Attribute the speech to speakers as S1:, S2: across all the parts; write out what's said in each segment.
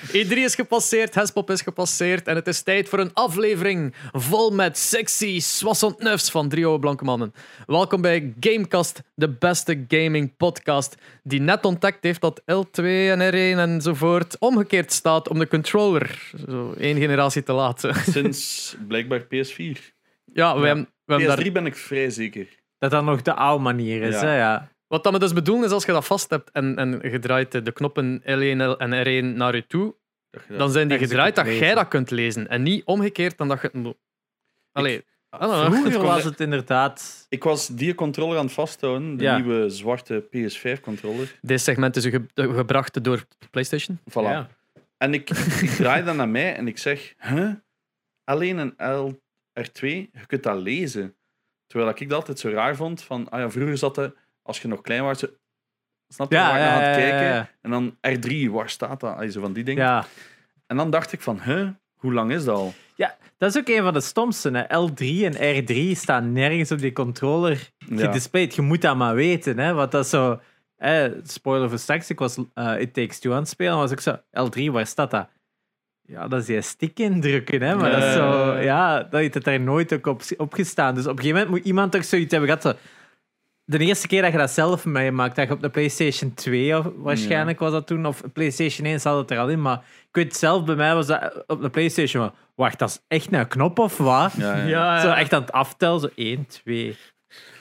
S1: E3 E is gepasseerd, Hespop is gepasseerd en het is tijd voor een aflevering vol met sexy soissonnefs van drie oude blanke mannen. Welkom bij Gamecast, de beste gaming podcast die net ontdekt heeft dat L2 en R1 enzovoort omgekeerd staat om de controller. Zo één generatie te laten.
S2: Sinds blijkbaar PS4.
S1: Ja, we hebben, we hebben
S2: PS3
S1: daar...
S2: ben ik vrij zeker.
S3: Dat dat nog de oude manier is,
S2: Ja.
S3: hè? Ja.
S1: Wat dat we dus bedoelen is als je dat vast hebt en, en gedraaid de knoppen L1 en R1 naar je toe,
S2: Dat je dat-
S1: dan zijn die
S3: Echt, ze
S1: gedraaid dat
S3: kunt
S1: jij
S3: lezen.
S1: dat kunt lezen. En niet omgekeerd dan dat je het moet. Allee, I don't know.
S3: Vroeger
S2: kon-
S3: was het inderdaad.
S2: Ik was die controller aan het vasthouden, de
S3: Ja.
S2: nieuwe zwarte PS5-controller.
S1: dit segment is u ge- eh, gebracht door PlayStation.
S2: Voilà.
S3: Ja.
S2: En ik, ik draai dat naar mij en ik zeg, huh? alleen een LR2, je kunt dat lezen. Terwijl ik dat altijd zo raar vond, van, ah ja, vroeger zat dat, als je nog klein was, zo- snap je,
S3: Ja,
S2: waar je naar
S3: ja,
S2: aan het
S3: ja, ja,
S2: kijken.
S3: ja.
S2: En dan R3, waar staat dat? Ah, Zo van die dingen.
S3: Ja.
S2: En dan dacht ik van, huh? Hoe lang is dat al?
S3: ja, dat is ook een van de stomste. Hè. L3 en R3 staan nergens op die controller gedisplayed. Je moet dat maar weten, hè? Want dat is zo. Hè, spoiler voor straks, ik was eh, It Takes Two aan het spelen. was ik zo. L3, waar staat dat? Ja, dat is die stick indrukken, hè? Maar dat is zo.
S1: Ja.
S3: Ja, dat heeft het daar nooit ook op, opgestaan. Dus op een gegeven moment moet iemand toch zoiets hebben gehad. Zo, de eerste keer dat je dat zelf meemaakt, dat je op de PlayStation 2 of, waarschijnlijk was dat toen, of PlayStation 1 zat het er al in, maar ik weet zelf, bij mij was dat eh, op de PlayStation wel, wacht, dat is echt een knop of wat?
S2: Ja, ja.
S3: Zo echt aan het aftellen, zo 1, 2.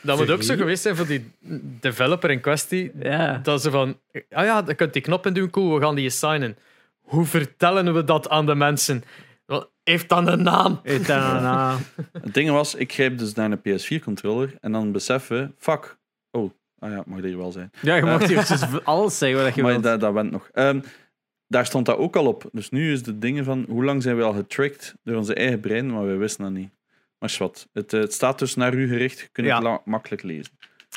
S1: dat moet ook zo
S3: Sorry?
S1: geweest zijn voor die developer in kwestie.
S3: Ja.
S1: Dat ze van, ah ja, je kunt die knoppen doen, cool, we gaan die assignen. Hoe vertellen we dat aan de mensen? Wel, heeft dan een naam?
S3: Eet dan een naam.
S2: Het ding was, ik greep dus naar een PS4-controller en dan beseffen, fuck, oh, ah ja, mag dat hier wel zijn.
S3: Ja, je mocht hier dus alles zeggen wat je
S2: maar
S3: wilt.
S2: dat, dat went nog. Ehm, daar stond dat ook al op. Dus nu is de dingen van, hoe lang zijn we al getrickt door onze eigen brein, maar we wisten dat niet. Maar wat, het, eh, het staat dus naar u gericht, je kunt
S3: Ja.
S2: het la- makkelijk lezen.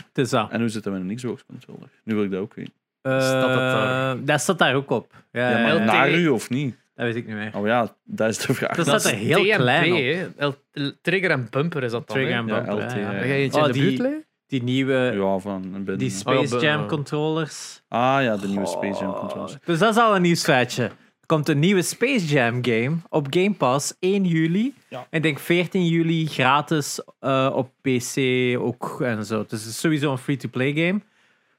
S3: Het is dat.
S2: En hoe zit dat met een Xbox-controller? Nu wil ik dat ook weten.
S1: Staat dat daar?
S3: Eh, dat staat daar ook op. Ja,
S2: Ja, maar
S1: LTE.
S2: naar u of niet?
S3: Dat weet ik niet meer.
S2: Oh ja, dat is de vraag.
S3: Dat staat er heel
S1: TMP,
S3: klein op.
S1: hè. L- L- Trigger en bumper is dat dan.
S3: Trigger
S1: hè?
S3: en
S2: Ja,
S3: bumper,
S2: LT,
S3: hè, ja.
S2: ja.
S1: Ga je eentje
S3: Oh,
S1: in de
S3: die-
S1: buurt liggen?
S3: Die nieuwe
S2: Ja, van binnen.
S3: die
S1: Oh, ja,
S3: Space
S1: be-
S3: Jam
S1: eh.
S3: controllers.
S2: Ah ja, de nieuwe Space Jam controllers.
S3: Dus dat is al een nieuw feitje. Er komt een nieuwe Space Jam game op Game Pass 1 juli.
S2: Ja.
S3: En ik denk 14 juli gratis eh, op PC ook en zo. Dus het is sowieso een free-to-play game.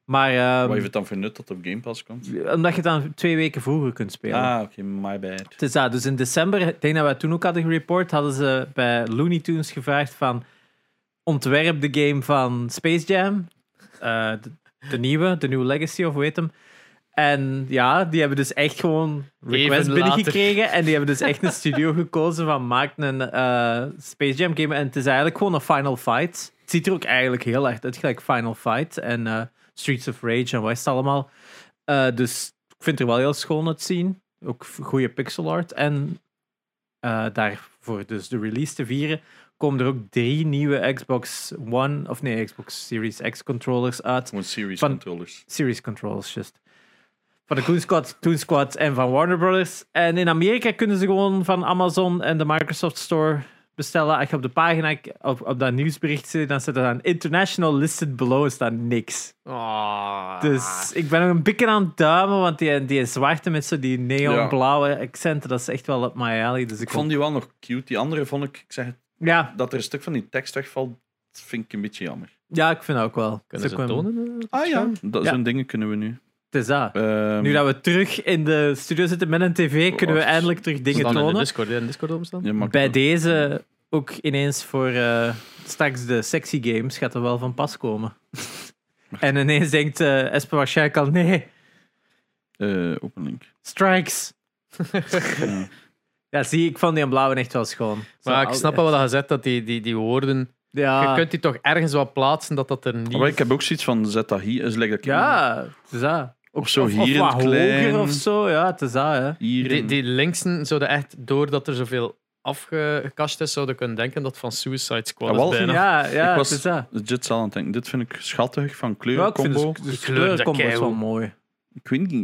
S3: Maar ehm,
S2: Wat heeft het dan voor nut dat het op Game Pass komt?
S3: omdat je het dan twee weken vroeger kunt spelen.
S2: Ah, oké, my bad.
S3: Het is dat. Dus in december, ik denk dat wij toen ook hadden gereport, hadden ze bij Looney Tunes gevraagd van ontwerp de game van Space Jam. Eh, de, de nieuwe, de nieuwe Legacy of hoe heet hem. En ja, die hebben dus echt gewoon requests
S1: Even later.
S3: binnengekregen. En die hebben dus echt een studio gekozen van maak een eh, Space Jam game. En het is eigenlijk gewoon een Final Fight. Het ziet er ook eigenlijk heel erg uit, gelijk Final Fight en eh, Streets of Rage en wat is het allemaal. Eh, dus ik vind het er wel heel schoon uitzien. Ook v- goede pixel art. En eh, daarvoor dus de release te vieren, komen er ook drie nieuwe Xbox One, of nee, Xbox Series X controllers uit.
S2: Gewoon series
S3: Van-
S2: controllers.
S3: Series controllers, just. Van de Toon Squad, Toon Squad en van Warner Brothers. En in Amerika kunnen ze gewoon van Amazon en de Microsoft Store bestellen. Als je op de pagina, op, op dat nieuwsbericht zit, dan staat er dan international listed below, en staat niks.
S1: Ah.
S3: Dus ik ben nog een beetje aan het duimen, want die, die zwarte met zo die neonblauwe accenten, dat is echt wel op my alley. Dus ik
S2: Ik vond die wel nog cute. Die andere vond ik, ik zeg het,
S3: Ja,
S2: dat er een stuk van die tekst wegvalt, dat vind ik een beetje jammer.
S3: ja, ik vind dat ook wel.
S1: Kunnen
S3: Dat
S1: ze
S3: is ook wel-
S1: tonen? eh?
S2: Ah ja. Dat,
S3: Ja.
S2: Zo'n dingen kunnen we nu.
S3: Het is dat.
S2: Ehm,
S3: Nu dat we terug in de studio zitten met een tv, kunnen we
S2: Wacht.
S3: eindelijk terug
S1: Oh, Ze
S3: dingen
S1: staan in de
S3: tonen.
S1: Discord, hè, in de Discord opstaan?
S2: ja, maar-
S3: Bij deze ook ineens voor eh, straks de sexy games gaat er wel van pas komen. en ineens denkt eh Esper waarschijnlijk al, nee,
S2: Eh, open link.
S3: strikes.
S2: Ja.
S3: Ja, zie, ik vond die blauwe echt wel schoon. Zo
S1: Maar ik
S3: al-
S1: snap wel wat je zegt, dat die, die, die woorden...
S3: Ja,
S1: Je kunt die toch ergens wel plaatsen dat dat er niet...
S2: Maar ik heb ook zoiets van, zet dat hier. Is lekker dat ik-
S3: ja het is dat.
S2: Of zo
S3: of,
S2: hier in
S3: of
S2: het
S3: wat
S2: klein.
S3: hoger of zo, ja, het is dat, hè.
S2: Hier
S1: Die,
S2: in-
S1: die linksen zouden echt, doordat er zoveel afgekast is, zouden kunnen denken dat het van Suicide Squad
S2: Ah,
S1: is
S2: wel.
S1: bijna.
S3: Ja, ja,
S2: Ik was-
S3: het is dat.
S2: Dit zal aan het denken. Dit vind ik schattig van
S3: Ja, ik vind
S2: kleurencombo.
S3: de,
S2: Ik,
S3: de
S1: Die kleuren, dat
S3: kleurencombo is wel
S1: keigoed.
S3: mooi.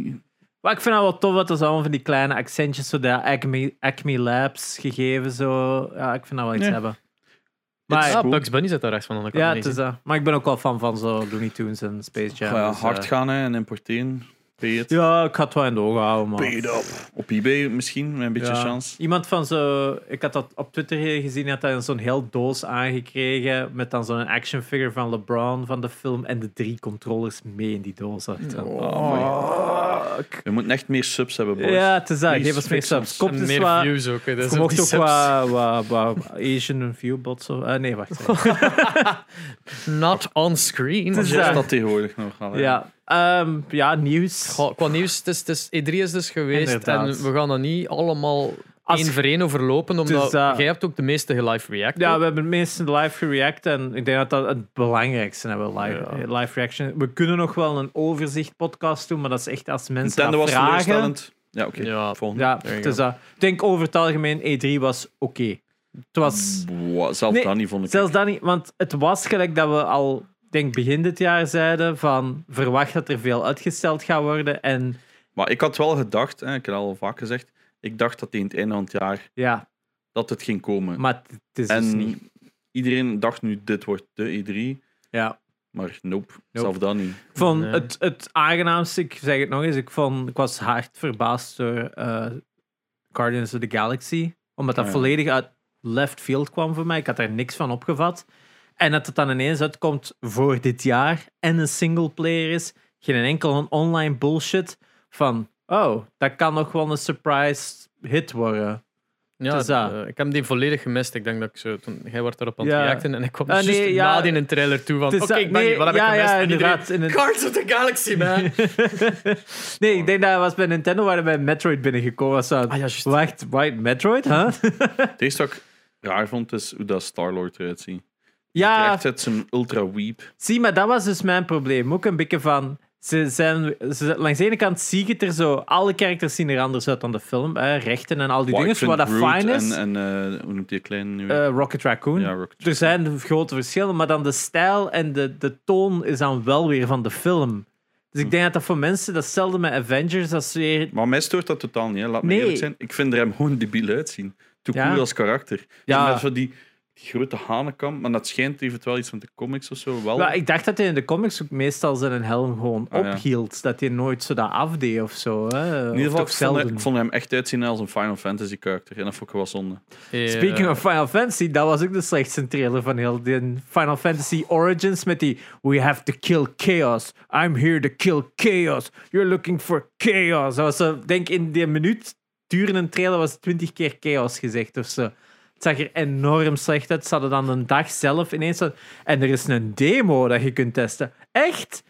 S2: weet niet.
S3: Maar ik vind het wel tof dat er zo allemaal van die kleine accentjes, zo de Acme, Acme Labs gegeven, zo. Ja, ik vind dat wel iets
S2: Ja.
S3: hebben.
S1: Maar
S3: Maar
S1: ja,
S2: cool.
S1: Ah, Bugs Bunny zit daar rechts van aan de kant.
S3: Ja,
S1: niet
S3: het is
S1: zien.
S3: dat. Maar ik ben ook wel fan van zo Looney Tunes en Space Jam.
S2: Ja,
S3: dus, eh,
S2: hard gaan hè, en importeren. Pay it.
S3: Ja, ik ga het wel in de ogen houden, man.
S2: Pay it up. Op eBay misschien, met een beetje
S3: Ja.
S2: chance.
S3: Iemand van zo, ik had dat op Twitter hier gezien, had hij zo'n heel doos aangekregen met dan zo'n action figure van LeBron van de film en de drie controllers mee in die doos. Echt.
S2: Oh.
S1: Oh,
S2: We moeten echt meer subs hebben, boys.
S3: Ja, het is dat.
S2: Please
S3: Geef ons meer
S2: fix ons.
S3: subs. Koopt
S1: En
S3: eens
S1: meer
S3: wat.
S1: views ook. Hè. Dat
S3: Je
S1: is ook
S3: mocht
S1: die
S3: ook
S1: subs.
S3: wat, wat, wat Asian viewbots of... eh, nee, wacht. sorry.
S1: Not on screen.
S3: Het
S2: Zo
S3: is
S2: is
S3: dat.
S2: dat tegenwoordig nog. Allee.
S3: ja. Ehm, ja, nieuws.
S1: Goh, qua nieuws, het is, het is, E3 is dus geweest
S3: Inderdaad.
S1: en we gaan dat niet allemaal
S3: Als-
S1: één voor één overlopen, omdat
S3: Dus dat-
S1: jij hebt ook de meeste gelive react.
S3: Ja,
S2: Oh.
S1: ook.
S3: we hebben mensen live gereact en ik denk dat dat het belangrijkste hebben, live, eh, live reaction. We kunnen nog wel een overzicht podcast doen, maar dat is echt als mensen
S2: Nintendo
S3: dat
S2: was
S3: vragen...
S2: teleurstellend. Ja, oké.
S1: Ja.
S2: Volgende.
S3: Ja,
S1: There you
S3: dus dat. Ik denk over het algemeen, E3 was oké. Het was...
S2: Wow, zelfs
S3: Nee,
S2: dat niet, vond ik.
S3: Zelfs dat niet, want het was gelijk dat we al, ik denk begin dit jaar zeiden, van verwacht dat er veel uitgesteld gaat worden en
S2: Maar ik had wel gedacht, hè, ik heb al vaak gezegd, ik dacht dat tegen het einde van het jaar
S3: ja,
S2: dat het ging komen.
S3: maar het is dus
S2: en
S3: niet.
S2: iedereen dacht nu, dit wordt de E3,
S3: Ja.
S2: maar nope, zelfs dat niet.
S3: Ik vond
S1: Nee.
S3: het, het aangenaamste, ik zeg het nog eens, ik, vond, ik was hard verbaasd door eh, Guardians of the Galaxy. Omdat dat
S2: Ja.
S3: volledig uit left field kwam voor mij. Ik had daar niks van opgevat. En dat het dan ineens uitkomt voor dit jaar en een singleplayer is. Geen enkel online bullshit van, oh, dat kan nog wel een surprise hit worden.
S1: Ja,
S3: het is dat.
S1: eh, ik heb die volledig gemist. Ik denk dat ik zo... Toen, jij wordt daarop aan het
S3: Ja.
S1: reacten en ik kwam
S3: Ah,
S1: juist
S3: nee, ja.
S1: na die een trailer toe van
S3: Het is
S1: oké,
S3: dat-
S1: ik ben
S3: nee,
S1: hier, wat heb
S3: ja,
S1: ik gemist?
S3: ja,
S1: En iedereen,
S3: inderdaad, inderdaad.
S1: Guards of the Galaxy, man!
S3: nee, ik denk dat was bij Nintendo waar we bij Metroid binnengekomen was.
S1: Ah, ja, juist.
S3: Wacht, wacht, Metroid? Huh?
S2: Het eerste wat ik raar vond, is hoe dat Star-Lord eruit ziet.
S3: ja.
S2: Hij krijgt uit zijn ultra-weep.
S3: Zie, maar dat was dus mijn probleem. Ook een beetje van. Ze zijn, ze zijn- langs de ene kant zie ik het er zo. Alle characters zien er anders uit dan de film. Hè, rechten en al die dingen. Wat dat fijn is.
S2: En, en eh, hoe noemt die kleine nu?
S3: Eh, Rocket Raccoon.
S2: Ja, Rocket
S3: er zijn grote verschillen, maar dan de stijl en de, de toon is dan wel weer van de film. Dus
S2: Hm.
S3: ik denk dat dat voor mensen datzelfde met Avengers als weer.
S2: Maar mij stoort dat totaal niet, hè. laat me
S3: Nee.
S2: eerlijk zijn. Ik vind er hem gewoon debiel uitzien. Toe
S3: Ja.
S2: cool als karakter.
S3: Ja.
S2: Ja. Met zo die, die grote hanenkam, maar dat schijnt eventueel iets van de comics of zo wel.
S3: Maar ik dacht dat hij in de comics ook meestal zijn helm gewoon
S2: Ah, ja.
S3: ophield. Dat hij nooit zo dat afdeed of zo. Hè.
S2: in ieder geval, ik vond, hem-
S3: zelden.
S2: ik vond hem echt uitzien als een Final Fantasy karakter. En dat vond ik wel zonde.
S1: eh,
S3: Speaking of Final Fantasy, dat was ook de slechtste trailer van heel die Final Fantasy Origins met die We have to kill chaos. I'm here to kill chaos. You're looking for chaos. Dat was zo, denk in die minuut durende trailer was twintig keer chaos gezegd of zo. Het zag er enorm slecht uit. Ze hadden dan een dag zelf ineens... zo- En er is een demo dat je kunt testen. Echt?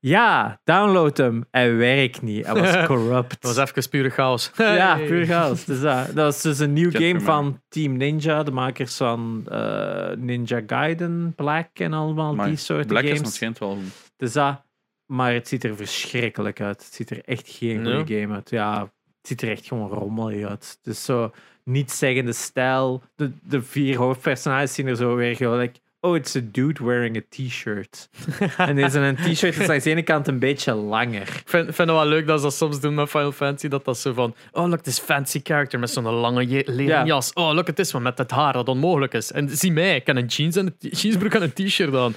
S3: Ja, download hem. Hij werkt niet. Hij was corrupt.
S1: Dat was even pure chaos.
S3: Ja,
S1: Hey.
S3: puur chaos. Dus dat, dat is dus een nieuw
S2: Gentleman.
S3: game van Team Ninja, de makers van eh, Ninja Gaiden, Black en allemaal
S2: Maar
S3: die soort
S2: Black is nog
S3: games.
S2: schijnt wel goed.
S3: Dus dat, maar het ziet er verschrikkelijk uit. Het ziet er echt geen goede
S1: Ja.
S3: game uit. Ja, het ziet er echt gewoon rommelig uit. Dus zo niet-zeggende stijl. De, de vier hoofdpersonages zien er zo weer gelijk... Oh, it's a dude wearing a t-shirt. en deze een t-shirt is aan de ene kant een beetje langer.
S1: Ik vind, vind het wel leuk dat ze dat soms doen met Final Fantasy. Dat dat zo van, oh look, this fancy character met zo'n lange je- leren
S3: Ja.
S1: jas. Oh look at this one met dat haar dat onmogelijk is. En zie mij, ik heb een jeans en een t- jeansbroek en een t-shirt aan.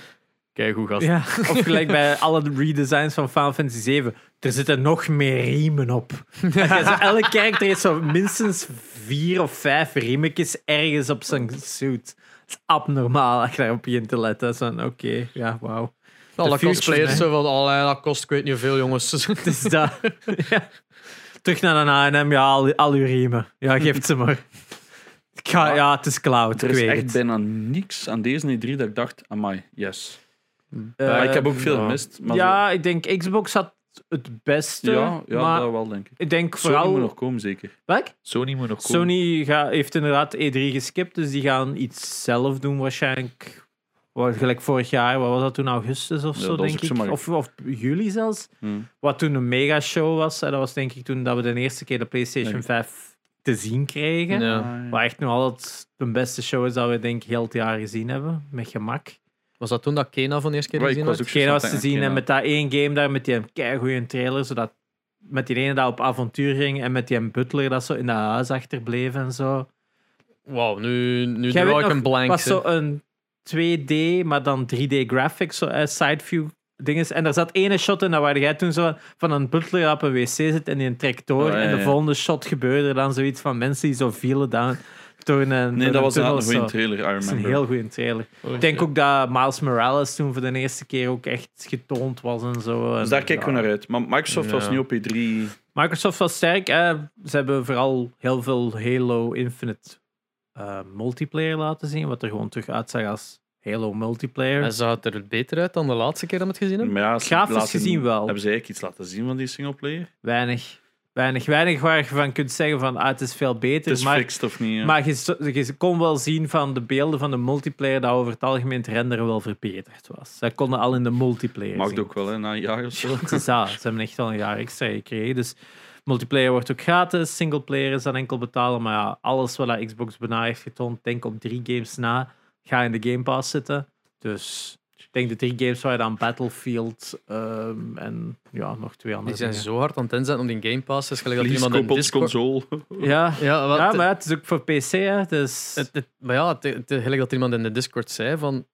S1: Kijk hoe gast.
S3: Ja. Of gelijk bij alle redesigns van Final Fantasy 7. Er zitten nog meer riemen op. Dat je zo- Elke character heeft zo minstens vier of vijf riemetjes ergens op zijn suit. Dat is abnormaal als je daarop begint te letten. Dat is van, Oké, ja, wauw.
S1: Alle
S3: future,
S1: cosplayers
S3: hè.
S1: zo van, allee, dat kost ik weet niet veel jongens.
S3: Dus dat... ja. Terug naar een H&M, ja, al, al uw riemen. Ja, geef ze maar. Ik ga, ja, het is cloud,
S2: Er
S3: ik
S2: is
S3: weet
S2: echt
S3: het.
S2: bijna niks aan deze E3 dat ik dacht, amai, yes.
S3: Eh,
S2: maar ik heb ook veel gemist. Maar
S3: ja, ik denk Xbox had het
S2: zo-
S3: beste,
S2: ja, ja
S3: maar
S2: dat wel, denk ik.
S3: ik denk
S2: Sony
S3: vooral...
S2: moet nog komen, zeker.
S3: Welk?
S2: Sony moet nog komen.
S3: Sony ga- heeft inderdaad E3 geskipt, dus die gaan iets zelf doen waarschijnlijk. Wat, gelijk vorig jaar, wat was dat toen? Augustus of
S2: Ja,
S3: zo,
S2: dat was
S3: denk
S2: ook zo, maar
S3: ik.
S2: ik-
S3: Of, of juli zelfs.
S2: Hmm.
S3: Wat toen een megashow was. En dat was denk ik toen dat we de eerste keer de PlayStation
S2: Nee.
S3: 5 te zien kregen.
S1: Ja.
S2: Ah,
S3: Wat echt nog altijd de beste show is dat we denk ik heel het jaar gezien hebben. Met gemak.
S1: Was dat toen dat Kena van de eerste keer
S2: Ja, ik
S1: gezien
S2: was
S1: werd?
S2: ook
S3: Geen was
S2: zat
S3: te
S2: aan
S3: zien.
S2: Kena.
S3: En met dat één game daar, met die keigoeie trailer, zodat met die ene dat op avontuur ging en met die butler dat zo in dat huis achterbleef en zo.
S1: Wauw, nu, nu
S3: Jij
S1: draai
S3: weet
S1: ik
S3: nog,
S1: een blank.
S3: was
S1: hè.
S3: zo een 2D, maar dan 3D graphics, zo, eh, side view ding is. En daar zat ene shot in, dat waar jij toen zo van een butler dat op een wc zit en die een trekt door.
S2: Oh, ja,
S3: En de
S2: ja.
S3: volgende shot gebeurde er dan zoiets van mensen die zo vielen dan door een.
S2: Nee, dat was inderdaad
S3: een
S2: een goede trailer, Oh, I
S3: Dat is
S2: remember.
S3: een heel goede trailer. Ik denk ook dat Miles Morales toen voor de eerste keer ook echt getoond was en zo.
S2: Dus
S3: En
S2: daar kijken we
S3: ja.
S2: naar uit. Maar Microsoft was
S1: Ja.
S2: niet op E E3.
S3: Microsoft was sterk. Hè? Ze hebben vooral heel veel Halo Infinite eh, multiplayer laten zien, wat er gewoon terug uitzag als Halo multiplayer.
S1: Hij zag het er beter uit dan de laatste keer dat we het gezien hebben.
S2: Maar ja, ze
S3: Grafisch
S2: laten-
S3: gezien wel.
S2: Hebben ze eigenlijk iets laten zien van die singleplayer?
S3: Weinig. Weinig, weinig waar je van kunt zeggen van ah, het is veel beter.
S2: Het is
S3: maar
S2: fixed of niet? ja.
S3: maar je, zo- je kon wel zien van de beelden van de multiplayer dat over het algemeen het renderen wel verbeterd was. Dat konden al in de multiplayer
S2: Mag
S3: zien.
S2: het ook wel, hè, na een jaar of zo.
S3: Het is dat. Ze hebben echt al een jaar extra gekregen. Dus multiplayer wordt ook gratis. Singleplayer is dan enkel betalen. Maar ja, alles wat dat Xbox bijna heeft getoond, denk op drie games na, ga in de Game Pass zitten. Dus ik denk de drie games waar je dan Battlefield ehm, en ja, nog twee andere
S1: Die zijn
S3: dingen.
S1: zo hard aan het inzetten om die Game Pass. Het is gelijk dat
S2: Please,
S1: iemand
S2: koop
S1: een
S2: ons
S1: Discord...
S2: console.
S3: Ja,
S1: Ja, wat,
S3: ja, maar ja, het is ook voor PC, hè. Dus...
S1: het, het- maar ja, het, het- gelijk dat iemand in de Discord zei van...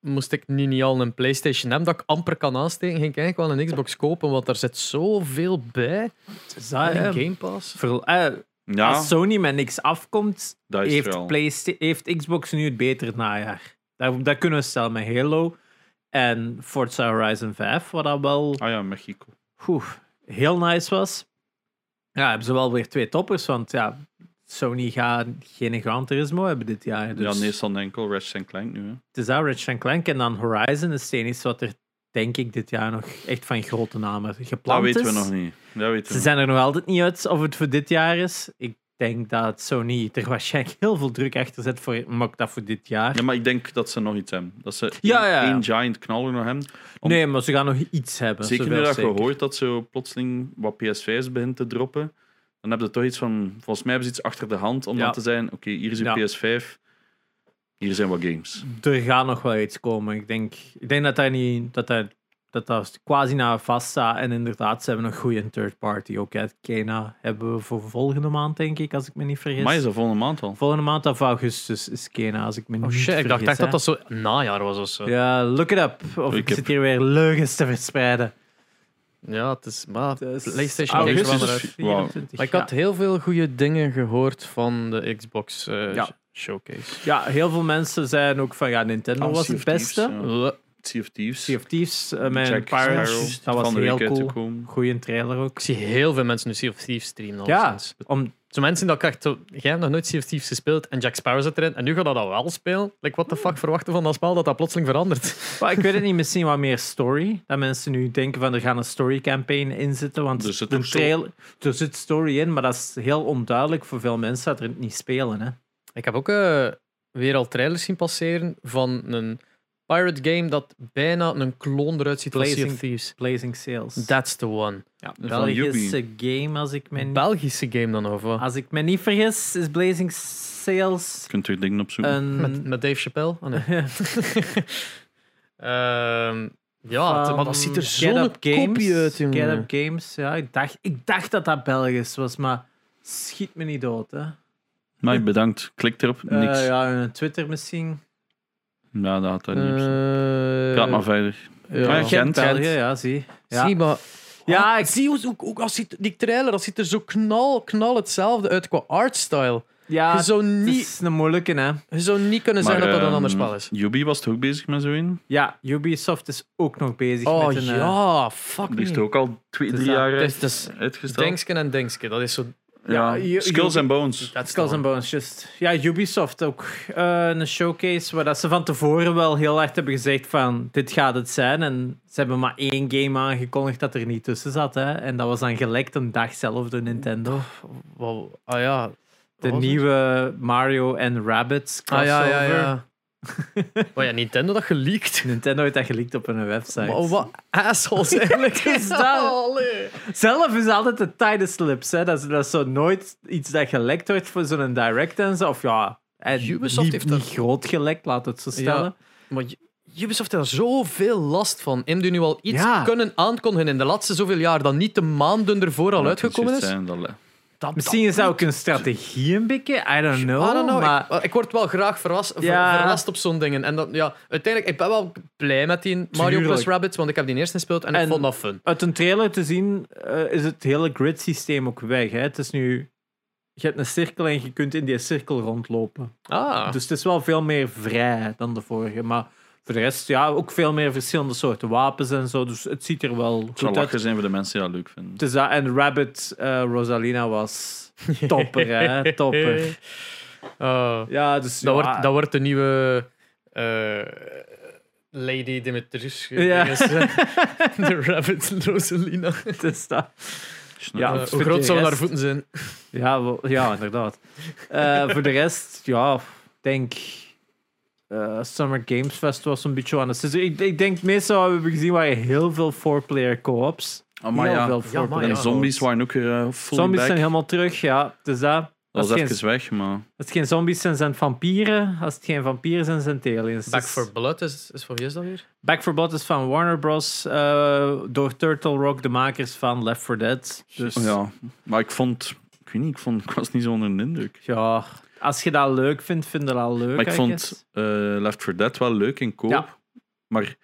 S1: Moest ik nu niet al een PlayStation hebben dat ik amper kan aansteken, ging ik eigenlijk wel een Xbox kopen, want daar zit zoveel bij.
S3: is
S1: Ah,
S3: dat, hè.
S1: Game Pass.
S3: Voor- eh,
S2: Ja,
S3: Als Sony met niks afkomt,
S2: dat is er
S3: heeft,
S2: al.
S3: Playsta- heeft Xbox nu het betere najaar. Dat, dat kunnen we stellen met Halo en Forza Horizon 5, wat dat wel
S2: Ah ja, Mexico.
S3: oeh, heel nice was. Ja, hebben ze wel weer twee toppers, want ja, Sony gaat geen Gran Turismo hebben dit jaar. Dus
S2: Ja, Nathan Enkel, Ratchet Clank nu. Hè.
S3: het is daar Ratchet Clank en dan Horizon is het enige wat er denk ik dit jaar nog echt van grote namen
S2: Dat
S3: gepland is.
S2: weten we nog niet. Dat weten
S3: Ze
S2: we nog.
S3: zijn er nog altijd niet uit of het voor dit jaar is. Ik denk dat Sony er waarschijnlijk heel veel druk achter zet voor maak dat voor dit jaar.
S2: Ja, maar ik denk dat ze nog iets hebben. Dat ze
S3: Ja,
S2: één-
S3: ja, ja.
S2: één giant knaller nog hebben. om-
S3: Nee, maar ze gaan nog iets hebben.
S2: Zeker nu
S3: zoveel
S2: dat je hoort dat ze plotseling wat PS5's begint te droppen. Dan heb je toch iets van... Volgens mij hebben ze iets achter de hand om
S3: Ja.
S2: dan te zijn... Oké, hier is uw
S3: Ja.
S2: PS5. Hier zijn wat games.
S3: Er gaat nog wel iets komen. Ik denk, ik denk dat daar niet, dat daar, dat dat quasi na vast staat. En inderdaad, ze hebben een goede third party. Ook uit Kena hebben we voor volgende maand, denk ik, als ik me niet vergis.
S2: Maar is dat volgende maand al?
S3: Volgende maand of augustus is Kena, als ik me
S1: Oh
S3: niet
S1: shit,
S3: vergis.
S1: ik dacht echt dat
S3: hè.
S1: dat zo najaar was of zo. Ja,
S3: Ja, look it up. Of
S2: Look
S3: ik
S2: up.
S3: zit hier weer leugens te verspreiden.
S1: het is... Maar
S3: Dus
S1: PlayStation
S2: augustus
S1: Xbox.
S2: is-
S1: eruit.
S2: Wauw.
S3: 24,
S1: Maar ik
S3: Dus ja.
S1: had heel veel goede dingen gehoord van de Xbox eh,
S3: Ja.
S1: sh- Showcase.
S3: Ja, heel veel mensen zijn ook van ja, Nintendo
S2: Ah,
S3: was
S2: Sea
S3: het
S2: of Thieves,
S3: beste.
S2: ja.
S1: Le-
S2: Sea of Thieves.
S3: Sea of Thieves eh, met
S2: Jack
S3: Pirates,
S2: Sparrow,
S3: dat was
S2: van de
S3: heel
S2: week uit te
S3: cool.
S2: komen.
S3: Goeie trailer ook.
S1: Ik zie heel veel mensen nu Sea of Thieves streamen.
S3: Ja,
S1: alleszins.
S3: om,
S1: Zo mensen dat ik echt zo... Jij hebt nog nooit Sea of Thieves gespeeld en Jack Sparrow zit erin en nu gaat dat al wel spelen. Like, what the fuck verwachten van dat spel dat dat plotseling verandert?
S3: maar ik weet het niet, misschien wat meer story. Dat mensen nu denken van er gaan een story campaign in zitten. Want
S2: Er zit
S3: de
S2: ook zo-
S3: trailer, er zit story in, maar dat is heel onduidelijk voor veel mensen dat er het niet spelen. Hè.
S1: Ik heb ook eh, weer al trailers zien passeren van een pirate game dat bijna een kloon eruit ziet van Sea of
S3: Blazing-
S1: Thieves.
S3: Blazing Sales.
S1: That's the one.
S3: ja,
S2: van
S3: Belgische game, als ik, me
S1: Een
S3: niet,
S1: Belgische game dan, of wat?
S3: als ik me niet vergis, is Blazing Sales
S2: Je kunt er dingen opzoeken.
S3: een...
S1: Met, met Dave Chappelle? Ah, nee. Ehm, ja, het- maar dat ziet er
S3: Get
S1: zo'n
S3: Up
S1: kopie uit,
S3: Get
S1: jongen.
S3: Up Games, ja. Ik dacht, ik dacht dat dat Belgisch was, maar schiet me niet dood, hè.
S2: Maar bedankt. Klik erop.
S3: Eh,
S2: Niks. ja.
S3: ja, een Twitter misschien.
S2: dat had dat niet. op staan.
S1: Eh,
S2: Praat maar verder.
S1: ja.
S2: Ja, Gent,
S3: België,
S2: Gent.
S3: ja, zie. Ja.
S1: Zie, maar...
S3: Ja,
S1: Ah,
S3: ik-
S1: zie hoe, hoe, hoe- als ziet die trailer, dat ziet er zo knal, knal hetzelfde uit qua artstyle.
S3: ja,
S1: je, zou
S3: het
S1: niet,
S3: is een moeilijke, hè.
S1: je zou niet kunnen zeggen dat dat een ander spel is.
S2: ehm, Yubi was toch ook bezig met zo een?
S3: Ja, Ubisoft is ook nog bezig
S1: Oh
S3: met een... eh,
S1: ja, fuck
S2: Die is
S1: me.
S2: toch ook al twee,
S3: Dus
S2: drie
S3: dat-
S2: jaar
S1: Het is- het is
S2: uitgesteld?
S1: Denksken en Denksken, dat is zo...
S2: Ja,
S3: Ja, Yu-
S2: Skills
S3: Yubi-
S2: and Bones.
S1: Dat is
S3: Skulls and Bones, just. Ja, Ubisoft ook. eh, een showcase waar dat ze van tevoren wel heel hard hebben gezegd van dit gaat het zijn. En ze hebben maar één game aangekondigd dat er niet tussen zat. Hè? En dat was dan gelekt een dag zelf door Nintendo.
S1: Wow, ah ja.
S3: De
S1: Oh, was het?
S3: nieuwe Mario en Rabbids
S1: Ah
S3: crossover.
S1: ja, ja, ja. Maar Oh ja, Nintendo dat geleakt.
S3: Nintendo heeft dat geleakt op hun website.
S1: Maar wat Oh, assholes eigenlijk
S3: Wat is dat?
S1: Allee.
S3: Zelf is altijd de tijdenslips. Hè? Dat, is, dat is zo nooit iets dat gelekt wordt voor zo'n direct en zo. Of ja, en
S1: Ubisoft
S3: niet,
S1: heeft
S3: niet
S1: dat-
S3: groot gelekt, laat het zo stellen.
S1: Maar Ju- Ubisoft heeft daar zoveel last van. Hebben die nu al iets
S3: Ja.
S1: kunnen aankondigen in de laatste zoveel jaar dat niet de maanden ervoor al
S2: Ja,
S1: uitgekomen
S2: het
S1: is?
S2: juist zijn, dat-
S1: dat,
S3: Misschien is dat ook een strategie een beetje. I don't know.
S1: I don't know.
S3: Maar
S1: Ik, wel, ik word wel graag verras, ver-
S3: Ja.
S1: verrast op zo'n dingen. En dat, ja, uiteindelijk, ik ben wel blij met die Mario
S2: Tuurlijk.
S1: plus Rabbids, want ik heb die eerst gespeeld en,
S3: En-
S1: ik vond dat fun.
S3: uit een trailer te zien eh, is het hele grid systeem ook weg. Hè? Het is nu. Je hebt een cirkel en je kunt in die cirkel rondlopen.
S1: Ah,
S3: Dus het is wel veel meer vrij dan de vorige. Maar voor de rest, ja, ook veel meer verschillende soorten wapens en zo. Dus het ziet er wel
S2: Het zou
S3: goed uit.
S2: lachen zijn voor de mensen die dat leuk vinden.
S3: Het is Dus dat- en Rabbit eh, Rosalina was topper, hè? Topper.
S1: Ah.
S3: Ja, dus.
S1: dat,
S3: ja,
S1: wordt, dat wordt de nieuwe eh, Lady Dimitrescu.
S3: Ja.
S1: dinges, hè. eh, de Rabbit Rosalina.
S3: het is dus dat.
S2: Snap
S3: Ja.
S2: je?
S1: Eh,
S3: voor
S1: hoe
S3: de
S1: groot zouden haar
S3: rest-
S1: voeten zijn?
S3: Ja, wel- ja inderdaad. Eh, voor de rest, ja, ik denk. eh, Summer Games Fest was een beetje aan de seizoen. Ik, ik denk, meestal hebben we gezien waren heel veel four-player co-ops.
S2: Amai,
S3: heel
S2: Ah, ja.
S3: veel
S1: Ja, maar
S3: four-player
S2: En
S1: ja.
S2: zombies waren ook weer eh, full
S3: Zombies
S2: back.
S3: zijn helemaal terug, ja. Dus dat.
S2: Dat
S3: Als
S2: was
S3: het, geen,
S2: even weg, maar...
S3: als het geen zombies zijn, zijn het vampieren. Als het geen vampieren zijn, zijn het aliens.
S1: Back
S3: Dus-
S1: for Blood is, is van wie is dat weer?
S3: Back for Blood is van Warner Bros. eh, door Turtle Rock, de makers van Left 4 Dead. Dus
S2: Oh ja, maar ik vond... Ik weet niet, ik, vond, ik was niet zo onder de indruk.
S3: Dus, ja, als je dat leuk vindt, vind je dat leuk.
S2: Maar ik
S3: I
S2: vond
S3: guess.
S2: eh, Left 4 Dead wel leuk in koop.
S3: Ja.
S2: Maar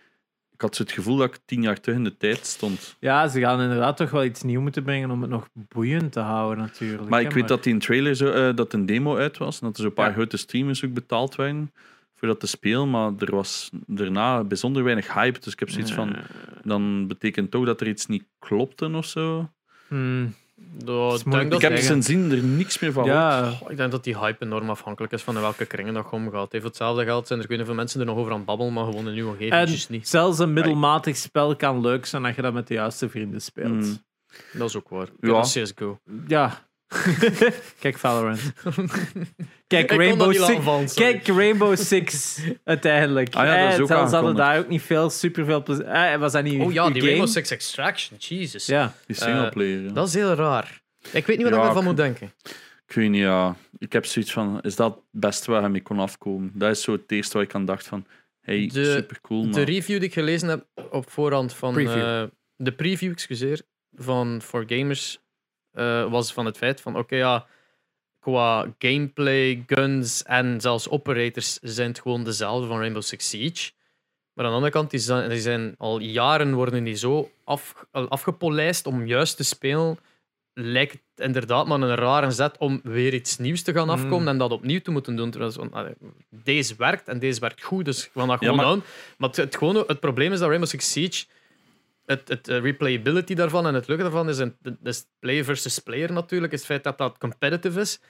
S2: ik had zo het gevoel dat ik tien jaar terug in de tijd stond.
S3: Ja, ze gaan inderdaad toch wel iets nieuw moeten brengen om het nog boeiend te houden, natuurlijk.
S2: Maar
S3: hè,
S2: ik weet dat die in trailer zo, eh, dat een demo uit was. En dat er zo'n paar
S3: Ja.
S2: grote streamers ook betaald werden voor dat te spelen. Maar er was daarna bijzonder weinig hype. Dus ik heb zoiets van... Dan betekent toch dat er iets niet klopte of zo.
S3: Hmm,
S1: Dat,
S3: moeilijk
S1: Oh, denk
S3: te
S1: dat,
S2: ik heb
S3: zeggen.
S2: sindsdien er niks meer van.
S3: ja,
S1: Goh, ik denk dat die hype enorm afhankelijk is van in welke kringen dat je omgaat. hè. Voor hetzelfde geld zijn er kunnen veel mensen er nog over aan het babbelen, maar gewoon in uw omgeving
S3: en
S1: juist niet.
S3: zelfs een middelmatig spel kan leuk zijn als je dat met de juiste vrienden speelt.
S2: Hmm.
S1: Dat is ook waar.
S2: Ja.
S1: Ja. CSGO.
S3: Ja. Kijk Valorant. Kijk
S1: Ik kon dat
S3: Rainbow
S1: niet lang
S3: Six.
S1: van, sorry.
S3: Kijk Rainbow Six uiteindelijk.
S2: Ah ja, dat is
S3: Eh,
S2: ook
S3: zelfs hadden
S2: aangekondigd.
S3: daar ook niet veel, superveel plezier. Eh, was dat niet
S1: Oh ja,
S3: uw
S1: die
S3: game?
S1: Rainbow Six Extraction, Jesus.
S3: Ja.
S2: Die singleplayer. ja.
S1: Dat is heel raar. Ik weet niet wat
S2: Ja,
S1: ik ervan
S2: ik-
S1: moet denken.
S2: Ik weet niet, ja. Ik heb zoiets van, is dat het beste waar hij mee kon afkomen? Dat is zo het eerste waar ik aan dacht van, hey,
S1: De-
S2: super cool,
S1: De
S2: maar...
S1: review die ik gelezen heb op voorhand van...
S3: Preview.
S1: eh, de preview, excuseer, van For Gamers eh, was van het feit van... Oké, ja, qua gameplay, guns en zelfs operators zijn het gewoon dezelfde van Rainbow Six Siege. Maar aan de andere kant, die zijn, die zijn al jaren worden die zo af, afgepolijst om juist te spelen. Lijkt het inderdaad maar een rare zet om weer iets nieuws te
S2: Hmm.
S1: gaan afkomen en dat opnieuw te moeten doen. Terwijl zo- allee, deze werkt en deze werkt goed, dus we gaan dat
S2: Ja,
S1: gewoon
S2: maar-
S1: aan. Maar het, het, gewone- het probleem is dat Rainbow Six Siege, het, het eh, replayability daarvan en het lukken daarvan is, een, is player versus player natuurlijk, is het feit dat dat competitive is.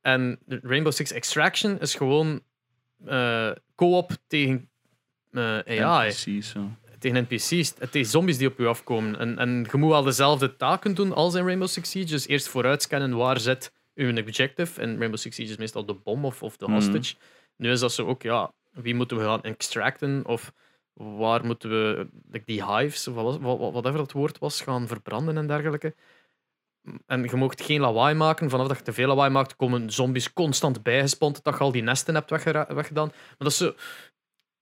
S1: En de Rainbow Six Extraction is gewoon eh, co-op tegen eh,
S2: Ja,
S1: AI,
S2: precies, ja.
S1: tegen NPC's, eh, tegen zombies die op je afkomen. En, en je moet wel dezelfde taken doen als in Rainbow Six Siege. Dus eerst vooruit scannen waar zit uw objective. En Rainbow Six Siege is meestal de bom of, of de
S2: Mhm.
S1: hostage. Nu is dat zo ook, ja, wie moeten we gaan extracten? Of waar moeten we like, die hives, of wat was- wat- wat- whatever dat woord was, gaan verbranden en dergelijke. En je mocht geen lawaai maken. Vanaf dat je te veel lawaai maakt, komen zombies constant bijgespond. Dat je al die nesten hebt weggera- weggedaan. Maar dat is zo...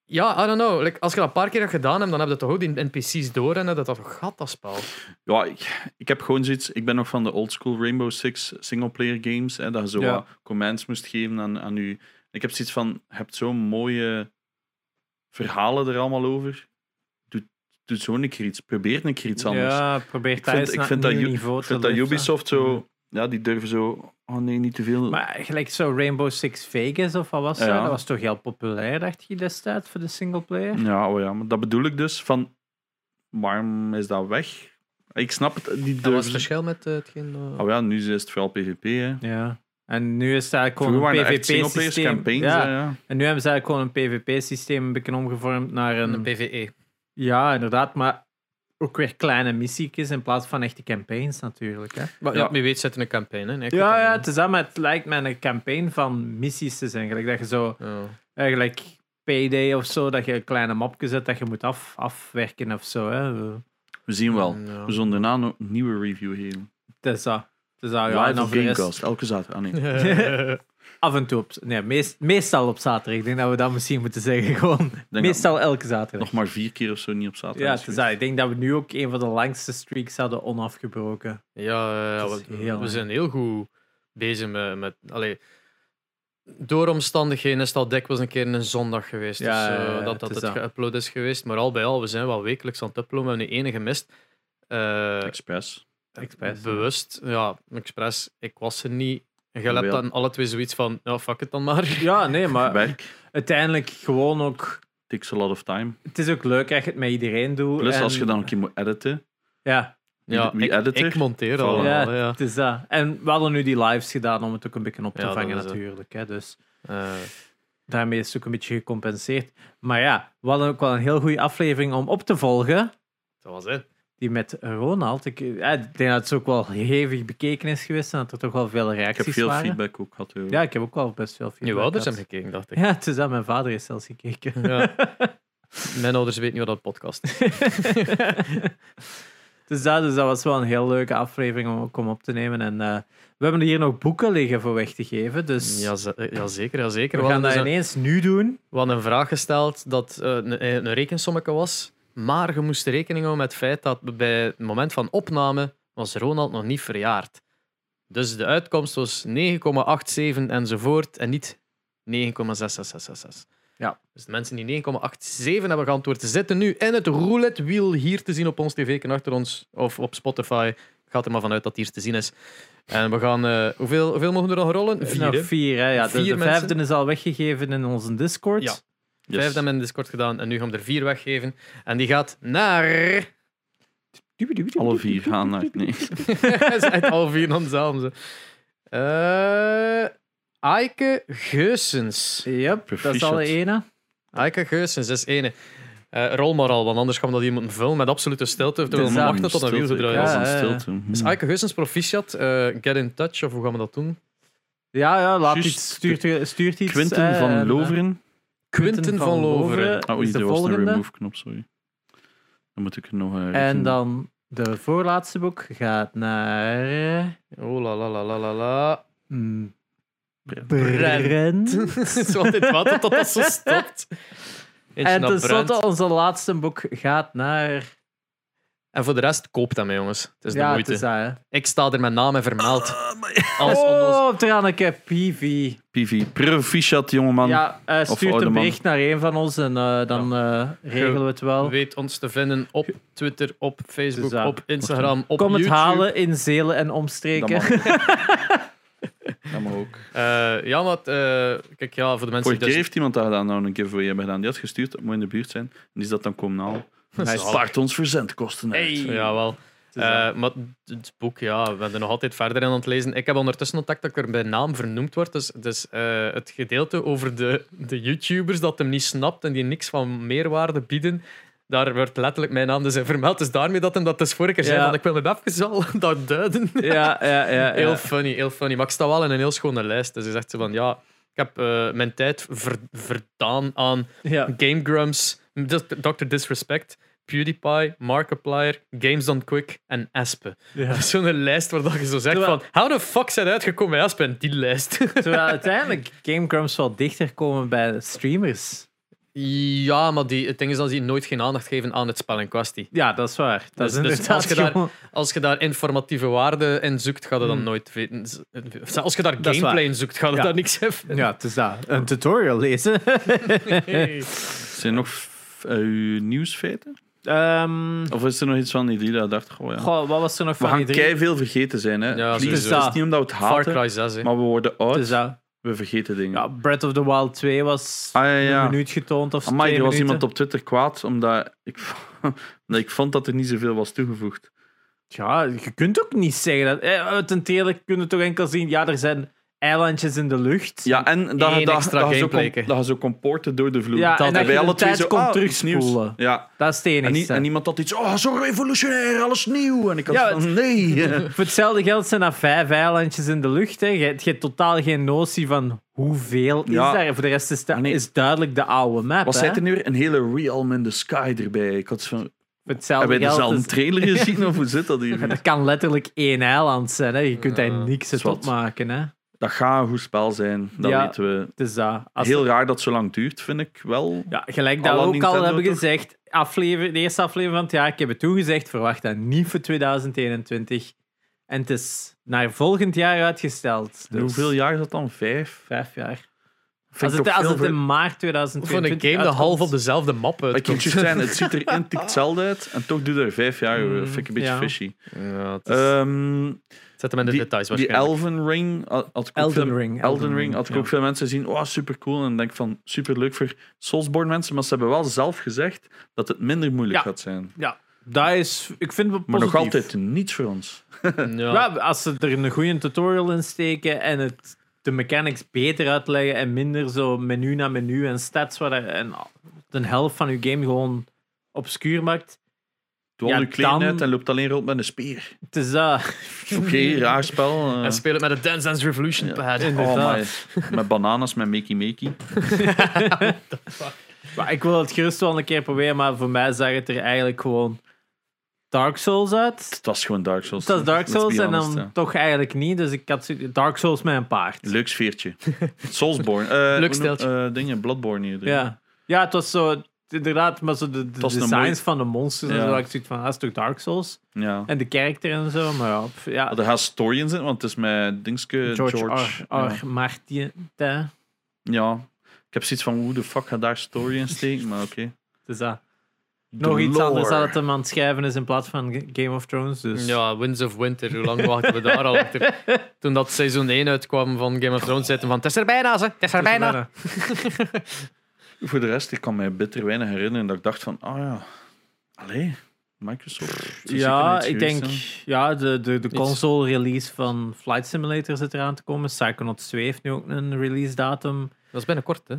S1: Ja, I don't know. Like, als je dat een paar keer hebt gedaan, hebt, dan heb je toch ook die NPC's door en heb je dat toch gehad, dat spel.
S2: Ja, ik, ik heb gewoon zoiets... Ik ben nog van de old school Rainbow Six singleplayer games, hè, dat je zo
S3: Ja.
S2: wat commands moest geven aan, aan je... Ik heb zoiets van, je hebt zo'n mooie verhalen er allemaal over. Doe, doe zo een keer iets. Probeer een keer iets anders.
S3: Ja, probeer
S2: ik vind,
S3: thuis
S2: ik
S3: naar
S2: vind
S3: een
S2: dat,
S3: nieuw
S2: Ju-
S3: niveau
S2: ik
S3: te
S2: vind dat
S3: liften.
S2: Ubisoft zo... Ja, die durven zo... Oh nee, niet te veel.
S3: Maar gelijk zo Rainbow Six Vegas of wat was dat?
S2: Ja.
S3: Dat was toch heel populair, dacht je destijds, voor de singleplayer?
S2: Ja, oh ja, maar dat bedoel ik dus. Van, waarom is dat weg? Ik snap het. Die
S1: Dat was het
S2: durven-
S1: verschil met eh, hetgeen... eh,
S2: Oh ja, nu is het vooral PvP. Hè.
S3: Ja. En nu is dat
S2: Vroeger
S3: gewoon
S2: waren
S3: een
S2: het echt singleplayers,
S3: PvP-systeem.
S2: campaigns. eh. hè,
S3: Ja.
S2: ja.
S3: En nu hebben ze eigenlijk gewoon een PvP-systeem een beetje omgevormd naar
S1: Een
S3: een E.
S1: PvE.
S3: Ja, inderdaad, maar ook weer kleine missiekjes in plaats van echte campaigns natuurlijk. Hè?
S1: Maar
S2: Ja.
S1: ja, wie weet zit er een campaign in. hè. Ik weet
S3: Ja,
S1: dat
S3: ja,
S1: niet.
S3: het is dat, maar het lijkt mij een campaign van missies te zijn. Gelijk dat je zo,
S1: Ja.
S3: eigenlijk payday of zo, dat je een kleine mapje zet dat je moet af, afwerken of zo. Hè?
S2: We zien wel.
S1: Ja.
S2: We zullen daarna nog een nieuwe review geven.
S3: Het is dat. Het is dat, Ah, ja. En
S2: Live
S3: dan
S2: op
S3: voor de rest-
S2: Gamecast, elke zaterdag. Ah, nee.
S3: Af en toe op... Nee, meest- meestal op zaterdag. Ik denk dat we dat misschien moeten zeggen. Gewoon
S2: dat-
S3: meestal elke zaterdag.
S2: Nog maar vier keer of zo niet op zaterdag.
S3: Ja,
S2: is
S3: het is dat. Ik denk dat we nu ook een van de langste streaks hadden onafgebroken.
S1: Ja, ja, ja,
S3: Het is
S1: we-
S3: heel
S1: we
S3: erg.
S1: zijn heel goed bezig met. met allee, door omstandigheden is dat dikwijls een keer een zondag geweest.
S3: Ja,
S1: dus,
S3: ja,
S1: eh,
S3: ja,
S1: dat dat
S3: het
S1: het,
S3: is dat.
S1: geüpload is geweest. Maar al bij al, we zijn wel wekelijks aan het uploaden. We hebben nu ene gemist. Eh,
S2: geweest. Express.
S3: Express.
S1: bewust, ja, expres. Ik was er niet. En jij hebt
S2: Jawel.
S1: dan alle twee zoiets van, ja, fuck het dan maar.
S3: Ja, nee, maar
S2: Werk.
S3: uiteindelijk gewoon ook...
S2: Takes a lot of time.
S3: Het is ook leuk als je het met iedereen doet.
S2: Plus
S3: en-
S2: als je dan een keer moet editen.
S3: Ja,
S1: Ja,
S2: wie
S1: ik,
S2: edit er?
S1: ik monteer
S2: Voilà.
S1: al.
S3: ja,
S1: Ja, ja.
S3: het is dat. En we hadden nu die lives gedaan om het ook een beetje op te
S1: Ja, dat
S3: vangen
S1: is het.
S3: natuurlijk. Hè, dus
S1: Eh,
S3: daarmee is het ook een beetje gecompenseerd. Maar ja, we hadden ook wel een heel goede aflevering om op te volgen.
S1: dat was het.
S3: Die met Ronald. Ik, eh, ik denk dat het ook wel hevig bekeken is geweest en dat er toch wel veel
S2: Ik heb
S3: reacties
S2: veel
S3: waren.
S2: feedback ook gehad. joh.
S3: Ja, ik heb ook wel best veel feedback.
S1: Uw ouders
S3: gehad.
S1: hebben gekeken, dacht ik.
S3: Ja, het is dat. Mijn vader is zelfs gekeken.
S1: Ja. Mijn ouders weten niet wat dat podcast is.
S3: dus, dat, dus dat was wel een heel leuke aflevering om, ook om op te nemen. En eh, we hebben hier nog boeken liggen voor weg te geven. Dus
S1: Ja, ze- eh, ja, zeker, ja, zeker.
S3: we
S1: We hadden
S3: gaan dat
S1: dus een-
S3: ineens nu doen.
S1: We hadden een vraag gesteld dat eh, een, een rekensommetje was, maar je moest rekening houden met het feit dat bij het moment van opname was Ronald nog niet verjaard. Dus de uitkomst was 9,87 enzovoort en niet 9,6666.
S3: Ja.
S1: Dus de mensen die 9,87 hebben geantwoord, zitten nu in het roulette wiel hier te zien op ons tv -ken achter ons of op Spotify. Ik ga er maar vanuit dat het hier te zien is. En we gaan... eh, hoeveel, hoeveel mogen we er nog rollen?
S3: Nog
S1: hè?
S3: vier, hè? Ja, de-
S1: Vier
S3: de
S1: mensen.
S3: vijfde is al weggegeven in onze Discord.
S1: Ja.
S2: Yes.
S1: Vijf hebben we in Discord gedaan en nu gaan we er vier weggeven. En die gaat naar.
S2: Alle vier gaan naar... Nee.
S1: Ze zijn al vier aan hetzelfde. Eh, Aike Geusens.
S3: Yep, dat is al de
S2: Proficiat.
S3: ene.
S1: Aike Geusens is ene. Eh, rol maar al, want anders gaan we dat hier moeten vullen met absolute stilte. Terwijl we
S3: Ja,
S1: wachten tot een wiel
S2: Stilte,
S1: gedraaid
S2: ik
S1: is.
S2: was aan
S3: Ja, ja, ja.
S2: stilte. Mhm.
S1: Dus Aike Geusens, proficiat. eh, get in touch, of hoe gaan we dat doen?
S3: Ja, ja, laat
S2: Juist.
S3: iets, stuurt, stuurt iets.
S2: Quinten
S3: eh,
S2: van
S3: en, eh,
S2: Loveren.
S1: Quinten van Loveren.
S2: Oh,
S3: is
S2: oei,
S3: de
S2: er was een
S3: volgende.
S2: remove-knop, sorry. Dan moet ik er nog... eh,
S3: En
S2: rekenen.
S3: dan de voorlaatste boek gaat naar... eh,
S1: Oh la la la la la la.
S3: mm,
S2: Brent.
S3: Brent.
S1: Zo altijd wachten tot dat zo stopt. Eentje
S3: En
S1: naar Bruins.
S3: tenslotte, onze laatste boek gaat naar.
S1: En voor de rest, koop dat mee, jongens. Het is de
S3: ja,
S1: moeite.
S3: het is dat, hè.
S1: Ik sta er met naam en vermeld.
S2: Ah, maar-
S1: Als onnozel.
S3: Oh, Tranneke, PV.
S2: PV, proficiat, jongeman.
S3: Ja, eh,
S2: Of
S3: stuurt
S2: oude
S3: een
S2: man.
S3: bericht naar een van ons en eh, dan eh, regelen we het wel.
S1: Weet ons te vinden op Twitter, op Facebook,
S3: Dus ja.
S1: op Instagram, op
S3: Kom het
S1: YouTube.
S3: halen in Zelen en
S2: dat
S3: omstreken.
S2: mag ook. Dat mag ook.
S1: Eh, ja, maar eh, kijk, ja, voor de mensen
S2: Vorige keer
S1: die dus- dat...
S2: heeft iemand daar dan nou een giveaway hebben gedaan. Die had gestuurd, dat moet in de buurt zijn. En die is dat dan komen halen. Hij
S1: Zalig.
S2: spaart ons verzendkosten uit.
S1: Jawel. Eh maar het boek, ja, we zijn er nog altijd verder in aan het lezen. Ik heb ondertussen contact dat ik er bij naam vernoemd word. Dus, dus eh, het gedeelte over de, de YouTubers dat hem niet snapt en die niks van meerwaarde bieden, daar wordt letterlijk mijn naam dus in vermeld. Dus daarmee dat hem dat dus vorige keer zei,
S3: Ja.
S1: want ik wil het even zal dat duiden.
S3: Ja, ja, ja. ja.
S1: Heel funny, heel funny. Maar ik sta wel in een heel schone lijst. Dus je zegt ze van ja, ik heb eh, mijn tijd ver- verdaan aan
S3: ja.
S1: Game Grumps, Dr. Disrespect, PewDiePie, Markiplier, Games Done Quick en Aspen.
S3: Ja.
S1: Dat is Zo'n lijst waar dat je zo zegt
S3: Terwijl-
S1: van how the fuck zijn uitgekomen bij Aspen? Die lijst.
S3: Terwijl uiteindelijk Game Grumps wel dichter komen bij de streamers.
S1: ja, maar die, het ding is dat die nooit geen aandacht geven aan het spel in kwestie.
S3: Ja, dat is waar. Dat is
S1: Dus- dus
S3: inderdaad
S1: als je daar-
S3: gewoon-
S1: Als je daar informatieve waarde in zoekt, ga je dan nooit weten. eh, Als je daar
S3: Hmm. Dat is
S1: gameplay
S3: waar.
S1: in zoekt, ga je
S3: Ja.
S1: daar niks in vinden.
S3: Ja, het is dat. Een tutorial lezen.
S2: Zijn er nog f- eh, nieuwsfeiten?
S3: Ehm,
S2: Of is er nog iets van die dat dacht? Goh, ja.
S3: goh, wat was er nog
S2: we
S3: van
S2: gaan
S3: die drie?
S2: kei veel vergeten zijn. Hè.
S1: Ja,
S2: Please,
S1: sowieso.
S2: het is niet omdat we het
S1: Far
S2: haten,
S1: Cry 6, hè.
S2: maar we worden oud.
S3: Het is dat.
S2: We vergeten dingen.
S3: Ja, Breath of the Wild 2 was
S2: Ah, ja, ja.
S3: een minuut getoond of
S2: Amai,
S3: twee
S2: er was
S3: minuten.
S2: iemand op Twitter kwaad omdat ik, omdat ik vond dat er niet zoveel was toegevoegd.
S3: Ja, je kunt ook niet zeggen dat... eh, Uit een trailer kunnen we toch enkel zien... Ja, er zijn eilandjes in de lucht.
S2: Ja, en dat, dat,
S1: Eén
S2: dat,
S1: extra
S2: je zo
S1: gameplay,
S2: kon-
S1: hè.
S2: dat je zo kon porten door de vloer.
S3: Ja, en
S1: dat
S3: dat
S1: wij
S3: je
S2: alle
S3: de
S2: twee
S3: tijd
S2: zo,
S3: kon
S2: ah,
S3: terugspoelen.
S2: nieuws. Ja.
S3: Dat is het
S2: En, nie-
S3: enigste.
S2: en iemand had iets, oh, zo revolutionair, alles nieuw. En ik had
S3: Ja,
S2: van, nee.
S3: Voor hetzelfde geld zijn dat vijf eilandjes in de lucht. Hè. Je, hebt- je hebt totaal geen notie van hoeveel
S2: Ja.
S3: is daar. Voor de rest is, dat
S2: Ah, nee.
S3: is duidelijk de oude map.
S2: Wat
S3: hè.
S2: zei er nu weer? Een hele Realm in the Sky erbij. Ik had van,
S3: Voor hetzelfde
S2: hebben wij
S3: geld
S2: dezelfde
S3: is-
S2: trailer gezien of hoe zit dat hier?
S3: Er kan letterlijk één eiland zijn. Hè. Je kunt daar niks uit
S2: Zwart.
S3: opmaken. Hè.
S2: dat gaat een goed spel zijn. Dat
S3: Ja.
S2: weten we.
S3: Het is dat. Als-
S2: Heel raar dat het zo lang duurt, vind ik wel.
S3: Ja, gelijk dat we
S2: Alla
S3: ook al
S2: Nintendo
S3: hebben
S2: toch?
S3: gezegd, aflever, de eerste aflevering van het jaar, ik heb het toen gezegd, verwacht dat niet voor 2021. En het is naar volgend jaar uitgesteld. Dus
S2: Hoeveel jaar is dat dan? Vijf?
S3: Vijf jaar.
S2: Vind
S3: Als
S2: ik
S3: het,
S2: toch
S3: als
S2: veel
S3: het
S2: voor-
S3: in maart
S1: Voor een
S3: 2022
S1: game dat
S3: uitkomt.
S1: half op dezelfde map
S2: Ik kan
S1: uitkomt.
S2: het juist zijn, het ziet er intikt hetzelfde uit en toch doet er vijf jaar. over. vind ik een beetje
S3: Mm, ja. Dus-
S2: fishy.
S1: Ja, het is-
S2: Ehm,
S1: zet hem in de
S2: die,
S1: details
S2: die
S1: waarschijnlijk.
S2: Elven Ring had, had ik ook
S3: Elden
S2: veel-
S3: Ring,
S2: Elden
S3: Elden
S2: Ring
S3: Ring,
S2: had ik
S3: ja.
S2: ook veel mensen zien. Oh, super cool. En denk van super leuk voor Soulsborne mensen. Maar ze hebben wel zelf gezegd dat het minder moeilijk
S3: Ja.
S2: gaat zijn. Maar
S3: Ja, dat is... Ik vind het positief.
S2: nog altijd niets voor ons.
S1: ja.
S3: Ja, als ze er een goede tutorial in steken en het, de mechanics beter uitleggen en minder zo menu na menu en stats waar er- en de helft van je game gewoon obscuur maakt.
S2: Doe al
S3: Ja,
S2: uw kleding
S3: dan-
S2: uit en loopt alleen rond met een speer.
S3: Het is dat.
S2: Oké, raar spel. eh.
S1: En speel het met de Dance Dance Revolution pad.
S2: oh,
S3: Inderdaad.
S2: my. Met bananas, met makey makey.
S3: Maar ik wil het gerust wel een keer proberen, maar voor mij zag het er eigenlijk gewoon Dark Souls uit.
S2: Het was gewoon Dark Souls.
S3: Het was Dark
S2: Let's be
S3: Souls en
S2: honest,
S3: dan
S2: ja.
S3: toch eigenlijk niet. Dus ik had zoiets- Dark Souls met een paard.
S2: Leuk sfeertje. Soulsborne. Eh,
S1: Leuk
S2: hoe noem-
S1: steltje.
S2: eh, dingen, Bloodborne hier.
S3: Ja. ja, het was zo inderdaad, maar zo de, de
S2: was een
S3: designs
S2: mooi-
S3: van de monsters en
S2: Ja.
S3: zo. had Ik zoiets van, ah, dat is toch Dark Souls?
S2: ja.
S3: En de karakter en zo, maar ja. pff, ja.
S2: Er gaat story in zitten, want het is met Dingske
S3: George,
S2: George.
S3: R. R.
S2: Ja.
S3: Martin. Het
S2: Ja. Ik heb zoiets van, hoe de fuck gaat daar story in steken? Maar oké.
S3: is dat.
S2: De
S3: Dus Nog iets
S2: lore.
S3: anders dat het hem aan het schrijven is in plaats van G- Game of Thrones. Dus.
S1: Ja, Winds of Winter, hoe lang wachten we daar al achter? Toen dat seizoen 1 uitkwam van Game of Thrones, zeiden van, het is er bijna, ze. Het is er bijna.
S2: Voor de rest, ik kan mij bitter weinig herinneren dat ik dacht van, ah ja, allee, Microsoft. het is
S3: Ja,
S2: zeker
S3: ik
S2: niet
S3: denk,
S2: geweest,
S3: ja, de, de, de console-release van Flight Simulator zit eraan te komen. Psychonauts 2 heeft nu ook een release-datum.
S1: Dat is binnenkort, hè.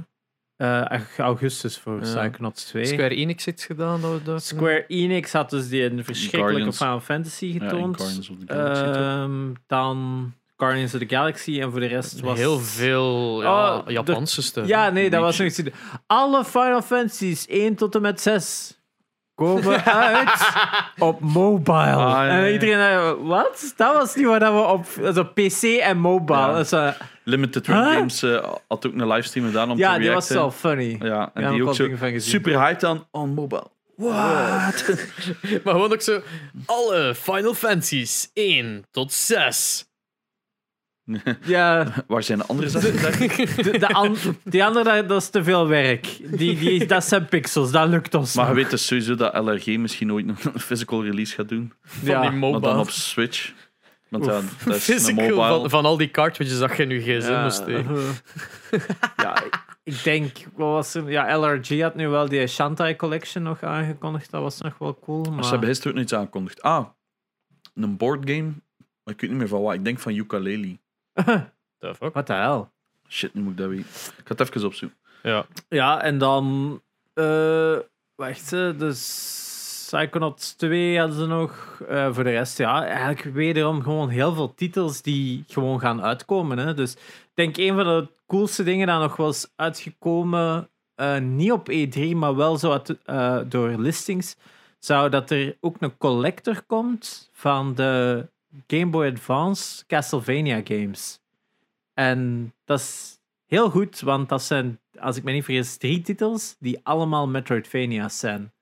S3: Eh, ag- augustus voor Psychonauts 2. Square,
S1: Square Enix iets gedaan. Dat, dat,
S3: Enix had dus die een verschrikkelijke
S2: Guardians.
S3: Final Fantasy
S2: hè. Ja, in
S3: getoond.
S2: Guardians of the Galaxy, toch?
S3: Ehm, dan Guardians of the Galaxy. En voor de rest was...
S1: Heel veel ja,
S3: Oh, de-
S1: Japanse stuff.
S3: Ja, nee, dat was nog iets. Alle Final Fantasies 1 tot en met 6 komen uit op mobile.
S2: Ah, ja, ja.
S3: En iedereen dacht, wat? Dat was niet waar dat we op also PC en mobile. eh,
S2: Ja.
S3: Ja,
S2: Limited Run
S3: Huh?
S2: Games eh, had ook een livestream gedaan om
S3: ja
S2: te
S3: die was
S2: reacten.
S3: wel funny.
S2: Ja, en
S3: Ja,
S2: die
S3: ook
S2: ook
S3: al
S2: zo
S3: dingen van gezien.
S2: super hyped dan on mobile. What?
S1: Maar gewoon ook zo... Alle Final Fantasy's 1 tot 6.
S3: Ja,
S2: Waar zijn de andere zetten?
S3: de, de an- die andere, dat, dat is te veel werk. Die, die, dat zijn pixels, dat lukt ons.
S2: maar je
S3: nog.
S2: weet dus sowieso dat LRG misschien ooit nog een physical release gaat doen.
S1: Van
S3: Ja.
S1: die
S2: Maar dan op
S1: mobile.
S2: Switch. Want ja, dat is een
S1: Physical
S2: mobile.
S1: van, van al die cartridges dat je in je gsm
S3: Ja.
S1: moest steken.
S3: Eh,
S2: Uh-huh.
S3: ja, ik- ik denk, wat was er? Ja, LRG had nu wel die Shantai Collection nog aangekondigd. Dat was nog wel cool. Maar...
S2: Ze hebben gisteren ook nog iets aangekondigd. Ah, een boardgame. Maar ik weet niet meer van wat. Ik denk van ukulele.
S1: The fuck?
S3: Wat de hel?
S2: Shit, nu moet ik dat weten. Ik ga het even opzoeken.
S1: Ja.
S3: Ja, en dan. eh, wacht, eh, dus. Psychonauts 2 hadden ze nog. Eh, voor de rest, ja, eigenlijk wederom gewoon heel veel titels die gewoon gaan uitkomen. Hè. Dus ik denk een van de coolste dingen dat nog was uitgekomen, eh, niet op E3, maar wel zo uit, eh, door listings, zou dat er ook een collector komt van de Game Boy Advance Castlevania games. En dat is heel goed, want dat zijn, als ik me niet vergis, drie titels die allemaal Metroidvania's zijn.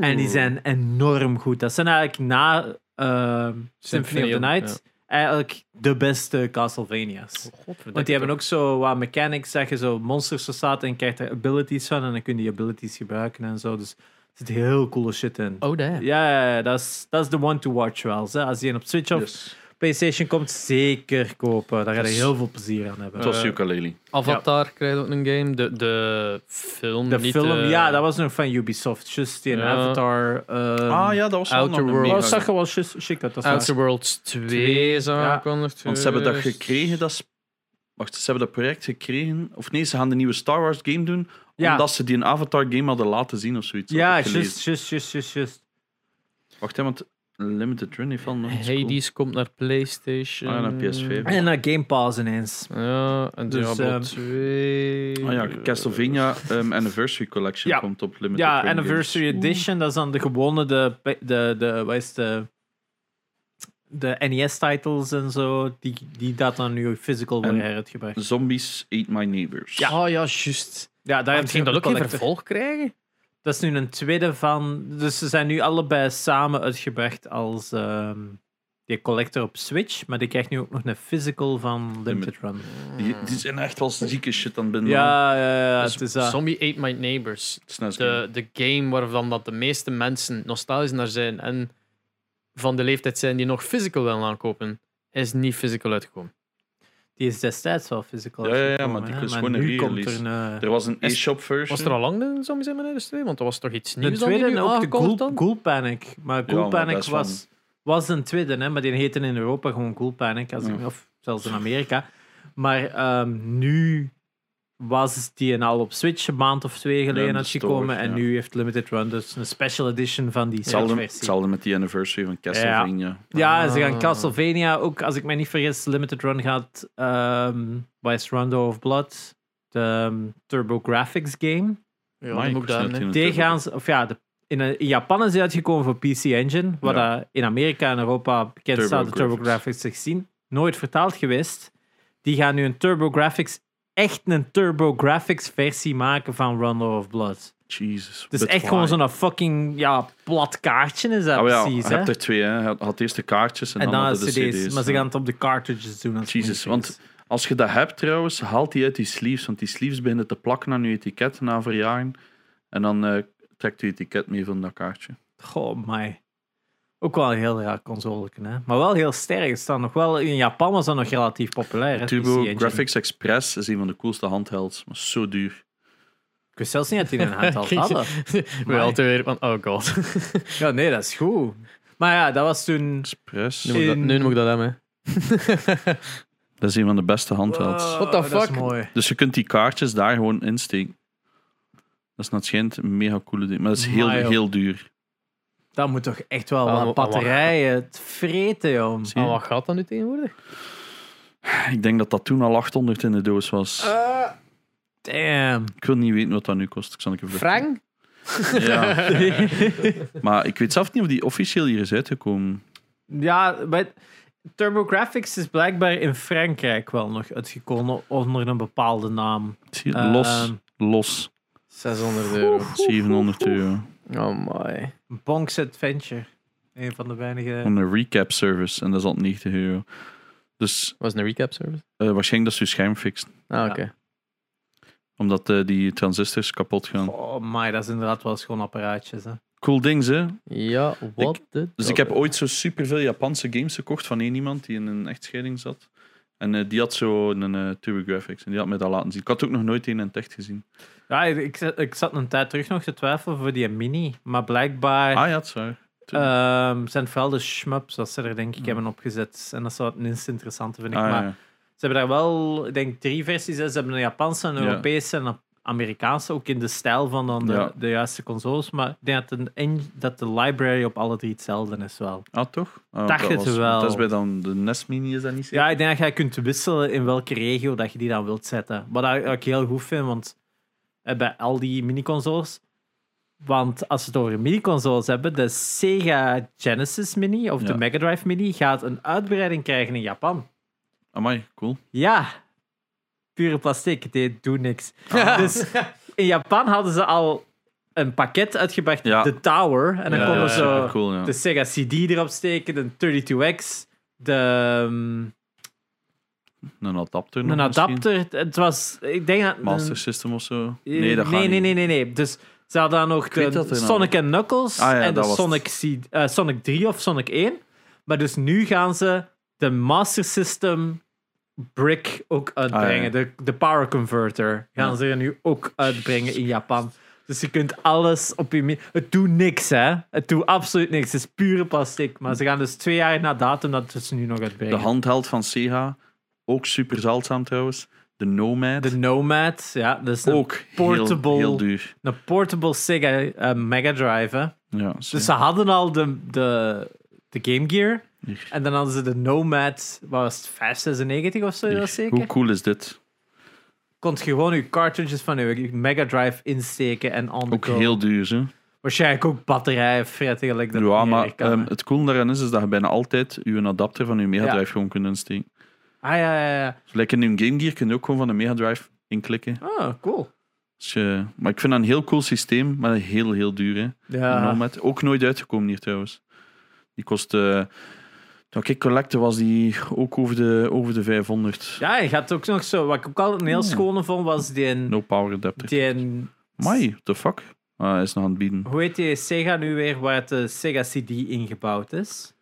S3: En die zijn enorm goed. Dat zijn eigenlijk na eh, Symphony, of the Night eigenlijk de beste Castlevania's. Want die hebben ook zo wat mechanics, zeg je zo monsters verstaat en je krijgt er abilities van en dan kun je die abilities gebruiken en zo. Dus er zit heel coole shit in.
S1: Oh, damn.
S3: Ja, ja, ja, dat is dat is de one to watch wel. Hè. Als die op Switch of
S2: Yes.
S3: PlayStation komt, zeker kopen. Daar ga je heel veel plezier aan hebben.
S2: Het was ukulele.
S1: Avatar krijgt ook een game. De, de film.
S3: De
S1: niet eh,
S3: film,
S1: de-
S3: ja, dat was nog van Ubisoft. Just die
S1: Ja.
S3: Avatar. eh,
S2: ah ja, dat was wel nog
S1: Outer
S2: een
S1: Worlds.
S3: Oh,
S2: mega-
S3: dat zag er wel shit shit uit. Dat is
S1: Outer Worlds 2 is aangekondigd.
S2: Want ze hebben dat
S1: geweest.
S2: gekregen, dat sp- Wacht, ze hebben dat project gekregen. Of nee, ze gaan de nieuwe Star Wars game doen.
S3: Ja.
S2: Omdat ze die een Avatar game hadden laten zien of zoiets.
S3: Ja,
S2: had ik gelezen.
S3: just, just, just, just, just.
S2: Wacht, hè, want Limited Run heeft al nog iets cool.
S1: Hades komt naar PlayStation.
S2: Ah, ja, naar PS5.
S3: En naar Game Pass ineens.
S1: Ja, en
S3: Dus,
S1: Diablo
S3: ehm,
S1: 2.
S2: Ah ja, Castlevania ehm, Anniversary Collection
S3: Ja.
S2: komt op Limited Run
S3: Ja,
S2: Games.
S3: Anniversary Edition, dat is dan de gewone, de, de, de, wat is de, de NES-titles en zo, die, die dat dan nu physical
S2: En-
S3: worden heruitgebracht.
S2: Zombies Eat My Neighbors.
S1: Ja. Oh ja, juist.
S3: Ja, daar
S1: Ah,
S3: heb je
S1: Misschien dat ook geen
S3: collector.
S1: vervolg krijgen?
S3: Dat is nu een tweede van. Dus ze zijn nu allebei samen uitgebracht als ehm, die collector op Switch. Maar die krijgt nu ook nog een physical van Limited Run.
S2: Die, die zijn echt wel zieke shit aan het binnen.
S3: Ja, ja, ja.
S1: Dus
S3: Het is, eh, dat.
S1: Zombie Ate My Neighbors.
S2: Het is net zo.
S1: De, de game waarvan dat de meeste mensen nostalgisch naar zijn en van de leeftijd zijn die nog physical willen aankopen, is niet physical uitgekomen.
S3: die is destijds wel physical.
S2: Ja, ja, ja,
S3: uitgekomen,
S2: maar die
S3: hè.
S2: is gewoon een
S3: nu komt er
S2: re-release.
S3: een, eh,
S2: Er was een
S1: Is-
S2: e-shop version.
S1: Was er al lang de Zombies Ate My Neighbors 2? Want dat was toch iets
S3: De
S1: nieuws dan die
S3: tweede
S1: nu
S3: en ook de
S1: aangekondigd
S3: Cool,
S1: dan?
S3: Cool Panic. Maar Cool
S2: maar dat
S3: Panic
S2: is van-
S3: was, was een tweede, hè, maar die heette in Europa gewoon Cool Panic, als ik- of zelfs in Amerika. Maar ehm, nu was die en al op Switch een maand of twee geleden
S2: dat is
S3: uitgekomen.
S2: door,
S3: En
S2: ja.
S3: nu heeft Limited Run dus een special edition van die
S2: Hetzelfde,
S3: Switch-versie.
S2: hetzelfde met die anniversary van Castlevania.
S3: Ja, ze gaan
S1: Ah.
S3: Castlevania ook, als ik me niet vergis, Limited Run gaat ehm Wise Rondo of Blood, de ehm, Turbo Graphics game.
S1: Ja,
S2: Mike
S1: dat moet ik daar,
S2: zit
S1: hè.
S2: in het
S3: Die
S2: turbo.
S3: gaan ze- of ja, de- in, eh, in Japan is die uitgekomen voor PC Engine, wat
S2: Ja.
S3: eh, in Amerika en Europa bekend
S2: Turbo
S3: staat, de TurboGrafx 16. Nooit vertaald geweest. Die gaan nu een TurboGrafx, echt een TurboGrafx versie maken van Rondo of Blood.
S2: Jesus.
S3: Het is
S2: but
S3: echt
S2: why?
S3: gewoon zo'n fucking ja, plat kaartje is dat
S2: Oh ja,
S3: precies.
S2: je
S3: Hè?
S2: hebt er twee. Hè. Je had- had eerst de kaartjes en,
S3: en dan
S2: dan
S3: de
S2: hadden
S3: CD's,
S2: de CD's.
S3: maar ze
S2: ja.
S3: gaan het op de cartridges doen. als het
S2: Jesus,
S3: moeilijk
S2: want als je dat hebt trouwens, haal die uit die sleeves. Want die sleeves beginnen te plakken aan je etiket na verjaren. En dan eh, trekt je etiket mee van dat kaartje.
S3: is. Goh, my. Ook wel een heel raar console, hè? maar wel heel sterk. Het staat nog wel, in Japan was dat nog relatief populair. Hè? PC
S2: Turbo
S3: Engine.
S2: Graphics Express is een van de coolste handhelds, maar zo duur.
S3: Ik wist zelfs niet dat die een handheld
S1: Kijk,
S3: hadden.
S1: We altijd weer van, oh god.
S3: Ja, nee, dat is goed. Maar ja, dat was toen...
S2: Express?
S1: Nu moet ik dat,
S3: In-
S1: nu moet ik dat hebben. hè.
S2: Dat is een van de beste handhelds.
S1: What the
S3: Ah, Dat
S1: fuck?
S3: is mooi.
S2: Dus je kunt die kaartjes daar gewoon insteken. Dat is naar het schijnt een mega coole ding. Maar dat is heel,
S3: Maar joh.
S2: heel duur.
S3: Dat moet toch echt wel
S1: Ah,
S3: wat
S1: maar-
S3: batterijen het vreten, joh.
S2: Zie
S1: Maar
S2: je?
S1: Ah, wat gaat dat nu tegenwoordig?
S2: Ik denk dat dat toen al 800 in de doos was.
S3: Damn.
S2: Ik wil niet weten wat dat nu kost. Ik zal een keer vragen.
S1: Frank?
S2: Ja. Maar ik weet zelf niet of die officieel hier is uitgekomen.
S3: ja, maar TurboGrafx is blijkbaar in Frankrijk wel nog uitgekomen onder een bepaalde naam.
S2: Zie je?
S3: Eh,
S2: Los, los.
S1: 600 euro.
S2: 700 euro.
S1: Oh my.
S3: Bonk's Adventure. Een van de weinige...
S2: En een recap service. En dat is al 90 euro. Dus
S1: Was het een recap service?
S2: eh, waarschijnlijk dat ze je scherm fixen.
S1: Ah, oké.
S2: Omdat eh, die transistors kapot gaan.
S3: Oh my, dat is inderdaad wel schoon apparaatjes, hè.
S2: Cool ding, hè?
S1: Ja, wat de...
S2: Dus ik heb ooit zo superveel Japanse games gekocht van één iemand die in een echtscheiding zat. En eh, die had zo een eh TurboGrafx en die had mij dat laten zien. Ik had ook nog nooit één in het echt gezien.
S3: Ja, ik, ik zat een tijd terug nog te twijfelen voor die mini. Maar blijkbaar...
S2: Ah ja, het is waar.
S3: Ehm, zijn vooral de shmups dat ze er denk ik hebben opgezet. En dat is wel het minst interessante, vind ik.
S2: Mm. Ah,
S3: maar
S2: ja.
S3: ze hebben daar wel, ik denk, drie versies. hè. Ze hebben een Japanse, een
S2: Ja.
S3: Europese en een Amerikaanse. Ook in de stijl van dan de,
S2: Ja.
S3: de juiste consoles. Maar ik denk dat de, en- dat de library op alle drie hetzelfde is wel.
S2: Ah, toch? Ah,
S3: Dacht
S2: dat
S3: het
S2: was-
S3: wel.
S2: Dat is bij dan de NES Mini, is dat niet zeker?
S3: Ja, ik denk dat jij kunt wisselen in welke regio dat je die dan wilt zetten. Wat ik, wat ik heel goed vind, want eh, bij al die miniconsoles. Want als we het over miniconsoles hebben, de Sega Genesis Mini of de
S2: Ja.
S3: Mega Drive Mini gaat een uitbreiding krijgen in Japan.
S2: Amai, cool.
S3: Ja, pure plastic, dit doet niks. Dus in Japan hadden ze al een pakket uitgebracht,
S2: Ja.
S3: de Tower. En dan
S2: Ja,
S3: konden
S2: ja,
S3: ze
S2: supercool, ja.
S3: de Sega CD erop steken, de 32X, de. ehm,
S2: Een adapter nog
S3: een
S2: misschien?
S3: adapter. Het was, ik denk dat.
S2: Master System of zo?
S3: eh,
S2: Nee, dat gaat
S3: nee, nee,
S2: niet.
S3: nee, nee, nee. Dus ze hadden dan nog
S2: weet
S3: de
S2: dat er nou-
S3: Sonic en Knuckles
S2: Ah ja,
S3: en de
S2: dat was
S3: Sonic, C- eh, Sonic 3 of Sonic 1. Maar dus nu gaan ze de Master System brick ook uitbrengen.
S2: Ah
S3: de, de Power Converter gaan
S2: Ja.
S3: ze er nu ook uitbrengen in Japan. Dus je kunt alles op je... mi- Het doet niks, hè. Het doet absoluut niks. Het is pure plastic. Maar ze gaan dus twee jaar na datum dat dus nu nog
S2: De
S3: uitbrengen.
S2: handheld van Sega, ook super zeldzaam trouwens. De Nomad,
S3: De Nomad, ja. Dat is een
S2: ook heel-
S3: portable-
S2: heel, duur.
S3: Een portable Sega eh, Mega Drive. hè.
S2: Ja,
S3: Dus ze hadden al de, de, de Game Gear.
S2: Hier.
S3: En dan hadden ze de Nomad, wat was het, 596 of zo, eh, dat
S2: zeker. Hoe
S3: zeker?
S2: cool is dit?
S3: Kon je gewoon je cartridges van je Mega Drive insteken en on the
S2: Ook
S3: go.
S2: heel duur, hè?
S3: Waarschijnlijk ook batterijen frettig. Like dat
S2: ja,
S3: niet
S2: maar
S3: echt kan,
S2: ehm,
S3: hè.
S2: het cool daaraan is, is dat je bijna altijd je adapter van je Mega
S3: Ja.
S2: Drive gewoon kunt insteken.
S3: Ah ja, ja, ja.
S2: Dus like in je Game Gear kun je ook gewoon van de Mega Drive inklikken.
S3: Oh, cool.
S2: Dus je- maar ik vind dat een heel cool systeem, maar heel, heel duur. Hè. Een
S3: Ja.
S2: Nomad. Ook nooit uitgekomen hier trouwens. Die kost. eh, toen ik collecte was die ook over de, over de 500.
S3: Ja, je had ook nog zo. Wat ik ook al een heel
S2: Hmm.
S3: schone vond was die. een-
S2: No power adapter.
S3: die een-
S2: Mai, what the fuck? Ah, hij is nog aan het bieden.
S3: hoe heet die Sega nu weer waar het de Sega CD ingebouwd is?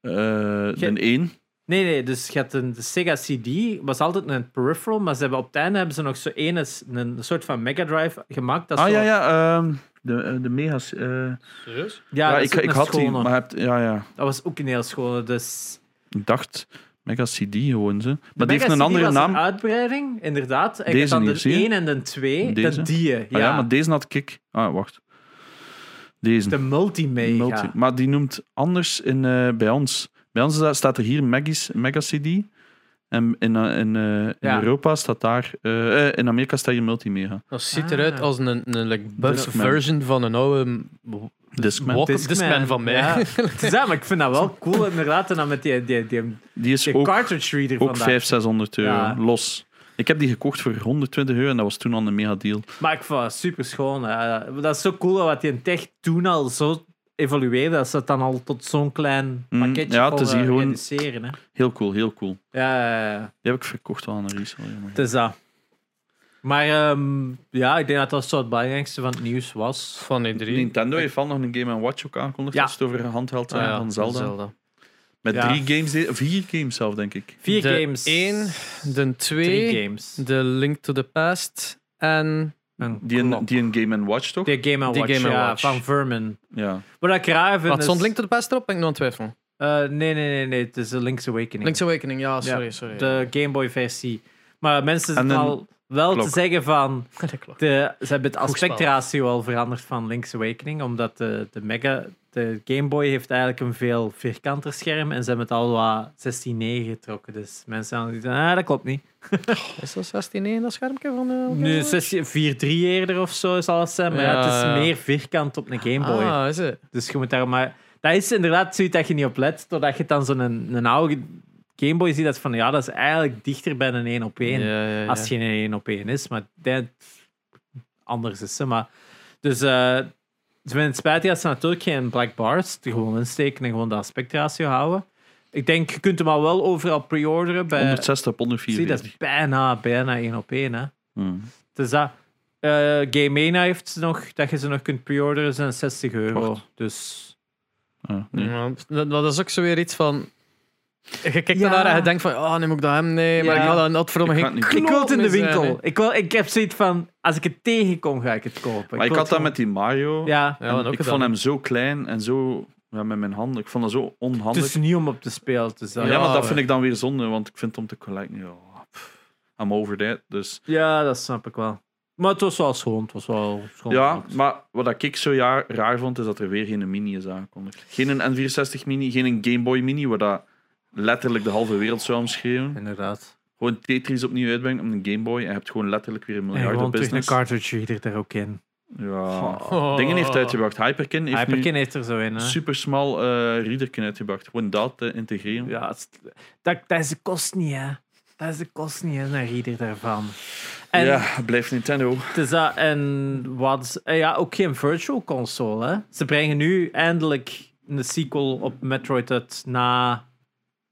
S2: Eh
S3: Ge-
S2: de 1.
S3: Nee, nee, dus je had een, de Sega CD, was altijd een peripheral, maar ze hebben, op het einde hebben ze nog zo één, is- een soort van Mega Drive gemaakt. Dat
S2: Ah
S3: zo,
S2: ja, ja. ehm, de, eh, de mega's. eh,
S1: Serieus?
S3: Ja,
S2: ja,
S3: dat is
S2: ik,
S3: ook
S2: ik
S3: een
S2: had die,
S3: schone.
S2: maar heb, ja, ja.
S3: Dat was ook een heel schone, dus...
S2: Ik dacht Mega CD gewoon ze. Maar die
S3: De
S2: heeft
S3: Mega
S2: een
S3: CD
S2: andere
S3: was
S2: naam. Ah,
S3: uitbreiding, inderdaad. En je
S2: Deze
S3: had dan
S2: hier, zie
S3: de
S2: je?
S3: 1 en de 2,
S2: Deze? Ah,
S3: de die, ja.
S2: ja. maar deze had ik. Ah, wacht. Deze.
S3: de multi-mega.
S2: Multi. Maar die noemt anders in, eh, bij ons. Bij ons is dat- staat er hier Maggie's Mega CD. En in, eh, in, eh, in
S3: Ja.
S2: Europa staat daar. eh, eh, in Amerika staat hier Multimega.
S1: Dat ziet
S3: Ah.
S1: eruit als een, een, like, buff
S2: Discman.
S1: version van een oude mm,
S2: Discman.
S1: walk- Discman van mij.
S3: Ja. Het is dat, maar ik vind dat wel cool, inderdaad. En dan met die, die, die,
S2: Die is
S3: die
S2: ook,
S3: cartridge reader
S2: ook
S3: vandaag.
S2: 500, 600 euro.
S3: Ja.
S2: Los. Ik heb die gekocht voor 120 euro en dat was toen al een mega deal.
S3: Maar ik vond het super schoon. Dat is zo cool wat die tech toen al zo evolueerde. Dat ze het dan al tot zo'n klein
S2: Mm,
S3: pakketje eh,
S2: ja, het is
S3: konden
S2: hier gewoon-
S3: reduceren. Hè.
S2: Heel cool, heel cool.
S3: Ja, ja, ja,
S2: Die heb ik verkocht al aan een resale. jongen.
S3: het is dat. Maar ehm, ja, ik denk dat dat zo het belangrijkste van het nieuws was.
S1: van E E3.
S2: Nintendo heeft al nog een Game Watch ook aangekondigd.
S3: Ja.
S2: Als het over handheld
S1: Ah
S2: zijn
S1: ja,
S2: van Zelda.
S1: Zelda.
S2: Met
S3: Ja.
S2: drie games, de- vier games zelf, denk ik.
S3: Vier
S1: de
S3: games.
S1: één, de
S3: Drie
S1: twee,
S3: games.
S1: de Link to the Past en
S3: Een
S2: Die een,
S3: klok.
S2: die een Game Watch toch?
S3: Die Game
S1: Die
S3: Watch,
S1: Game
S3: ja,
S1: Watch.
S3: van Vermin.
S2: Ja.
S3: Wat ik raar vind
S1: Wat
S3: is-
S1: stond Link to the Past erop? Ben ik nog aan het twijfelen.
S3: Eh, nee, nee, nee, nee. Het is de Link's Awakening.
S1: Link's Awakening, ja, sorry,
S3: Ja,
S1: sorry.
S3: De Game Boy versie. Maar mensen
S2: En
S3: zijn
S2: een
S3: al wel
S2: klok.
S3: te zeggen van...
S1: Dat klopt.
S3: De, eh, ze hebben het
S1: Goed
S3: aspectratio al veranderd van Link's Awakening, omdat de, de, Mega, de Game Boy heeft eigenlijk een veel vierkanter scherm en ze hebben het al wat 16-9 getrokken. Dus mensen gaan zeggen, ah, dat klopt niet.
S1: Is dat 16 1 dat schermpje van de...
S3: Nu 16 4-3 eerder of zo zal het zijn, maar ja, het
S1: Ja, ja.
S3: is meer vierkant op een Game Boy.
S1: Ah, is het?
S3: Dus je moet daar maar... Dat is inderdaad zoiets dat je niet op let, totdat je dan zo'n een, een oude Game Boy ziet dat van, ja, dat is eigenlijk dichter bij een 1 op 1
S1: Ja, ja, ja.
S3: als het geen één op één is, maar dat anders is. Hè, maar, dus eh ik vind het spijtig dat ze natuurlijk geen black bars er gewoon insteken en gewoon de aspectratio houden. Ik denk, je kunt hem al wel overal pre-orderen. Bij,
S2: 160 op
S3: Eh, zie, dat is
S2: 144.
S3: bijna, bijna één op één. Hè.
S2: Hmm.
S3: Dus dat, eh Gamena heeft ze nog, dat je ze nog kunt pre-orderen, zijn 60 euro.
S2: Wacht.
S3: Dus
S2: Ah, nee.
S1: Ja, dat- dat is ook zo weer iets van... Je kijkt
S3: Ja.
S1: daarnaar en je denkt van, oh, nu moet ik dat hem, nee, maar
S3: Ja.
S1: ik ga dat not voor
S2: Ik
S1: me
S2: ga het
S1: geen
S2: niet
S1: kloot
S2: doen.
S3: ik wil het in de
S1: mee zijn,
S3: winkel.
S1: hè.
S3: ik, wil, ik heb zoiets van, als ik het tegenkom, ga ik het kopen.
S2: Maar ik
S3: wil
S2: had
S3: het
S2: dat
S3: gewoon-
S2: met die Mario.
S3: Ja,
S1: Ja, wat ook
S2: ik
S1: gedaan.
S2: vond hem zo klein en zo ja, met mijn handen. Ik vond dat zo
S3: het
S2: onhandig.
S3: is niet om op te spelen. Dus
S2: ja,
S3: dat-
S1: Ja,
S2: maar dat
S1: ja.
S2: vind ik dan weer zonde, want ik vind het om te collecten. Ja, pff, I'm over that. Dus
S3: Ja, dat snap ik wel. Maar het was wel schoon. Het was wel schoon.
S2: ja, maar wat ik zo ja- raar vond, is dat er weer geen mini is aangekondigd. Geen een N64 mini, geen een Game Boy mini, waar dat letterlijk de halve wereld zou omschreeuwen.
S3: Inderdaad.
S2: Gewoon Tetris opnieuw uitbrengen op een Game Boy en je hebt gewoon letterlijk weer een
S3: En
S2: miljarden
S3: gewoon terug een
S2: business.
S3: cartridge reader er ook in.
S2: Ja.
S1: Oh.
S2: Dingen heeft uitgebracht. Hyperkin heeft nu
S3: Hyperkin heeft er zo in. Hè?
S2: super smal eh readerkin uitgebracht. Gewoon dat te integreren.
S3: Ja, het is- dat, dat is de kost niet, hè. Dat is de kost niet, hè, een reader daarvan. En,
S2: ja, blijft Nintendo.
S3: het is dat, en wat, eh, ja, ook geen virtual console, hè. Ze brengen nu eindelijk een sequel op Metroid uit na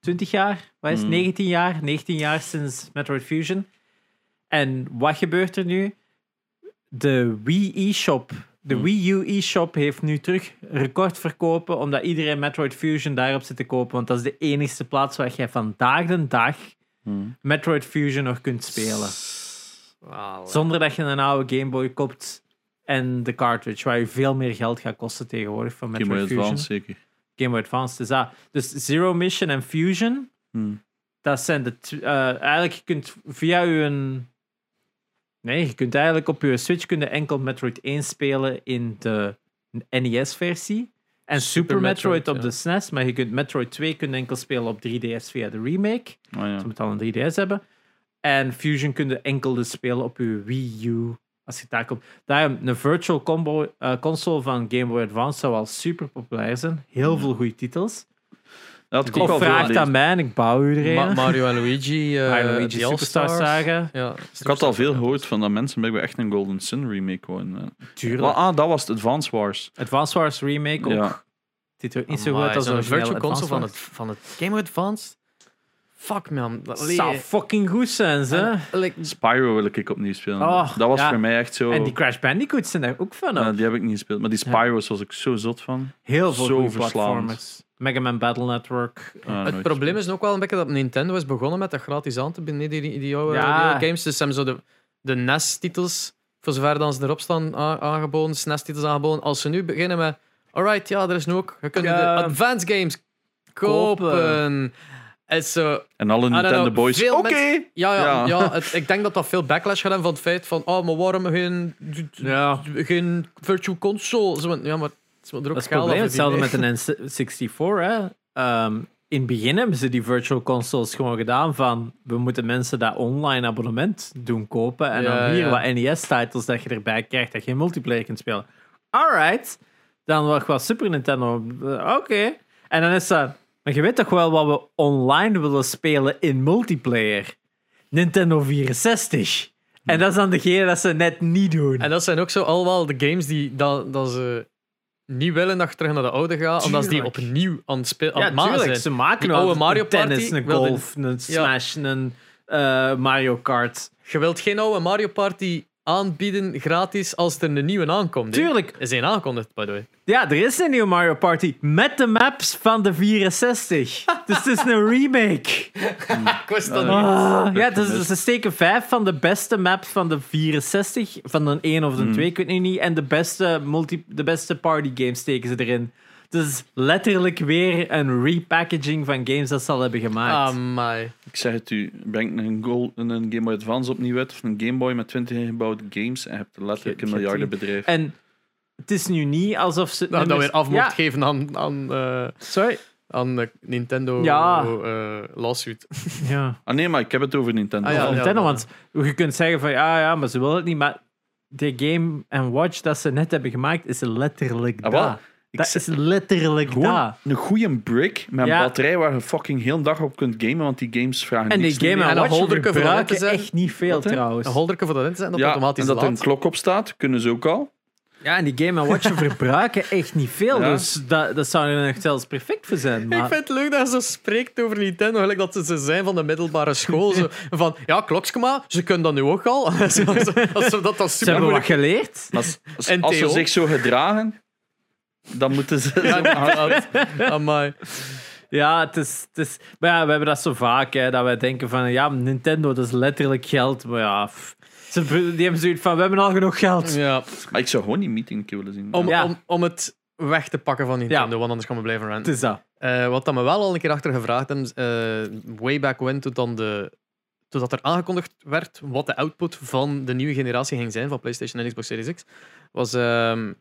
S3: 20 jaar. Wat is het?
S2: Mm.
S3: 19 jaar? 19 jaar sinds Metroid Fusion. En wat gebeurt er nu? De Wii e-shop, de Wii U e-shop heeft nu terug recordverkopen, omdat iedereen Metroid Fusion daarop zit te kopen, want dat is de enige plaats waar jij vandaag de dag Metroid Fusion nog kunt spelen. Zonder dat je een oude Game Boy koopt en de cartridge, waar je veel meer geld gaat kosten tegenwoordig van
S2: Game Boy
S3: Metroid Fusion.
S2: Advance, zeker.
S3: Game Boy Advance. Dus, dat. dus Zero Mission en Fusion,
S2: Hmm.
S3: dat zijn de... tw- eh, eigenlijk, je kunt via je... Nee, je kunt eigenlijk op je Switch kun je enkel Metroid 1 spelen in de NES-versie. En Super, Metroid,
S1: Metroid,
S3: op
S1: ja.
S3: de SNES, maar je kunt Metroid 2 kun je enkel spelen op 3DS via de remake.
S2: Ah, ja.
S3: Ze moet al een 3DS hebben. En Fusion kun je enkel dus spelen op je Wii U Als je daar komt. Daarom, een virtual combo, eh, console van Game Boy Advance zou al super populair zijn. Heel veel goede titels.
S2: Dat
S3: Of vraagt aan mij en ik bouw u er
S1: Ma-
S3: een.
S1: Mario en Luigi. eh
S3: Mario Luigi
S1: die
S3: Superstar
S1: All-Stars.
S3: Saga.
S1: Ja,
S2: Ik had al veel gehoord van dat mensen blijkbaar echt een Golden Sun remake wonen.
S3: Tuurlijk.
S2: Ah, dat was het Advance Wars.
S3: Advance Wars Remake ook.
S2: Ja.
S3: Ziet er niet zo
S1: Amai,
S3: goed als
S1: zo'n
S3: een
S1: virtual console van het, van het Game Boy Advance. Fuck man. Dat
S3: zou fucking goed zijn, ze.
S2: Spyro wil ik opnieuw spelen.
S1: Ah,
S3: Oh,
S2: dat was
S3: ja.
S2: voor mij echt zo.
S3: En die Crash Bandicoots zijn daar ook van.
S2: Eh,
S3: Op.
S2: die heb ik niet gespeeld. Maar die Spyro's was ik zo zot van.
S3: Heel veel
S2: zo
S3: goede
S2: verslavend.
S3: platformers. Mega Man Battle Network.
S2: Ah,
S1: het
S2: nooit.
S1: probleem is ook wel een beetje dat Nintendo is begonnen met dat gratis aan te bieden, die, die, die, oude,
S3: Ja.
S1: die oude games. Dus ze hebben zo de, de NES-titels, voor zover dan ze erop staan, a- aangeboden, dus SNES-titels aangeboden. Als ze nu beginnen met, alright, ja, er is nu ook, je kunt nu
S3: Ja.
S1: de Advanced Games kopen.
S3: Kopen.
S1: Het is zo,
S2: En alle Nintendo
S1: know,
S2: Boys. Oké!
S1: veel mensen- ja, ja,
S2: Ja.
S1: ja. het- ik denk dat dat veel backlash gaat hebben van het feit van, oh, maar waarom geen,
S3: Ja.
S1: geen virtual console? Zo van, Ja, maar het is wel er ook
S3: Dat is
S1: geld
S3: het
S1: aan
S3: probleem. Hetzelfde
S1: verdienen,
S3: met
S1: hè.
S3: een N64. Hè. Ehm, in het begin hebben ze die virtual consoles gewoon gedaan van we moeten mensen dat online abonnement doen kopen. En
S1: Ja,
S3: dan hier
S1: ja.
S3: wat NES-titles dat je erbij krijgt dat je multiplayer kunt spelen. Alright. Dan was wel Super Nintendo. Eh, Oké. En dan is dat... Maar je weet toch wel wat we online willen spelen in multiplayer? Nintendo 64.
S1: Hm.
S3: En dat is dan degene dat ze net niet doen.
S1: En dat zijn ook zo al wel de games die dat, dat ze niet willen dat je terug naar de oude gaat, omdat ze die
S3: Tuurlijk.
S1: opnieuw aan het, spe- aan
S3: Ja,
S1: het maken
S3: tuurlijk,
S1: zijn.
S3: Ze maken
S1: Die
S3: wel
S1: oude
S3: een
S1: Mario
S3: tennis,
S1: Party
S3: een
S1: wilde-
S3: golf, een smash, een eh, Mario Kart.
S1: Je wilt geen oude Mario Party aanbieden gratis als er een nieuwe aankomt. hè?
S3: Tuurlijk.
S1: Er is één aankondigd, by the way.
S3: Ja, er is een nieuwe Mario Party met de maps van de 64. dus het is een remake.
S1: Ik wist dat
S2: niet.
S3: Ah, ja,
S2: gemist.
S3: dus, ze steken vijf van de beste maps van de 64, van de 1 of de
S1: Hmm.
S3: 2, ik weet nu niet, en de beste, multi, de beste party games steken ze erin. Dus letterlijk weer een repackaging van games dat ze al hebben
S1: Ah,
S3: gemaakt.
S1: Amai.
S2: Ik zeg het u, breng een, goal, een Game Boy Advance opnieuw uit of een Game Boy met 20 ingebouwde games en je hebt letterlijk een
S3: Je- je hebt
S2: miljardenbedrijf.
S3: en het is nu niet alsof ze...
S1: Nou, dat
S3: nummers-
S1: weer af mocht
S3: dus- Ja,
S1: geven aan, aan, eh,
S3: Sorry.
S1: aan de Nintendo
S3: Ja. Dus-
S1: eh, lawsuit.
S3: Ja.
S2: Ah nee, maar ik heb het over Nintendo.
S1: Ah, ja.
S3: Of Nintendo,
S1: ja.
S3: want je kunt zeggen van ja, ja, maar ze willen het niet, maar de Game and Watch dat ze net hebben gemaakt is letterlijk
S2: Ah, wel.
S3: dat.
S2: Ik
S3: Dat
S2: zeg-
S3: is letterlijk
S2: Gewoon
S3: dat.
S2: een goede brick met een
S3: Ja.
S2: batterij waar je fucking heel dag op kunt gamen, want die games vragen
S3: En die
S2: niks
S3: Game
S2: meer.
S1: en
S3: and
S1: een
S3: Watch
S1: holderke voor uit te
S3: verbruiken
S1: zetten.
S3: echt niet veel
S2: Wat, hè?
S3: trouwens.
S1: Een holderke voor dat in te zetten en dat
S2: Ja, en
S1: automatisch
S2: dat er een
S1: laat.
S2: klok op staat, kunnen ze ook al.
S3: Ja, en die Game and Watch verbruiken echt niet veel,
S2: Ja.
S3: dus dat, dat zou er nog zelfs perfect voor zijn.
S1: Ik
S3: Maar
S1: vind het leuk dat je zo spreekt over Nintendo, gelijk dat ze ze zijn van de middelbare school. Zo, van, ja, klokskema, ze kunnen dat nu ook al. Alsof ze- Alsof dat dan
S3: ze
S1: super
S3: hebben wat
S1: moeilijk
S3: geleerd.
S2: Maar als, als-
S1: En
S2: als ze
S1: Theo?
S2: zich zo gedragen, dan moeten ze... Ah,
S1: Ja, inderdaad. Amai.
S3: Ja, het is, het is, maar ja, we hebben dat zo vaak, hè, dat wij denken van ja, Nintendo, dat is letterlijk geld. Maar ja, pff. ze, die hebben zoiets van we hebben al genoeg geld.
S1: Ja.
S2: Maar ik zou gewoon die meeting een keer willen zien.
S1: Om,
S3: Ja.
S1: om, om het weg te pakken van Nintendo, want anders gaan we blijven
S3: Het
S1: ranten.
S3: is dat.
S1: Eh, wat dat me wel al een keer achter gevraagd hebben, eh, way back when, toen dan de, totdat er aangekondigd werd wat de output van de nieuwe generatie ging zijn van PlayStation en Xbox Series X, was ehm,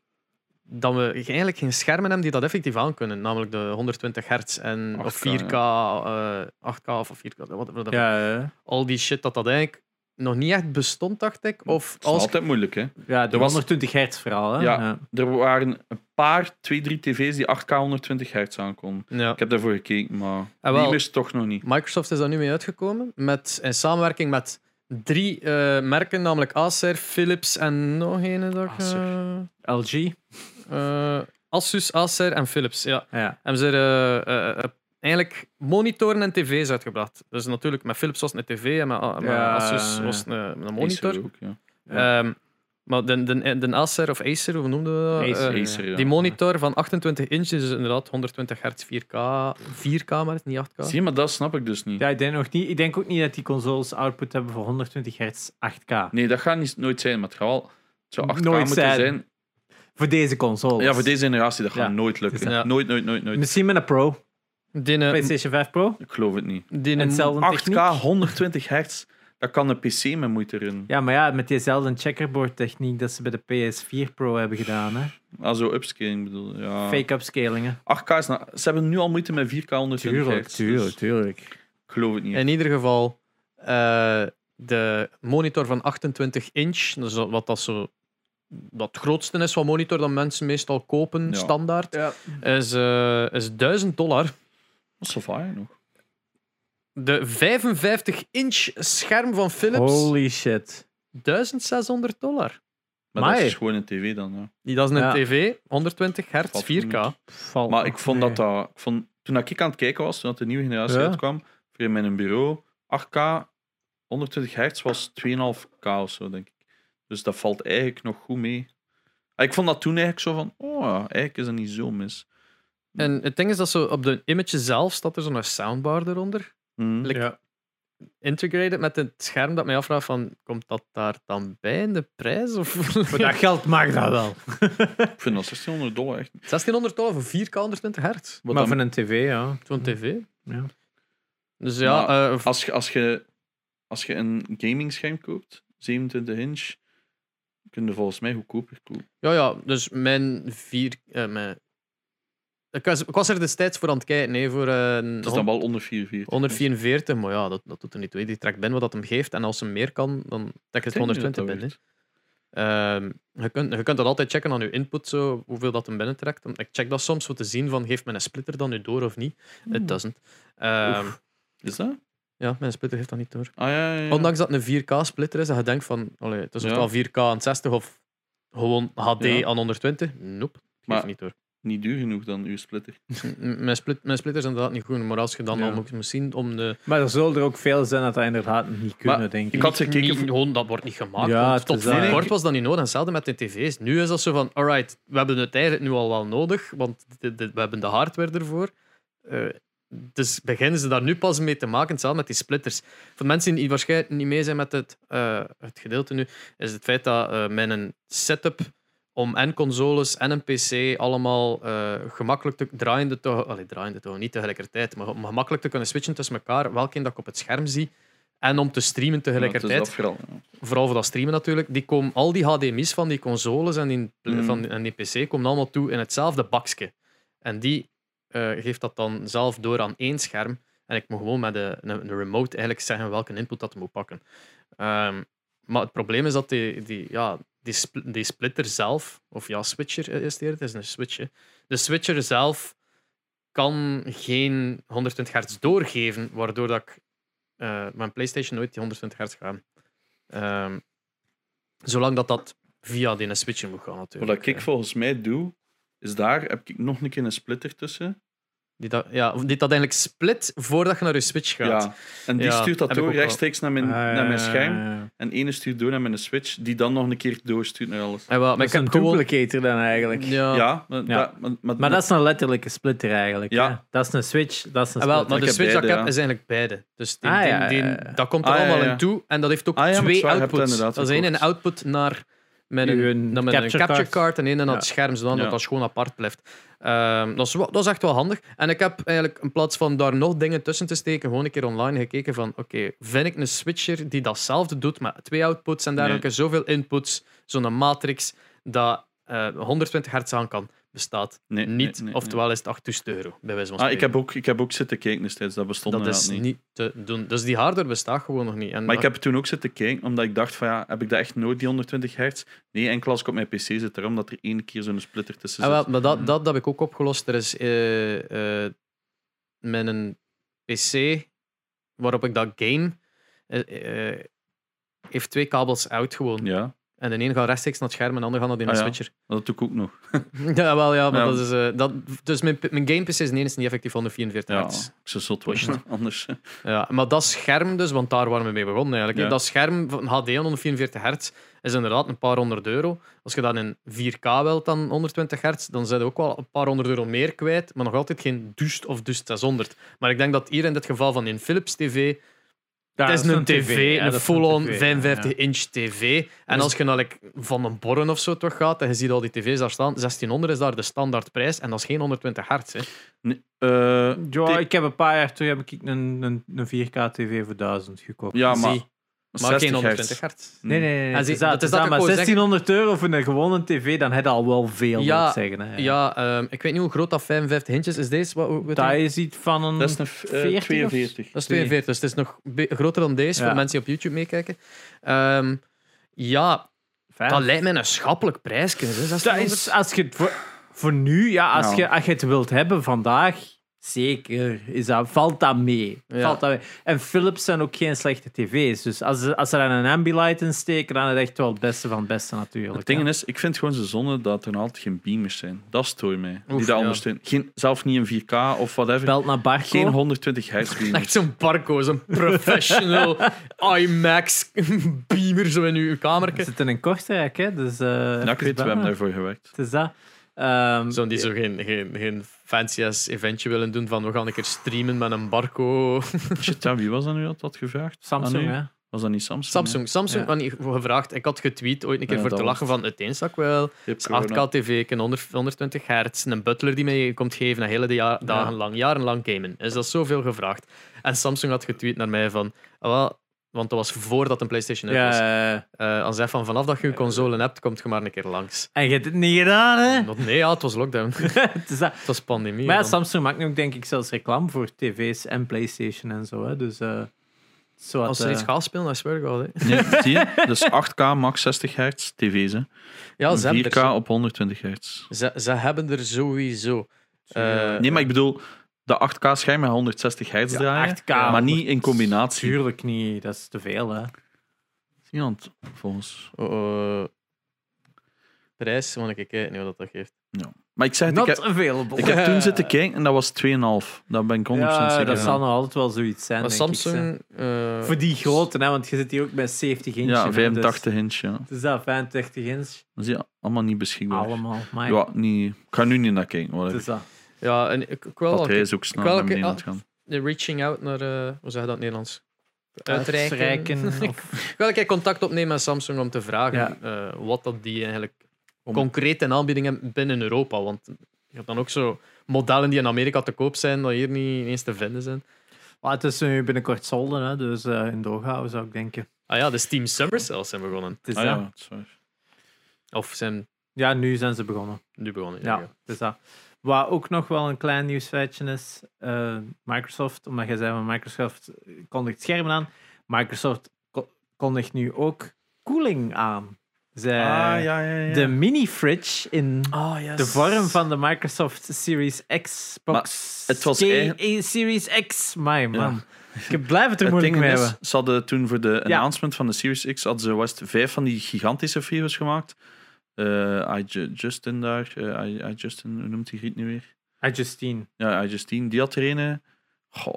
S1: dat we eigenlijk geen schermen hebben die dat effectief aan kunnen, namelijk de 120 hertz en
S2: 8K,
S1: of 4K, eh, 8K of 4K, wat, wat-
S3: Ja, ja.
S1: al die shit dat dat eigenlijk nog niet echt bestond, dacht ik. Of
S2: Dat is
S1: als
S2: altijd moeilijk, hè.
S3: Ja, de
S2: Er was-
S3: 120 hertz verhaal. Hè?
S2: Ja. Er waren een paar, twee, drie tv's die 8K 120 hertz aankonden.
S1: ja.
S2: Ik heb daarvoor gekeken, maar
S1: Ah, wel.
S2: die wist toch nog niet.
S1: Microsoft is daar nu mee uitgekomen. Met, in samenwerking met drie eh, merken, namelijk Acer, Philips en nog een. Dat, ik, eh,
S3: LG.
S1: eh, Asus, Acer en Philips. Ja.
S3: Ja.
S1: Hebben ze er eh, eh, eh, eigenlijk monitoren en tv's uitgebracht. Dus natuurlijk, met Philips was het een tv en met, A- met
S3: Ja,
S1: Asus
S3: ja, ja.
S1: was het een, een monitor.
S2: Acer ook, ja.
S1: Ehm, maar de, de, de Acer of Acer, hoe noemden we dat?
S3: Acer.
S1: Eh,
S2: Acer, ja.
S1: die monitor van 28 inch, dus inderdaad 120 hertz 4K, 4K maar het is niet 8K.
S2: Zie je, maar dat snap ik dus niet.
S3: ja, ik denk nog niet. Ik denk ook niet dat die consoles output hebben voor 120 hertz 8K.
S2: Nee, dat gaat niet, nooit zijn, maar het gaat wel... Het zou 8K
S3: Nooit
S2: moeten
S3: zijn.
S2: zijn.
S3: Voor deze consoles.
S2: Ja, voor deze generatie, dat gaat
S3: Ja.
S2: nooit lukken.
S1: Ja.
S2: Nooit, nooit, nooit, nooit.
S3: Misschien met een Pro.
S1: Die, eh,
S3: PlayStation 5 Pro.
S2: Ik geloof het niet.
S1: die,
S3: En hetzelfde
S2: 8K,
S3: techniek.
S2: 120 hertz, daar kan een PC met moeite in.
S3: Ja, maar ja, met diezelfde checkerboard techniek dat ze bij de PS4 Pro hebben gedaan. Hè.
S2: Ah, zo upscaling bedoel ja.
S3: Fake upscalingen.
S2: 8K is... na- Ze hebben nu al moeite met 4K 120 hertz. dus
S3: tuurlijk.
S2: Ik geloof het niet.
S1: In ieder geval, eh, de monitor van 28 inch, dus wat dat zo dat grootste is van monitor dat mensen meestal kopen,
S2: Ja.
S1: standaard,
S3: Ja.
S1: is, eh, is 1000 dollar.
S2: Dat is zo vaar nog.
S1: De 55 inch scherm van Philips,
S3: Holy shit.
S1: 1600 dollar.
S2: Maar
S3: Amai.
S2: dat is gewoon een tv dan. Ja.
S1: Die, dat is een
S3: Ja.
S1: tv, 120 hertz,
S2: Valt
S1: 4K.
S3: Valt
S2: Maar
S3: nog
S2: ik vond
S3: mee.
S2: dat dat... Ik vond, toen ik aan het kijken was, toen dat de nieuwe generatie
S3: Ja.
S2: uitkwam, voor in mijn bureau, 8K, 120 hertz was 2,5K of zo, denk ik. Dus dat valt eigenlijk nog goed mee. Ah, Ik vond dat toen eigenlijk zo van, oh ja, eigenlijk is dat niet zo mis.
S1: En het ding is dat ze op de image zelf staat er zo'n soundbar eronder.
S2: Mhm.
S1: Like,
S3: Ja.
S1: integrated met het scherm dat mij afvraagt van, komt dat daar dan bij in de prijs? Of...
S3: Voor dat geld mag dat wel.
S2: Ik vind dat 1600 dollar echt.
S1: 1600 dollar voor 4K 120 hertz.
S2: Wat
S3: maar
S2: dan-
S3: van een tv, ja.
S1: Zo'n tv.
S3: Ja.
S1: Dus ja, eh, v-
S2: als, je, als, je, als je een gaming scherm koopt, 27 inch, kun je volgens mij goedkoper kopen.
S1: ja, ja, dus mijn vier... eh, mijn... Ik, was, ik was er destijds voor aan het kijken, hè, voor eh, een
S2: Het is dan wel onder 44.
S1: 144, maar ja, dat, dat doet er niet toe. hè. Die trekt binnen wat dat hem geeft, en als ze meer kan, dan trekt het
S2: Ik denk niet dat
S1: 120
S2: dat
S1: binnen. hè.
S2: werkt.
S1: Ehm, je, kunt, je kunt dat altijd checken aan je input, zo, hoeveel dat hem binnentrekt. Want Ik check dat soms om te zien van, geeft mijn splitter dan nu door of niet?
S2: Hmm.
S1: It doesn't. Ehm,
S2: Is dat?
S1: ja, mijn splitter geeft dat niet door.
S2: Ah ja, ja, ja.
S1: Ondanks dat het een 4K-splitter is, dat je denkt van, allee, het is
S2: Ja.
S1: ofwel 4K aan 60 of gewoon HD
S2: Ja.
S1: aan 120. Nope, geeft
S2: Maar-
S1: niet door.
S2: Niet duur genoeg dan, uw splitter.
S1: M- mijn, split, mijn splitter is inderdaad niet goed, maar als je dan
S3: Ja.
S1: al moet moet zien om de...
S3: Maar er zullen er ook veel zijn dat dat inderdaad niet kunnen,
S2: Maar
S3: denk ik.
S2: ik had gekeken
S1: Niet-
S2: voor-
S1: gewoon, dat wordt niet gemaakt.
S3: Ja,
S1: want
S3: het
S1: tot
S3: is dat.
S1: voor kort was dat niet nodig. En hetzelfde met de tv's. Nu is dat zo van, alright, we hebben het eigenlijk nu al wel nodig, want de- de- we hebben de hardware ervoor. Eh, dus beginnen ze daar nu pas mee te maken, hetzelfde met die splitters. Voor mensen die waarschijnlijk niet mee zijn met het, eh, het gedeelte nu, is het feit dat eh mijn setup om en consoles en een pc allemaal eh, gemakkelijk te, draaiende, te, allee, draaiende toch niet tegelijkertijd, maar om gemakkelijk te kunnen switchen tussen elkaar, welke dat ik op het scherm zie, en om te streamen
S2: Ja,
S1: tegelijkertijd
S2: het is dat vooral, ja.
S1: vooral voor dat streamen natuurlijk, die komen, al die HDMI's van die consoles en die,
S2: Mm.
S1: van, en die PC komen allemaal toe in hetzelfde bakje. En die eh, geeft dat dan zelf door aan één scherm. En ik moet gewoon met de, een, een remote eigenlijk zeggen welke input dat moet pakken. Ehm, maar het probleem is dat die, die, ja, die, spl- die splitter zelf, of ja, switcher eh, is het, het is een switch. hè. De switcher zelf kan geen 120 hertz doorgeven, waardoor dat ik eh, mijn PlayStation nooit die 120 hertz gaan. Ehm, zolang dat dat via die switcher moet gaan,
S2: Wat
S1: natuurlijk.
S2: dat ik volgens mij doe, is daar heb ik nog een keer een splitter tussen.
S1: Die dat, ja, of die dat eigenlijk split voordat je naar je switch gaat.
S2: Ja. En die
S1: Ja,
S2: stuurt dat
S1: heb ik
S2: door
S1: ook wel.
S2: rechtstreeks naar mijn,
S3: Ah, ja,
S2: naar mijn
S3: ja,
S2: scherm.
S3: ja, ja.
S2: En ene stuurt door naar mijn switch, die dan nog een keer doorstuurt naar alles.
S1: En wel, maar
S3: Dat
S1: ik
S3: is
S1: heb
S3: een
S1: gewoon...
S3: duplicator dan eigenlijk.
S1: Ja,
S2: Ja, maar,
S3: Ja.
S2: dat- maar, maar-
S3: Maar dat is een letterlijke splitter eigenlijk.
S2: Ja.
S3: hè. Dat is een switch, dat is een
S1: en Ah, wel,
S3: splitter.
S1: maar
S2: Ik
S1: de
S2: heb
S1: switch dat ik
S2: beide,
S1: heb
S2: ja.
S1: is eigenlijk beide. Dus die,
S3: Ah,
S1: die-
S3: ja,
S1: die-
S3: ja, ja.
S1: dat komt er
S2: Ah, ja,
S1: allemaal
S2: ja.
S1: in toe. En dat heeft ook
S2: Ah, ja, maar het is
S1: twee
S2: waar, je hebt
S1: outputs.
S2: inderdaad
S1: Dat is één een
S2: gekocht.
S1: output naar mijn,
S3: Uw
S1: naar mijn
S3: capture
S1: capture,
S3: card.
S1: card en één naar
S3: Ja.
S1: het scherm, zodat
S2: Ja.
S1: dat schoon apart blijft. Ehm, dat, is, wel- dat is echt wel handig. En ik heb eigenlijk in plaats van daar nog dingen tussen te steken, gewoon een keer online gekeken van oké, vind ik een switcher die datzelfde doet, maar twee outputs en dergelijke, zoveel inputs, zo'n matrix, dat eh, 120 hertz aan kan, bestaat
S2: Nee, nee,
S1: niet.
S2: nee, nee.
S1: oftewel is het 8000 euro, bij wijze van
S2: Ah,
S1: spreken.
S2: ik, heb ook, ik heb ook zitten kijken destijds, dat bestond
S1: Dat is
S2: inderdaad niet.
S1: niet te doen. Dus die hardware bestaat gewoon nog niet. En
S2: Maar ik heb toen ook zitten kijken, omdat ik dacht van ja, heb ik dat echt nooit, die 120 hertz? Nee, enkel als ik op mijn pc zit, erom dat er één keer zo'n splitter tussen
S1: Ah, wel,
S2: zit.
S1: maar dat, dat heb ik ook opgelost. Er is eh, eh, met een PC waarop ik dat game. eh, eh, heeft twee kabels uit gewoon.
S2: Ja,
S1: En de een gaat rechtstreeks naar het scherm en de ander gaat naar die
S2: Ah, ja.
S1: switcher.
S2: dat doe ik ook nog.
S1: Ja, wel, ja, maar
S2: Ja.
S1: dat is. eh, dat, dus mijn, mijn game PC is nee, is niet effectief 144
S2: Ja,
S1: hertz.
S2: ik zou zot worden, anders.
S1: Ja, maar dat scherm dus, want daar waren we mee begonnen eigenlijk. hè.
S2: Ja.
S1: Dat scherm van HD aan 144 hertz is inderdaad een paar honderd euro. Als je dat in 4K wilt dan 120 hertz, dan zijn we ook wel een paar honderd euro meer kwijt, maar nog altijd geen dust of dust 600. Maar ik denk dat hier in dit geval van in Philips TV,
S3: Ja,
S1: het
S3: dat
S1: is een tv,
S3: ja,
S1: een
S3: dat is
S1: full-on
S3: tv, ja,
S1: 55
S3: ja.
S1: inch tv. En
S3: Dus-
S1: als je naar like, van een borren of zo terug gaat en je ziet al die tv's daar staan, 1600 is daar de standaardprijs en dat is geen 120 hertz. Hè.
S2: Nee, eh,
S3: Ja, ik heb een paar jaar terug heb ik een, een, een 4K TV voor 1000 gekocht.
S2: ja, maar,
S3: Zie.
S1: Maar
S2: 60
S1: geen
S2: hertz.
S1: 120 hertz.
S3: Nee, nee, nee.
S1: Ah,
S3: nee.
S1: zie,
S3: het is dat,
S1: dat is dat
S3: het is dat,
S1: ik
S3: maar
S1: wou
S3: 1600 euro voor een gewone tv, dan heb je al wel veel,
S1: Ja,
S3: moet ik zeggen. Hè.
S1: Ja, ehm, ik weet niet hoe groot dat 55 hintjes is. Deze, wat, hoe- hoe-
S3: Dat is iets van een...
S2: Dat is een f- eh,
S3: 40 of-
S2: 42.
S1: dat is 42, dus het is nog be- groter dan deze
S3: Ja.
S1: voor mensen die op YouTube meekijken. Ehm, ja,
S3: vijf.
S1: dat lijkt mij een schappelijk prijsje. hè,
S3: Dat
S1: 1600.
S3: is, als je het voor, voor nu, ja, als,
S2: Ja.
S3: Je, als je het wilt hebben vandaag, zeker, is dat, valt, dat mee.
S1: Ja.
S3: valt dat mee. En Philips zijn ook geen slechte tv's. Dus als, ze- als ze daar een Ambilight in steken, dan is het echt wel het beste van het beste natuurlijk.
S2: Het ding
S3: ja.
S2: is, ik vind gewoon zo zonde dat er nog altijd geen beamers zijn. Dat stoort mij.
S1: Oef,
S2: die dat
S1: ja.
S2: ondersteunen. Geen, zelf niet een 4K of whatever.
S3: Belt naar Barco.
S2: Geen 120 hertz beamers.
S1: Echt zo'n Barco, zo'n professional IMAX beamer zo in uw
S3: We
S1: kamerke.
S3: zitten in Kortrijk, hè? Dus, eh
S2: Ja, ik
S3: even
S2: weet, we
S3: bellen.
S2: hebben daarvoor gewerkt.
S3: Het is dat. Ehm,
S1: Zo'n die zo geen, geen, geen fancy-ass eventje willen doen van we gaan een keer streamen met een Barco.
S2: Shit, ja, wie was dat nu dat had gevraagd? Aan
S3: Samsung,
S2: u?
S3: hè?
S2: Was dat niet Samsung?
S1: Samsung, Samsung,
S3: Ja.
S1: want ik heb gevraagd, ik had getweet ooit een keer
S2: Ja,
S1: voor
S2: dat
S1: te
S2: was
S1: lachen
S2: het.
S1: van het eens dat ik wel.
S2: Je hebt
S1: Het is
S2: corona.
S1: 8K TV, een 100 120 hertz, een butler die mij komt geven en hele dia- dagen lang, jarenlang gamen. Is dat zoveel gevraagd? En Samsung had getweet naar mij van, ah, wel, want dat was voordat een PlayStation uit
S3: Ja,
S1: was.
S3: ja, ja.
S1: Eh, als hij van vanaf dat je een console hebt, komt je maar een keer langs.
S3: en je hebt het niet gedaan, hè?
S1: Want nee, ja, het was lockdown.
S3: Het is dat.
S1: Het was pandemie.
S3: Eh. Maar ja,
S1: man.
S3: Samsung maakt nu ook denk ik zelfs reclame voor tv's en PlayStation en zo. Hè. Dus eh zo
S1: Als ze iets gaan spelen, dan zweer ik wel. hè.
S2: Nee, zie je? Dus 8K max 60 hertz tv's. Hè.
S1: Ja, ze
S2: En
S1: hebben,
S2: 4K
S1: er,
S2: op 120 hertz.
S1: ze, ze hebben er sowieso. Eh,
S2: Nee, maar ik bedoel, de 8K scherm met 160 hertz
S3: Ja,
S2: draaien. eh,
S3: 8K,
S2: maar niet in combinatie.
S3: Tuurlijk niet, dat is te veel. Hè.
S2: Iemand, volgens.
S1: eh, prijs, want ik kijk niet wat dat geeft.
S2: Maar ik zeg, het, ik
S3: Not
S2: heb,
S3: available.
S2: ik heb toen zitten kijken en dat was 2,5. Dat ben ik 100%
S3: Ja,
S2: zeker.
S3: dat
S2: van.
S3: zal nog altijd wel zoiets zijn.
S1: Maar
S3: denk ik, hè.
S1: Samsung. eh,
S3: Voor die grote, hè, want je zit hier ook bij 70 inch.
S2: Ja,
S3: hè,
S2: 85 inch. Ja.
S3: Dus, dus dat, 85 inch.
S2: Dat is ja, allemaal niet beschikbaar.
S3: Allemaal. Maar
S2: Ja, niet, ik ga nu niet naar kijken.
S3: het
S2: whatever.
S3: is oh, dat.
S1: Ja, en ik, ik wil
S2: Dat
S1: wel
S2: hij is ook snel
S1: ik wil
S2: naar
S1: ook-
S2: beneden aan
S1: ah.
S2: het gaan.
S1: de reaching out naar. eh, hoe zeg je dat in het Nederlands? Uitreiken.
S3: Uitreiken. of-
S1: Ik wil een keer contact opnemen met Samsung om te vragen eh, wat dat die eigenlijk concreet in aanbieding hebben binnen Europa. Want je hebt dan ook zo modellen die in Amerika te koop zijn, dat hier niet ineens te vinden zijn.
S3: Maar Ah, het is nu binnenkort solden, hè, dus eh, in Doha zou ik denken.
S1: Ah ja, dus Team Summer zelfs zijn begonnen.
S3: Het is
S2: Ah,
S3: dat.
S2: ja,
S3: ja.
S2: dat is waar.
S1: Of zijn
S3: nu zijn ze begonnen.
S1: nu begonnen.
S3: Ja,
S2: Ehm,
S3: het is dat. Wat ook nog wel een klein nieuwsfeitje is, eh, Microsoft, omdat jij zei van Microsoft kondigt schermen aan, Microsoft ko- kondigt nu ook koeling aan. Zij,
S2: ah, ja, ja, Oh, ja.
S3: Eh, De mini-fridge in
S1: Ah, yes.
S3: de vorm van de Microsoft Series X box.
S2: Maar het was
S3: K-
S2: eigen-
S3: Series X, my man. Ik blijf het er
S2: Het
S3: moeilijk
S2: ding
S3: mee
S2: is,
S3: hebben.
S2: ze hadden toen voor de
S3: Ja.
S2: announcement van de Series X hadden ze West vijf van die gigantische video's gemaakt. Eh I Ju- Justin daar, eh, I, I Justin, hoe noemt die giet nu weer?
S3: Ah, Justine.
S2: Ja, I Justin, die had er een. Goh,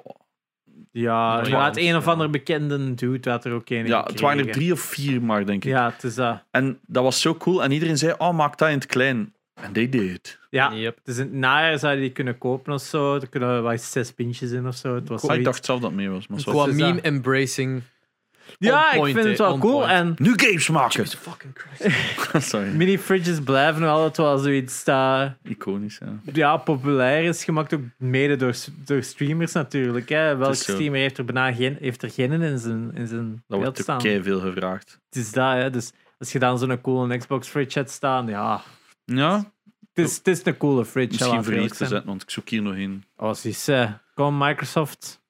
S3: Ja,
S1: Ja,
S3: je had
S1: ja.
S3: een of ander bekende dude had er ook een
S2: dus, ja, het
S3: gekregen.
S2: waren er drie of vier maar, denk ik.
S3: Ja, het is dat.
S2: En dat was zo cool. En iedereen zei, oh, maak dat in het klein. En they did it.
S3: Ja,
S1: Yep.
S3: dus in het najaar zou je die kunnen kopen of zo. Er kunnen wel eens zes pintjes in of zo. Het was
S2: Ah, ik
S3: zoiets.
S2: dacht zelf dat het mee was. Maar zo.
S1: Qua
S3: Dus, eh,
S1: meme embracing.
S3: ja,
S1: on
S3: ik
S1: point,
S3: vind het
S1: hè,
S3: wel
S1: on
S3: cool.
S1: point.
S3: En
S2: Nu games maken!
S1: Fucking Christ.
S2: Sorry,
S3: mini-fridges blijven nog altijd wel zoiets dat
S2: iconisch. Ja.
S3: ja, populair is gemaakt. Ook mede door, door streamers natuurlijk. Hè. Welke
S2: zo.
S3: streamer heeft er bijna geen, heeft er geen in zijn, in zijn
S2: Dat
S3: beeld
S2: wordt
S3: staan?
S2: ook kei veel gevraagd.
S3: Het is dat, hè. Dus als je dan zo'n coole Xbox-fridge hebt staan, ja...
S2: Ja,
S3: Het is, het is een coole fridge.
S2: misschien
S3: laten we
S2: voor hier
S3: eerlijk
S2: te
S3: zijn.
S2: zetten, want ik zoek hier nog een.
S3: Oh, zie je. Kom, Microsoft.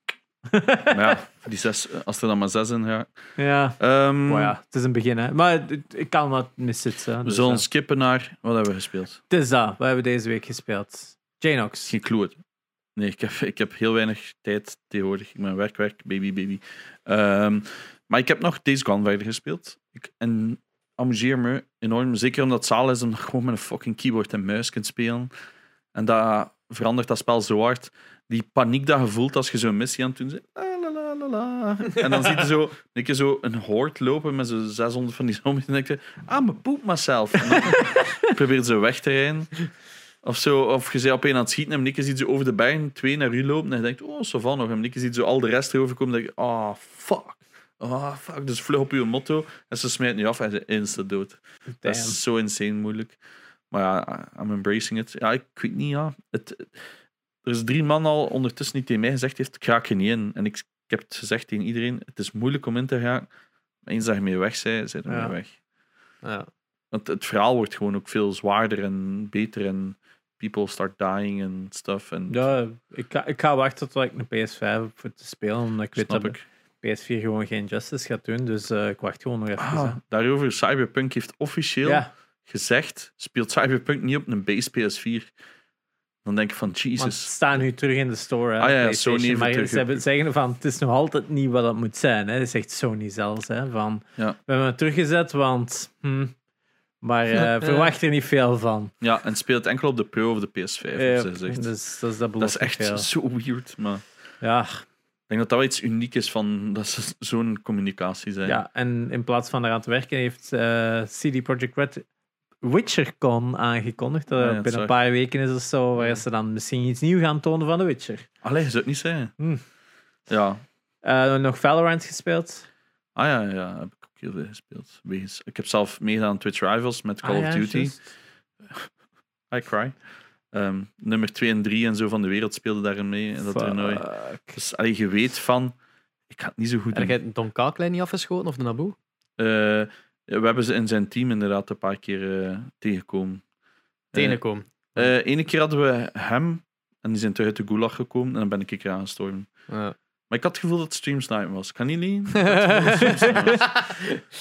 S2: Maar ja, die zes, als er dan maar zes in gaat.
S3: Ja.
S2: Ehm,
S3: Maar ja, het is een begin, hè. Maar het- ik kan wat miszitten.
S2: We
S3: Dus
S2: zullen
S3: ja.
S2: skippen naar wat hebben we gespeeld.
S3: Het is dat. We hebben deze week gespeeld. Janox.
S2: Geen kloot. Nee, ik heb, ik heb heel weinig tijd tegenwoordig. Ik ben werk, werk, baby, baby. Ehm, maar ik heb nog Days Gone verder gespeeld. Ik, en amuseer me enorm. Zeker omdat het zaal is en dat je gewoon met een fucking keyboard en muis kunt spelen. En dat verandert dat spel zo hard. Die paniek dat je voelt als je zo'n missie aan het doen bent. La, la, la, la, la. En dan zie je zo een keer zo een hoort lopen met zo'n 600 van die zombies. En dan denk je, ah, me poep myself. En dan probeert ze weg te rijden. Of zo, of je bent op één aan het schieten en Nikke ziet ze over de bergen twee naar u lopen en je denkt, oh, zo van nog. En Nikke ziet zo al de rest erover komen en denk je, ah, fuck. Ah, fuck. Dus vlug op uw motto en ze smijt nu af en ze instant dood. Dat
S3: Damn.
S2: is zo insane moeilijk. Maar ja, I'm embracing it. Ja, ik weet niet, ja. Het, er is drie man al ondertussen die tegen mij gezegd heeft, ik raak er niet in. En ik, ik heb het gezegd tegen iedereen, het is moeilijk om in te gaan. Eens dat je mee weg bent, zijn er
S3: Ja.
S2: mee weg.
S1: Ja.
S2: Want het verhaal wordt gewoon ook veel zwaarder en beter. En people start dying en stuff. En
S3: Ja, ik ga, ik ga wachten tot ik een PS5 heb voor te spelen, omdat ik weet
S2: snap
S3: dat
S2: ik.
S3: PS4 gewoon geen justice gaat doen. Dus eh, ik wacht gewoon nog even.
S2: Ah, daarover, Cyberpunk heeft officieel
S3: ja,
S2: gezegd, speelt Cyberpunk niet op een base PS4. Dan denk ik van,
S3: want ze
S2: Jesus.
S3: staan nu terug in de store. hè,
S2: Ah ja, ja,
S3: PlayStation,
S2: Sony heeft
S3: Maar
S2: het
S3: ze
S2: terug-
S3: hebben zeggen van, het is nog altijd niet wat het moet zijn. Hè. Dat zegt Sony zelfs. Hè, van,
S2: Ja.
S3: We hebben het teruggezet, want... hm, maar eh, verwacht er niet veel van.
S2: Ja, en speelt enkel op de Pro of de PS5. hebben
S3: Ja,
S2: ze gezegd.
S3: dus, dus dat,
S2: dat is
S3: belooft niet
S2: echt zo weird, maar ik
S3: veel. Ja,
S2: denk dat dat wel iets uniek is van dat ze zo'n communicatie zijn.
S3: Ja, en in plaats van eraan te werken heeft eh, CD Projekt Red WitcherCon aangekondigd. Dat
S2: Ah, ja,
S3: het binnen
S2: sorry.
S3: een paar weken is of zo, waar ze dan misschien iets nieuws gaan tonen van The Witcher.
S2: Allee, je zou het niet zeggen.
S3: Hm.
S2: Ja.
S3: Eh, nog Valorant gespeeld.
S2: Ah ja, ja, heb ik ook heel veel gespeeld. Wegens- Ik heb zelf meegedaan aan Twitch Rivals met Call
S3: Ah,
S2: of
S3: ja,
S2: Duty.
S3: juist.
S2: I cry. Ehm, nummer 2 en 3 en zo van de wereld speelden daarin mee. En dat er nooit.
S3: Fuck.
S2: Dus allee, je weet van, ik ga het niet zo goed
S1: En
S2: doen.
S1: jij hebt Don Kaaklijn niet afgeschoten of de Naboe?
S2: Eh, we hebben ze in zijn team inderdaad een paar keer eh, tegengekomen.
S1: Tegenkomen.
S2: Eh, eh, ene keer hadden we hem en die zijn terug uit de gulag gekomen en dan ben ik een keer aangestorven.
S1: Ja.
S2: Maar ik had het gevoel dat het streamsnipen was. Kan niet liegen?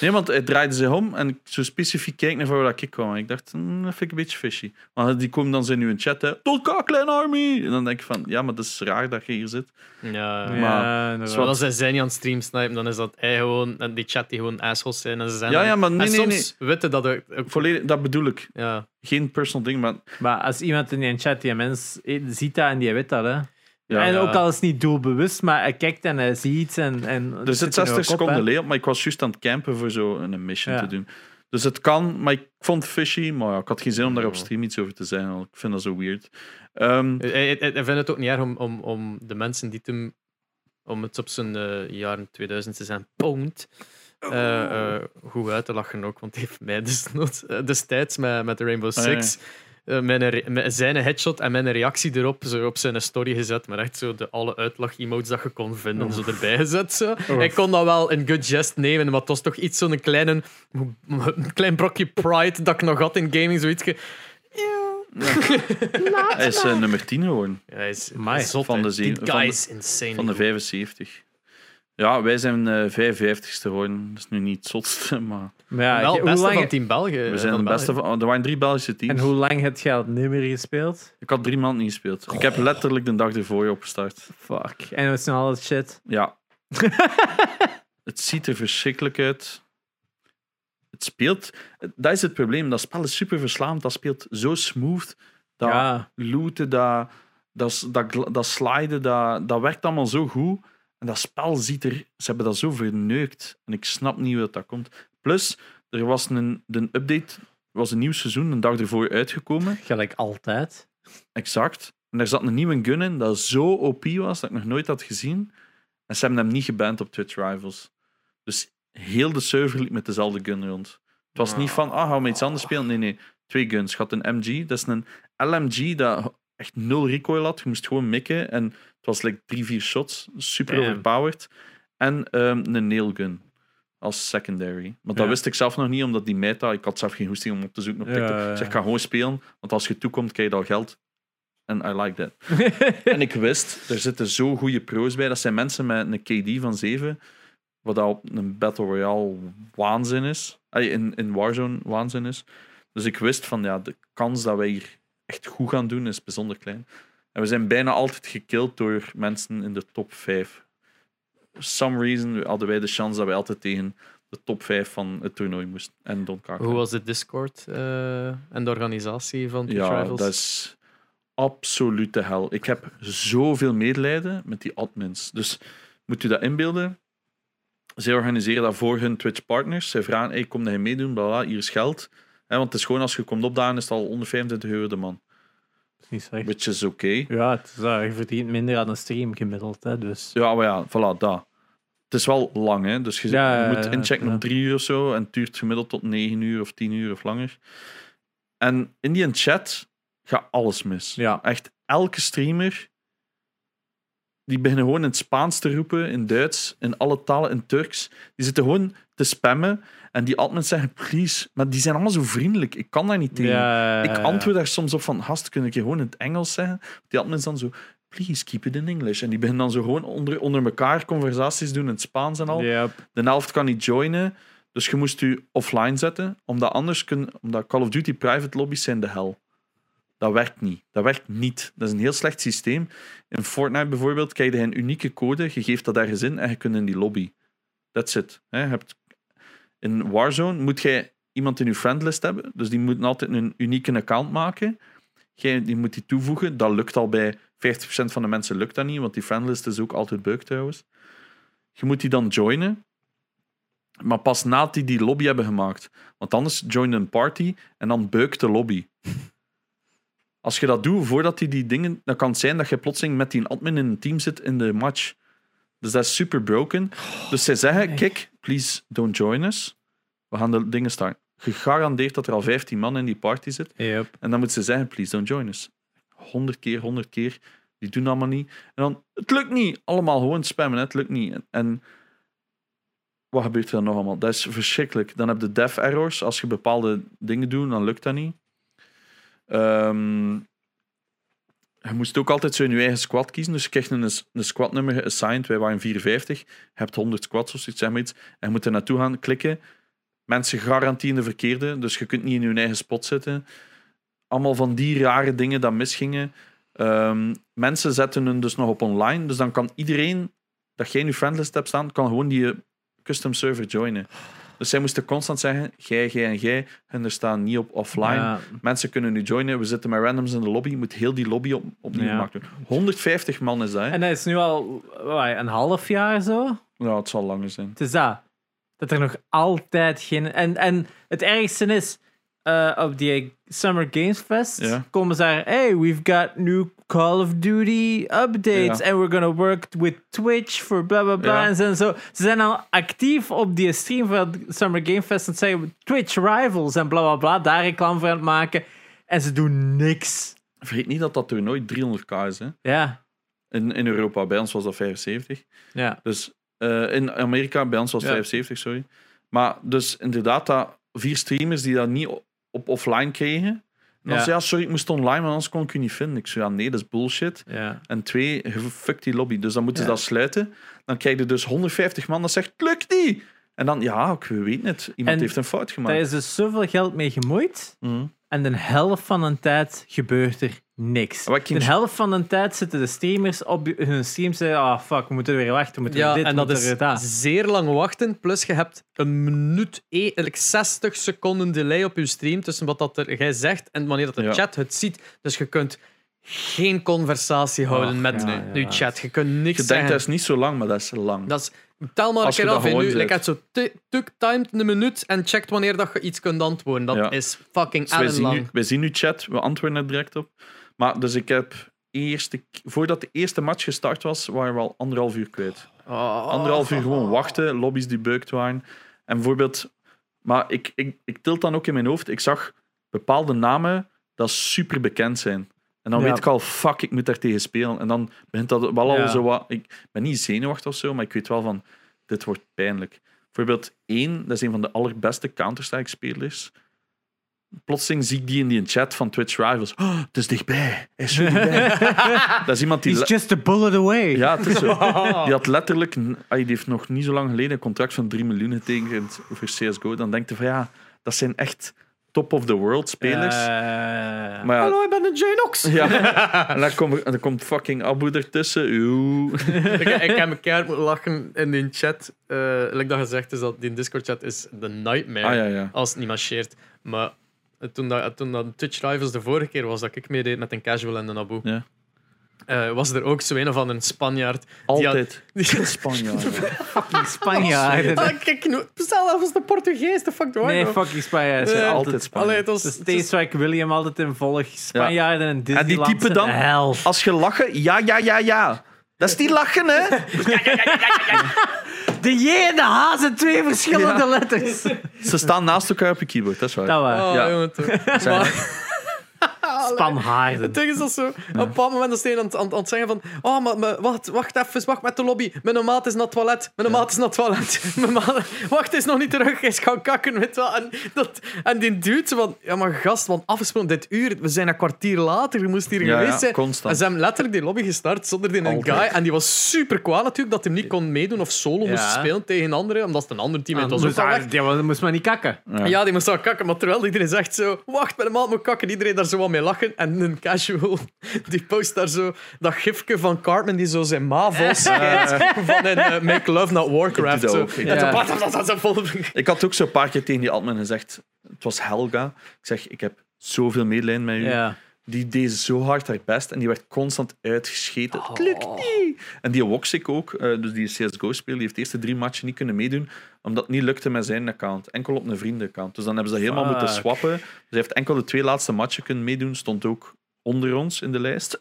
S2: Nee, want het draaide zich om en ik zo specifiek keek naar waar ik kwam. En ik dacht, hmm, dat vind ik een beetje fishy. Want die komen dan zo in uw chat, hè. Tot Kaklen Army! En dan denk ik van, ja, maar dat is raar dat je hier zit.
S1: ja.
S3: Ja,
S2: maar-
S3: inderdaad.
S1: Terwijl als zij zijn niet aan het streamsnipen, dan is dat hij gewoon, en die chat die gewoon assholes zijn. En ze zijn
S2: Ja,
S1: dan-
S2: ja, maar nee,
S1: en
S2: nee,
S1: soms weten dat ook. ook voor-
S2: Volledig, dat bedoel ik.
S1: ja.
S2: Geen personal ding, maar...
S3: Maar als iemand in die chat, die mens eh, ziet dat en die weet dat. Hè.
S2: Ja.
S3: en
S1: ja.
S3: ook al is het niet doelbewust, maar hij kijkt en hij ziet iets. En, en
S2: Er zit 60 Dus seconden
S3: leeg.
S2: lee op, maar ik was juist aan het campen voor zo een mission
S3: Ja.
S2: te doen. Dus het kan, maar ik vond het fishy. Maar ja, ik had geen zin om daar op
S1: Ja.
S2: stream iets over te zeggen. want Ik vind dat zo weird. Ehm,
S1: Hij, hij, hij vindt eh, het ook niet erg om, om, om de mensen die toen, om het op zijn eh, jaren 2000 te zijn, pound,
S2: Oh.
S1: eh, eh, goed uit te lachen ook. Want hij heeft mij dus not- eh, destijds met, met de Rainbow
S2: Ah, ja, ja.
S1: Six. eh, Mijn, re- mijn- zijn headshot en mijn reactie erop zo op zijn story gezet. Maar echt zo de alle uitlach-emotes dat je kon vinden,
S2: Oh.
S1: zo erbij gezet. Zo. Ik kon dat wel een good jest nemen, maar het was toch iets zo'n kleine, een klein brokje pride dat ik nog had in gaming. Zoiets. ge-
S2: hij is eh, nummer 10 geworden
S1: Ja, hij is
S3: Amai,
S1: zot,
S2: van
S1: hè.
S2: de zeven-
S1: Die
S2: van
S1: guy
S2: de-
S1: is insane.
S2: van de 75. Ja, wij zijn eh 55ste geworden. Dat is nu niet het zotste, maar
S3: Ja,
S1: wel
S3: hoe
S1: het beste
S3: lang-
S1: van Team België.
S2: we zijn de beste. Van, oh, er waren drie Belgische
S3: en
S2: teams.
S3: hoe lang heb je al niet meer gespeeld?
S2: Ik had drie maanden niet gespeeld. Ik heb letterlijk de dag ervoor opgestart.
S3: Oh. Fuck. En we zijn al dat shit.
S2: Ja. het ziet er verschrikkelijk uit. Het speelt. Dat is het probleem. Dat spel is super verslaand. Dat speelt zo smooth. Dat
S3: Ja.
S2: looten, dat, dat, s- dat, gl- dat sliden, dat, dat werkt allemaal zo goed. En dat spel ziet er. Ze hebben dat zo verneukt. En ik snap niet hoe dat, dat komt. Plus, er was een, een update. Er was een nieuw seizoen een dag ervoor uitgekomen.
S3: Gelijk altijd.
S2: Exact. En daar zat een nieuwe gun in dat zo OP was dat ik nog nooit had gezien. En ze hebben hem niet geband op Twitch Rivals. Dus heel de server liep met dezelfde gun rond. Het was niet van, ah, gaan we iets anders spelen? Nee, nee. Twee guns. Je had een MG. Dat is een LMG dat echt nul recoil had. Je moest gewoon mikken. En het was like drie, vier shots. Super
S1: Damn.
S2: overpowered. En ehm, een nail gun. Als secondary. Want dat
S3: Ja.
S2: wist ik zelf nog niet, omdat die meta... Ik had zelf geen hoesting om op te zoeken op
S3: Ja,
S2: TikTok.
S3: ja, ja.
S2: Dus ik ga gewoon spelen. Want als je toekomt, krijg je al geld. En I like that. en ik wist, er zitten zo goede pro's bij. Dat zijn mensen met een KD van 7, wat al op een Battle Royale waanzin is. Ay, in, in Warzone waanzin is. Dus ik wist van, ja, de kans dat wij hier echt goed gaan doen is bijzonder klein. En we zijn bijna altijd gekild door mensen in de top 5. For some reason hadden wij de chance dat wij altijd tegen de top 5 van het toernooi moesten. En Don Carter.
S1: Hoe was de Discord eh, en de organisatie van Twitch
S2: Ja,
S1: Rivals?
S2: dat is absoluut de hel. Ik heb zoveel medelijden met die admins. Dus moet u dat inbeelden? Zij organiseren dat voor hun Twitch-partners. Zij vragen, hey, kom dat je meedoen, bla, bla, hier is geld. Hè, want het is gewoon, als je komt opdagen, is het al 125 euro de man.
S3: is niet slecht.
S2: Which is oké.
S3: Ja, het is, eh, je verdient minder aan een stream gemiddeld, hè, dus...
S2: Ja, maar ja, voilà, dat. Het is wel lang, hè. Dus je
S3: Ja, ja,
S2: je moet
S3: ja,
S2: inchecken
S3: ja.
S2: om drie uur of zo. En het duurt gemiddeld tot negen uur of tien uur of langer. En in die chat gaat alles mis.
S3: Ja.
S2: Echt elke streamer die beginnen gewoon in het Spaans te roepen, in Duits, in alle talen, in Turks. Die zitten gewoon te spammen. En die admins zeggen, please. Maar die zijn allemaal zo vriendelijk. Ik kan daar niet tegen.
S3: Ja,
S2: Ik antwoord daar soms op van, gast, kun ik je gewoon in het Engels zeggen? Die admins dan zo, please keep it in English. En die beginnen dan zo gewoon onder, onder elkaar conversaties doen in het Spaans en al.
S3: Yep.
S2: De helft kan niet joinen, dus je moest u offline zetten. Omdat anders kun, omdat Call of Duty private lobby's zijn de hel. Dat werkt niet. Dat werkt niet. Dat is een heel slecht systeem. In Fortnite bijvoorbeeld krijg je een unieke code, je geeft dat ergens in en je kunt in die lobby. That's it. Hè, Je hebt in Warzone moet jij iemand in je friendlist hebben, dus die moet altijd een unieke account maken. Jij, die moet die toevoegen. Dat lukt al bij 50% van de mensen lukt dat niet, want die friendlist is ook altijd beuk trouwens. Je moet die dan joinen. Maar pas nadat die die lobby hebben gemaakt. Want anders join een party en dan beukt de lobby. Als je dat doet voordat die die dingen... Dan kan het zijn dat je plotseling met die admin in een team zit in de match. Dus dat is super broken. Dus zij zeggen, kijk, please don't join us. We gaan de dingen starten. Gegarandeerd dat er al 15 man in die party zit.
S3: Yep.
S2: En dan moeten ze zeggen, please don't join us. 100 keer, 100 keer. Die doen allemaal niet. En dan, het lukt niet. Allemaal gewoon spammen, hè, het lukt niet. En, en wat gebeurt er dan nog allemaal? Dat is verschrikkelijk. Dan heb je dev errors. Als je bepaalde dingen doet, dan lukt dat niet. Ehm, je moest ook altijd zo in je eigen squad kiezen. Dus je kreeg een, een squadnummer geassigned. Wij waren 54. Je hebt 100 squads of zoiets. Zeg maar iets. En je moet er naartoe gaan klikken. Mensen garantie in de verkeerde. Dus je kunt niet in je eigen spot zitten allemaal van die rare dingen dat misgingen. Ehm, mensen zetten hun dus nog op online. Dus dan kan iedereen dat jij in je friendlist hebt staan, kan gewoon die eh, custom server joinen. Dus zij moesten constant zeggen, jij, jij en jij, hun er staan niet op offline.
S3: Ja.
S2: Mensen kunnen nu joinen. We zitten met randoms in de lobby. Je moet heel die lobby op, opnieuw
S3: Ja.
S2: maken. 150 man is dat, hè?
S3: En dat is nu al wat, een half jaar zo.
S2: Nou, het zal langer zijn.
S3: Het is dat. Dat er nog altijd geen. En, en het ergste is. eh, op die Summer Games Fest
S2: Ja.
S3: komen ze daar. Hey, we've got new Call of Duty updates.
S2: Ja.
S3: And we're gonna work with Twitch for bla bla bla.
S2: Ja.
S3: En ze zijn zo. Ze zijn al actief op die stream van het Summer Game Fest. En ze zeggen Twitch rivals en bla bla bla. Daar reclame voor aan het maken. En ze doen niks.
S2: Vergeet niet dat dat toernooi 300k is, hè?
S3: Ja.
S2: In, in Europa, bij ons was dat 75.
S3: Ja.
S2: Dus eh, in Amerika, bij ons was het
S3: Ja.
S2: 75, sorry. Maar dus inderdaad, dat vier streamers die dat niet o- op offline kregen. En dan
S3: Ja.
S2: zei ja, sorry, ik moest online, maar anders kon ik u niet vinden. Ik zei, ja, nee, dat is bullshit.
S3: Ja.
S2: En twee, je fuck die lobby. Dus dan moeten ze dat sluiten. Dan krijg je dus 150 man dat zegt, lukt niet! En dan, ja, ik weet het. Iemand
S3: En
S2: heeft een fout
S3: Daar
S2: gemaakt.
S3: is dus zoveel geld mee gemoeid.
S2: Mhm.
S3: En de helft van de tijd gebeurt er niks.
S2: Wat ik ging-
S3: De helft van de tijd zitten de streamers op hun streams en zeggen: Ah, fuck, we moeten weer wachten, we moeten
S1: Ja,
S3: weer dit,
S1: en
S3: we
S1: dat
S3: moeten
S1: is
S2: ah.
S3: weer dat.
S1: zeer lang wachten. Plus, je hebt een minuut, e- eigenlijk 60 seconden delay op je stream tussen wat dat er, jij zegt en wanneer dat de
S2: Ja.
S1: chat het ziet. Dus je kunt geen conversatie houden
S3: Och,
S1: met
S3: ja,
S1: je
S3: ja.
S1: chat. Je kunt niks
S2: Je denkt,
S1: zeggen.
S2: dat is niet zo lang, maar dat is lang.
S1: Dat is, tel maar een
S2: Als je
S1: keer
S2: dat
S1: af. hè,
S2: gewoon
S1: Nu,
S2: zet.
S1: ik heb zo tu- tuk timed een minuut en checkt wanneer dat je iets kunt antwoorden. Dat
S2: Ja.
S1: is fucking
S2: Dus wij, zien nu,
S1: ellenlang.
S2: wij zien nu chat, we antwoorden er direct op. Maar dus ik heb eerste, k- voordat de eerste match gestart was, waren we al anderhalf uur kwijt.
S3: Oh.
S2: Anderhalf uur gewoon wachten, lobby's die beukt waren. En bijvoorbeeld, maar ik, ik, ik tilt dan ook in mijn hoofd, ik zag bepaalde namen dat super bekend zijn. En dan
S3: Ja.
S2: weet ik al, fuck, ik moet daar tegen spelen. En dan begint dat wel al
S3: Ja.
S2: zo wat. Ik ben niet zenuwachtig of zo, maar ik weet wel van, dit wordt pijnlijk. Bijvoorbeeld één, dat is een van de allerbeste Counter-Strike-spelers. Plotseling zie ik die in die chat van Twitch Rivals. Oh, het is dichtbij. Hij is zo dichtbij. dat is iemand die... le-
S3: It's just a bullet away.
S2: Ja, het is zo. Die had letterlijk... Ay, die heeft nog niet zo lang geleden een contract van 3 miljoen getekend voor CSGO. Dan denkt hij van, ja, dat zijn echt top-of-the-world spelers.
S3: Eh,
S2: maar ja,
S1: Hallo, ik ben de Janox.
S2: ja. En dan komt, dan komt fucking Abu ertussen. Oeh.
S1: ik, ik heb een keer moeten lachen in die chat. Eh like dat gezegd is, dat die Discord-chat is de nightmare.
S2: Ah ja, ja.
S1: Als het niet marcheert. Maar eh, toen dat, toen dat Twitch Rivals de vorige keer was dat ik meedeed met een casual en een abo,
S2: Ja.
S1: eh, was er ook zo een of andere Spanjaard. die had-
S2: Altijd.
S1: die-
S2: Spanjaarden.
S3: fucking Spanjaarden.
S1: Ah, kijk, nu, stel dat was de Portugees, de fuck do I
S3: nee,
S1: know?
S3: fucking Spanjaarden.
S1: Nee.
S2: Altijd
S1: Allee,
S2: Spanjaarden.
S1: het was,
S3: Dat is steeds waar ik William altijd in volg. Spanjaarden en
S2: En
S3: Disneyland.
S2: die typen dan,
S3: zijn de hel.
S2: als je lachen, ja, ja, ja, ja. Dat is die lachen, hè?
S3: De J en de H zijn twee verschillende
S2: Ja.
S3: letters.
S2: Ze staan naast elkaar op je keyboard, dat is waar.
S3: Dat waar.
S1: Oh,
S2: Ja.
S1: jongen, toch.
S2: Zijn-
S1: Maar-
S3: spanhaarden.
S1: Oh, Het ding is dat zo. Op een bepaald moment is hij aan, het- aan, het- aan het zeggen van. Oh, maar, maar wacht, wacht even, wacht met de lobby. Mijn maat is naar het toilet. Mijn maat is naar het toilet. Mijn maat, wacht, hij is nog niet terug. Hij is gaan kakken. Weet je wel. En, dat, en die duwt ze van. Ja, maar gast, want afgesproken dit uur. We zijn een kwartier later. Je moest hier
S2: Ja,
S1: geweest
S2: ja,
S1: zijn.
S2: constant.
S1: En ze hebben letterlijk die lobby gestart zonder die een
S2: Altijd.
S1: guy. En die was super kwaad natuurlijk dat hij niet kon meedoen of solo moest
S3: Ja.
S1: spelen tegen anderen. Omdat het een ander team het was.
S2: dus
S3: moest,
S1: Ook al weg.
S3: ja, maar dan moest maar niet kakken.
S1: Ja. die moest wel kakken, maar terwijl iedereen zegt zo... Wacht, met een maat moet kakken. Iedereen daar zo wat mee lachen. En een casual, die post daar zo... Dat gifje van Cartman die zo zijn ma volscheidt. van in eh, Make Love Not Warcraft.
S2: Ik doe dat
S1: zo.
S2: ook, ik
S1: En
S3: doe
S1: zo...
S3: dat.
S1: bam, bam, bam, bam, vol-
S2: Ik had ook zo'n paar keer tegen die admin gezegd. Het was Helga. Ik zeg, ik heb zoveel medelijden met u.
S3: Ja.
S2: Die deed zo hard haar best en die werd constant uitgescheten. Het
S3: Oh.
S2: lukt niet. En die Woxic ook, eh, dus die CSGO-speel, die heeft de eerste drie matchen niet kunnen meedoen, omdat het niet lukte met zijn account. Enkel op een vriendenaccount. Dus dan hebben ze dat helemaal moeten
S3: Fuck.
S2: swappen. Dus hij heeft enkel de twee laatste matchen kunnen meedoen. Stond ook onder ons in de lijst.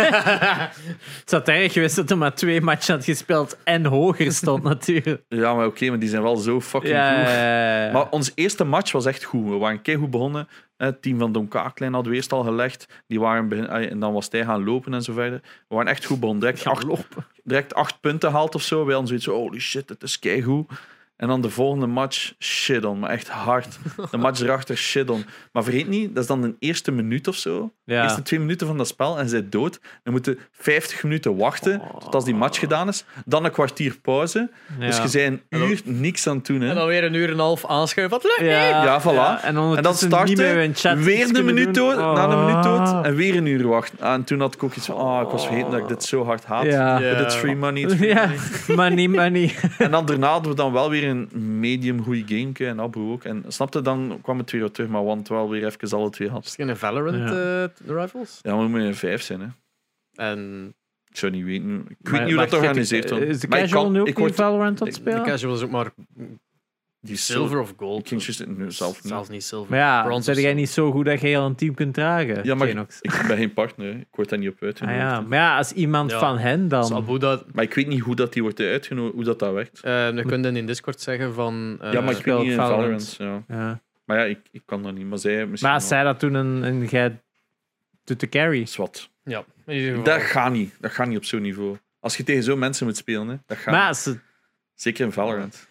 S3: Het zou erg geweest dat hij maar twee matchen had gespeeld en hoger stond natuurlijk.
S2: ja, maar oké, maar die zijn wel zo fucking
S3: Ja,
S2: goed.
S3: ja, ja.
S2: Maar ons eerste match was echt goed. We waren goed begonnen. Eh, Het team van Don Kaaklijn hadden we eerst al gelegd. Die waren begin, ah, en dan was hij gaan lopen en zo verder. We waren echt goed begonnen. Direct, acht, direct acht punten gehaald of zo. Wij hadden zoiets van, holy shit, het is keigoed. En dan de volgende match, shit on. Maar echt hard. De match erachter, shit on. Maar vergeet niet, dat is dan de eerste minuut of zo.
S3: Ja.
S2: De eerste twee minuten van dat spel en zij dood. Dan moeten 50 minuten wachten
S3: Oh.
S2: tot als die match gedaan is. Dan een kwartier pauze. Dus
S3: Ja.
S2: je zei een uur niks aan het doen. Hè.
S1: En dan weer een uur en een half aanschuiven. Wat lukt niet!
S3: Ja,
S2: Ja, voilà.
S3: En,
S2: En dan
S3: ondertussen
S2: starten,
S3: niet meer in chat iets
S2: weer een
S3: kunnen
S2: minuut
S3: doen.
S2: dood, na een
S3: Oh.
S2: minuut dood, en weer een uur wachten. En toen had ik ook iets van, ah, ik was vergeten dat ik dit zo hard haat.
S3: Ja.
S2: But
S1: Ja.
S2: it's free money. it's free
S3: Ja,
S2: money.
S3: money, money.
S2: En dan daarna hadden we dan wel weer een medium goede gameke, en Abu ook. En snapte, dan kwam het weer wat terug, maar want wel weer even alle twee had.
S1: Misschien een Valorant eh, Rivals.
S2: Ja, maar we moeten een vijf zijn, hè.
S1: En
S2: Ik zou niet weten. Ik weet
S3: Maar-
S2: niet hoe
S3: maar
S2: dat georganiseerd
S3: kijk,
S2: wordt.
S3: Is de
S2: Maar ik
S3: casual
S2: kan-
S3: nu ook
S2: ik
S3: niet
S2: word-
S3: Valorant aan
S2: ik-
S3: het
S1: de
S2: de
S3: spelen?
S1: casual is ook maar
S2: Die
S1: silver of gold.
S2: Ik ging juist- nee, zelf niet.
S1: Zelfs niet silver.
S3: Maar ja, dan
S1: Bronze
S3: ben
S1: of
S3: jij niet zo goed dat je heel een team kunt dragen.
S2: Ja, maar
S3: Genox.
S2: ik ben geen partner, hè. ik word daar niet op
S3: Ah,
S2: uitgenodigd.
S3: ja. Maar ja, als iemand
S1: Ja.
S3: van hen dan...
S1: silver. Sabu, dat,
S2: Maar ik weet niet hoe dat die wordt uitgenodigd, hoe dat, dat werkt.
S1: eh, we kunnen in Discord zeggen van... eh,
S2: ja, maar ik
S3: speel
S2: weet niet in
S3: Valorant.
S2: Valorant. ja.
S3: Ja.
S2: Maar ja, ik, ik kan dat niet. Maar zij misschien
S3: Maar als
S2: wel.
S3: zij dat doen en, en jij doet de carry.
S2: is wat.
S1: ja, in ieder geval.
S2: Dat gaat niet. Dat gaat niet op zo'n niveau. Als je tegen zo'n mensen moet spelen, hè, dat gaat
S3: Maar
S2: niet.
S3: als ze
S2: Zeker in Valorant.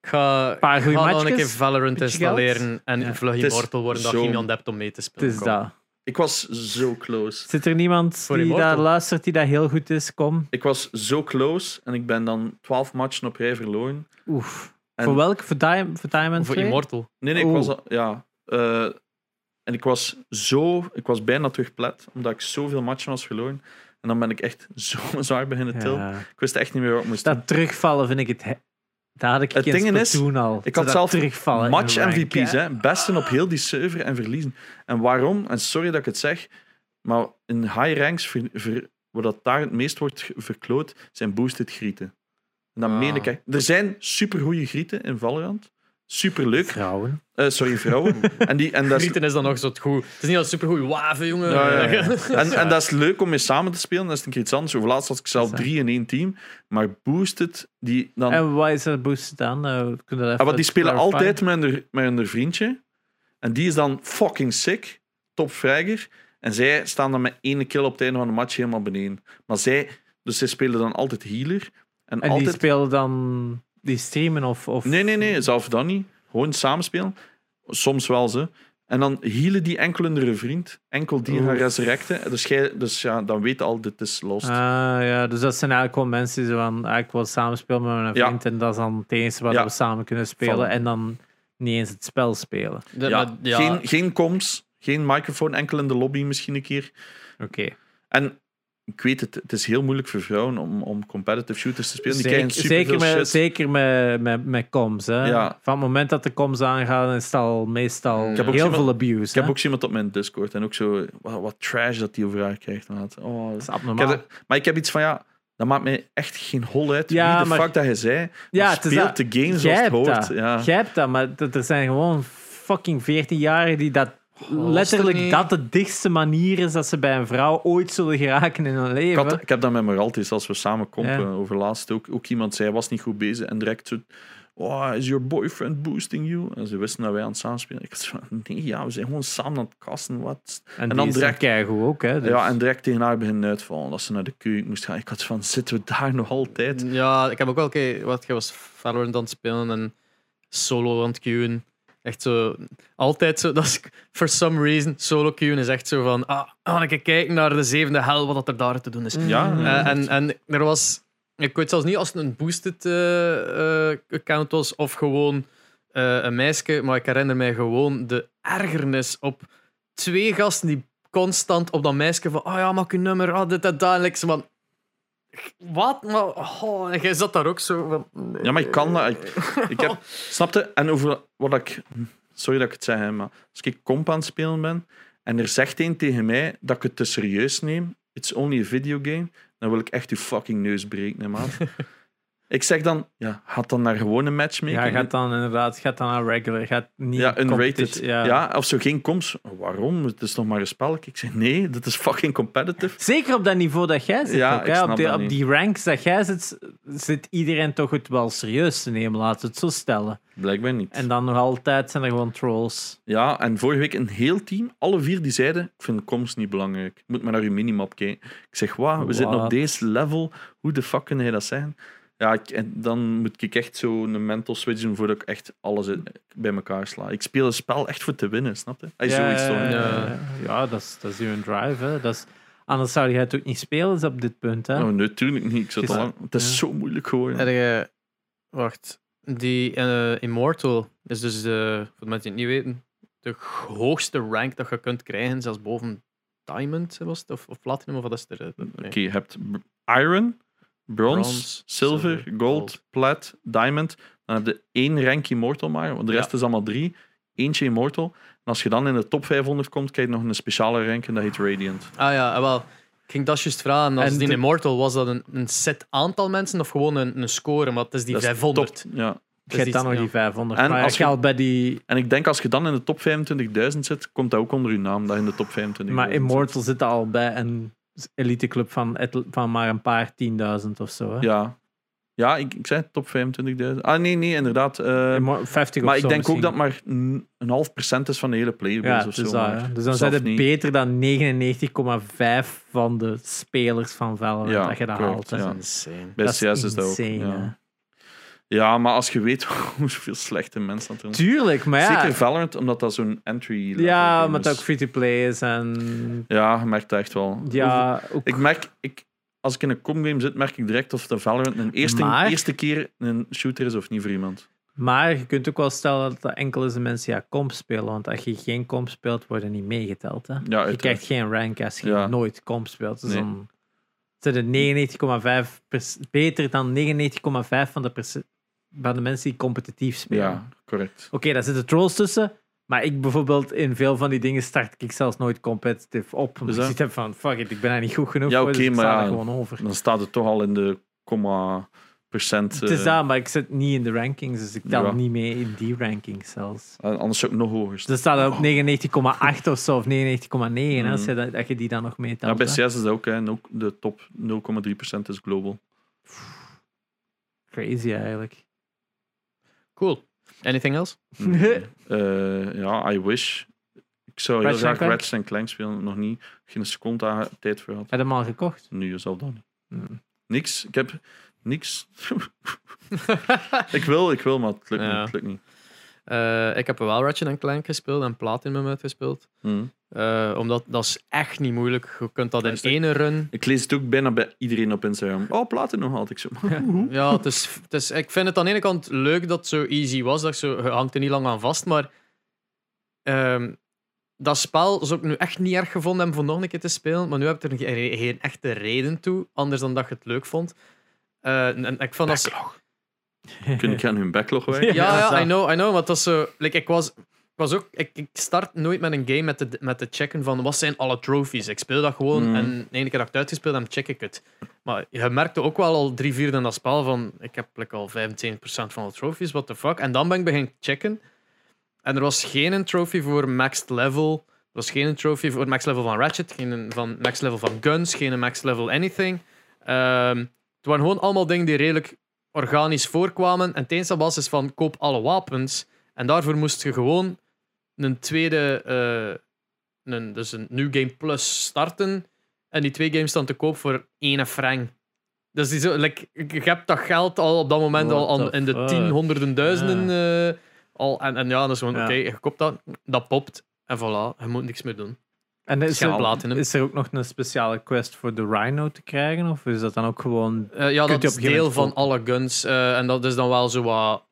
S1: Ik ga,
S3: paar
S1: ik
S3: goeie
S1: ga nog een
S3: matchjes,
S1: keer Valorant
S3: beetje geld.
S1: installeren en
S3: Ja.
S1: vlug
S2: Het is
S1: Immortal worden dat je
S2: zo-
S1: iemand hebt om mee te
S3: het
S1: spelen.
S3: is dat.
S2: Ik was zo close.
S3: Zit er niemand
S1: Voor
S3: die
S1: Immortal.
S3: daar luistert die dat heel goed is? Kom.
S2: Ik was zo close en ik ben dan 12 matchen op rij verloren.
S3: Oef.
S2: En-
S3: Voor Oh. welk? Voor, Diam voor Diamond
S1: Voor
S3: 2?
S1: Immortal.
S2: Nee, nee, ik
S3: Oeh.
S2: was al- ja. eh, en ik was zo, ik was bijna terug plat, omdat ik zoveel matchen was verloren. En dan ben ik echt zo zwaar beginnen tillen.
S3: Ja.
S2: Ik wist echt niet meer wat ik moest doen.
S3: Dat terugvallen vind ik het... he- Dat had ik
S2: Het
S3: in
S2: ding is,
S3: Splatoon al.
S2: ik
S3: Zo
S2: had
S3: dat
S2: zelf
S3: terugvallen in
S2: match
S3: rank,
S2: MVP's,
S3: hè. Ah.
S2: hè. Besten op heel die server en verliezen. En waarom? En sorry dat ik het zeg, maar in high ranks, ver, ver- wat dat daar het meest wordt ge- verkloot, zijn boosted grieten. En dan
S1: Ah.
S2: meen ik echt. Er zijn supergoeie grieten in Valorant. Superleuk.
S3: Vrouwen.
S2: Eh, sorry, vrouwen. en, die, en dat is
S1: Grieten is dan nog zo het goed. Het is niet al supergoed waven, jongen.
S2: ja, ja, ja. En, en dat is leuk om mee samen te spelen. Dat is een keer iets anders. Over laatst had ik zelf
S3: Dat is
S2: drie in één team. Maar boosted, die dan...
S3: En wat is dat boost dan? Eh, kunnen we dat
S2: Ah,
S3: even
S2: want die spelen
S3: clarifyen?
S2: altijd met hun, met hun vriendje. En die is dan fucking sick. Top vrijger. En zij staan dan met één kill op het einde van de match helemaal beneden. Maar zij... Dus zij spelen dan altijd healer. En,
S3: En die
S2: altijd...
S3: spelen dan... Die streamen of... of
S2: Nee, nee, nee. Zelf dan niet. Gewoon samenspelen. Soms wel, ze. En dan healen die enkel hun vriend. Enkel die gaan
S3: Oef.
S2: resurrecten. Dus, jij, dus ja, dan weet je al, dit is lost.
S3: Ah, ja. Dus dat zijn eigenlijk wel mensen die zo van... ah, Ik wil samen spelen met mijn
S2: Ja.
S3: vriend. En dat is dan het enige wat
S2: Ja.
S3: we samen kunnen spelen.
S2: Vallen.
S3: En dan niet eens het spel spelen.
S1: De-
S2: ja.
S1: maar- ja.
S2: Geen, geen comms. Geen microfoon. Enkel in de lobby misschien een keer.
S3: Oké.
S2: En ik weet het, het is heel moeilijk voor vrouwen om, om competitive shooters te spelen. Die
S3: Zeker,
S2: krijgen
S3: zeker,
S2: superveel
S3: met,
S2: shit.
S3: zeker met, met, met comms. Hè?
S2: Ja.
S3: Van het moment dat de comms aangaan, is het al meestal
S1: Ik
S3: heel
S1: heb
S2: ook
S3: veel
S2: gezien wat-
S3: abuse.
S2: Ik heb
S3: hè.
S2: ook zo iemand op mijn Discord en ook zo wat, wat trash dat die over haar krijgt. maat. Oh,
S3: Dat is
S2: ik
S3: abnormaal.
S2: heb er- maar ik heb iets van ja, dat maakt mij echt geen hol uit
S3: Ja,
S2: wie de
S3: maar-
S2: fuck dat je zei.
S3: ja,
S2: Ja,
S3: het is
S2: speelt
S3: dat.
S2: de game
S3: Jij
S2: zoals het
S3: hebt
S2: hoort.
S3: dat.
S2: Ja.
S3: Jij hebt dat, maar dat- er zijn gewoon fucking 14-jarigen die dat
S1: er
S3: letterlijk
S1: niet.
S3: dat de dichtste manier is dat ze bij een vrouw ooit zullen geraken in hun
S2: Ik,
S3: leven.
S2: had- ik heb dat met Meraltis als we samen kompen
S3: Ja.
S2: over laatst ook. Ook iemand zei, hij was niet goed bezig en direct zo... Oh, is your boyfriend boosting you? En ze wisten dat wij aan het samenspelen. Ik was van, nee, ja, we zijn gewoon samen aan het kassen. Wat? dan
S3: En, dan
S2: direct-
S3: direct krijgen ook, hè? dus-
S2: Ja, en direct tegen haar beginnen uitvallen. Dat ze naar de keuken moest gaan. Ik had van, zitten we daar nog altijd?
S1: Ja, ik heb ook wel een keer wat ik was Valorant aan het spelen en solo aan het queuen. Echt zo, altijd zo, dat is, for some reason, solo queuen is echt zo van, ah, ga ik kijken naar de zevende hel, wat dat er daar te doen is.
S2: Ja,
S1: Eh, en, en er was, ik weet zelfs niet als het een boosted eh, eh, account was of gewoon eh, een meisje, maar ik herinner mij gewoon de ergernis op twee gasten die constant op dat meisje van, ah ja, maak je nummer, ah, dit, dat, dat. En ik zo van, wat? Maar, oh, en jij zat daar ook zo van...
S2: Ja, maar ik kan dat. Ik, ik heb, snapte? En over wat ik. Sorry dat ik het zeg, hè, maar als ik comp aan het spelen ben en er zegt één tegen mij dat ik het te serieus neem, it's only a video game, dan wil ik echt uw fucking neus breken, hè, maat. ik zeg dan, ja, gaat dan naar gewone matchmaking.
S3: Ja, gaat dan inderdaad, gaat dan aan regular, gaat niet
S2: Ja, unrated.
S3: competition-
S2: Ja. of zo geen comps. Waarom? Het is toch maar een spelletje. Ik zeg, nee, dat is fucking competitive.
S3: Zeker op dat niveau dat jij zit.
S2: Ja,
S3: ook,
S2: ik
S3: hè?
S2: snap
S3: Op, die,
S2: dat
S3: op
S2: niet.
S3: die ranks dat jij zit, zit iedereen toch het wel serieus te nemen, laten we het zo stellen.
S2: Blijkbaar niet.
S3: En dan nog altijd zijn er gewoon trolls.
S2: Ja, en vorige week een heel team, alle vier, die zeiden: Ik vind de comms niet belangrijk. Ik moet maar naar uw minimap kijken. Ik zeg: Wauw, we zitten op
S3: Wat?
S2: deze level. Hoe de fuck kun jij dat zeggen? Ja, ik- en dan moet ik echt zo een mental switch doen voordat ik echt alles in- bij elkaar sla. Ik speel een spel echt voor te winnen, snap je? Hij zoiets toch?
S3: ja,
S1: Ja.
S3: ja, dat is, dat is uw drive. Hè. Dat is, anders zou jij het ook niet spelen dus op dit punt. Hè.
S2: Nou, natuurlijk niet. Ik zat al
S3: Ja.
S2: lang. Het is zo moeilijk geworden.
S1: Heb je- wacht, die eh, Immortal is dus, de, voor de mensen die het niet weten, de hoogste rank dat je kunt krijgen, zelfs boven Diamond was het, of, of Platinum, of wat is er? eh, nee.
S2: Oké, je hebt b- iron, brons,
S1: Brons,
S2: silver,
S1: silver,
S2: gold,
S1: gold.
S2: plat, diamond. Dan heb je één rank immortal maar, want de rest
S1: Ja.
S2: is allemaal drie. Eentje immortal. En als je dan in de top 500 komt, krijg je nog een speciale rank en dat heet radiant.
S1: Ah ja, eh, wel. Ik ging dat juist vragen. Als
S3: En
S1: die
S3: de-
S1: Immortal, was dat een, een set aantal mensen of gewoon een, een score? Maar het is die
S2: Dat is
S1: 500.
S2: top, ja.
S3: Je hebt dan nog die 500.
S2: En
S3: maar
S2: als
S3: als je
S2: je-
S3: al bij die...
S2: En ik denk als je dan in de top 25.000 zit, komt dat ook onder je naam, dat je in de top 25
S3: Maar Immortal zit er al bij een eliteclub van, het- van maar een paar 10.000 of zo. Hè.
S2: Ja. Ja, ik, ik zei top 25.000. Ah, nee, nee, inderdaad. eh,
S3: Immo- 50
S2: maar
S3: of
S2: ik
S3: zo
S2: denk ook
S3: misschien.
S2: dat maar een een half procent is van de hele playerbase
S3: Ja,
S2: of
S3: het
S2: zo.
S3: is dat,
S2: maar
S3: hè. dus dan
S2: zelf
S3: zijn het
S2: niet.
S3: beter dan 99,5 van de spelers van Valorant
S2: Ja,
S3: dat je dat
S2: correct,
S3: haalt. hè.
S2: ja.
S1: Dat is insane.
S2: Bij
S3: Dat is
S2: CS is dat ook.
S3: insane, hè.
S2: Ja. ja, maar als je weet hoeveel slechte mensen dat er zijn.
S3: Tuurlijk, maar ja.
S2: Zeker Valorant, omdat dat zo'n entry level
S3: ja,
S2: game
S3: maar
S2: is.
S3: dat ook free-to-play is en...
S2: Ja, je merkt dat echt wel. Hoeveel-
S3: Ja, ook...
S2: Ik merk, ik, als ik in een comgame zit, merk ik direct of de Valorant een eerste,
S3: Maar-
S2: eerste keer een shooter is of niet voor iemand.
S3: maar je kunt ook wel stellen dat dat enkel is de mensen die ja, comp spelen, want als je geen comp speelt, worden niet meegeteld. Hè?
S2: Ja,
S3: je
S2: uiteraard.
S3: krijgt geen rank als je
S2: Ja.
S3: nooit comp speelt. Dus
S2: Nee.
S3: dan zijn het 99,5 pers- beter dan 99,5 van de, pers- van de mensen die competitief spelen.
S2: Ja, correct.
S3: Oké, daar zitten trolls tussen. Maar ik bijvoorbeeld, in veel van die dingen start ik zelfs nooit competitive op. Dus
S2: Dus
S3: ik
S2: dat-
S3: zit er van, fuck it, ik ben daar niet goed genoeg
S2: Ja,
S3: voor,
S2: oké,
S3: dus ik
S2: maar
S3: sla
S2: ja,
S3: er gewoon over.
S2: Dan staat het toch al in de comma procent.
S3: Het is
S2: eh,
S3: dat, maar ik zit niet in de rankings, dus ik tel
S2: Ja.
S3: niet mee in die rankings zelfs.
S2: Anders zou ik nog hoger staan.
S3: Dus dat staat op 99,8 of zo, of 99,9, hè, als
S2: Mm.
S3: je dat, dat je die dan nog meetelt.
S2: Ja, bij
S3: hè.
S2: CS is dat ook, hè. En ook de top 0,3% is global.
S3: Crazy eigenlijk.
S1: Cool. Anything else?
S2: Nee. Eh, ja, I wish. Ik zou heel
S3: Ratchet
S2: graag
S3: Clank?
S2: Ratchet Clank spelen, nog niet. Geen seconde daar tijd voor gehad.
S3: Heb je hem al gekocht?
S2: Nu jezelf dan.
S3: Mm.
S2: Niks. Ik heb niks. ik wil, ik wil, maar het lukt
S1: Ja.
S2: niet. Het lukt niet.
S1: Eh, ik heb wel Ratchet Clank gespeeld en Platinum uitgespeeld.
S2: Hm.
S1: Eh, omdat dat is echt niet moeilijk. Je kunt dat
S2: Ja,
S1: in
S2: is dat-
S1: ene run.
S2: Ik lees het ook bijna bij iedereen op Instagram. Oh, platen nog altijd. Ik zo.
S1: Ja, het is, het is, ik vind het aan de ene kant leuk dat het zo easy was. Dat je, zo, je hangt er niet lang aan vast. Maar ehm, dat spel zou ik nu echt niet erg gevonden hebben voor nog een keer te spelen. Maar nu heb ik er geen, geen echte reden toe. Anders dan dat je het leuk vond. Eh, en, en ik vond dat... zo-
S2: Kun ik aan hun backlog werken?
S1: Ja,
S3: Ja,
S1: ja,
S3: zo.
S1: I know, I know. Want dat is zo... Like, ik was... Ik, was ook, ik, ik start nooit met een game met de, met de checken van wat zijn alle trophies. Ik speel dat gewoon
S2: Mhm.
S1: en de ene keer dat ik het uitgespeeld heb, check ik het. Maar je merkte ook wel al drie vierde in dat spel van ik heb like, al 25% van de trophies, what the fuck. En dan ben ik begin checken en er was geen trophy voor maxed level. Er was geen trophy voor max level van Ratchet, geen van max level van Guns, geen max level anything. Ehm, het waren gewoon allemaal dingen die redelijk organisch voorkwamen. En het enige was is van koop alle wapens. En daarvoor moest je gewoon een tweede, eh, een, dus een New Game Plus starten. En die twee games staan te koop voor één frank. Dus die zo, like, je hebt dat geld al op dat moment al
S3: What
S1: aan-
S3: the
S1: in de
S3: fuck?
S1: tien, honderden, duizenden. eh, al, en, en ja, dat is gewoon,
S3: Ja.
S1: oké, je koopt dat, dat popt. En voilà, je moet niks meer doen.
S3: En is
S1: Schaal
S3: er,
S1: platinum.
S3: is er ook nog een speciale quest voor de Rhino te krijgen? Of is dat dan ook gewoon.
S1: Eh, ja, dat
S3: Kunt
S1: is
S3: je op een gegeven
S1: deel
S3: moment
S1: van
S3: kopen.
S1: alle guns. eh, en dat is dan wel zo wat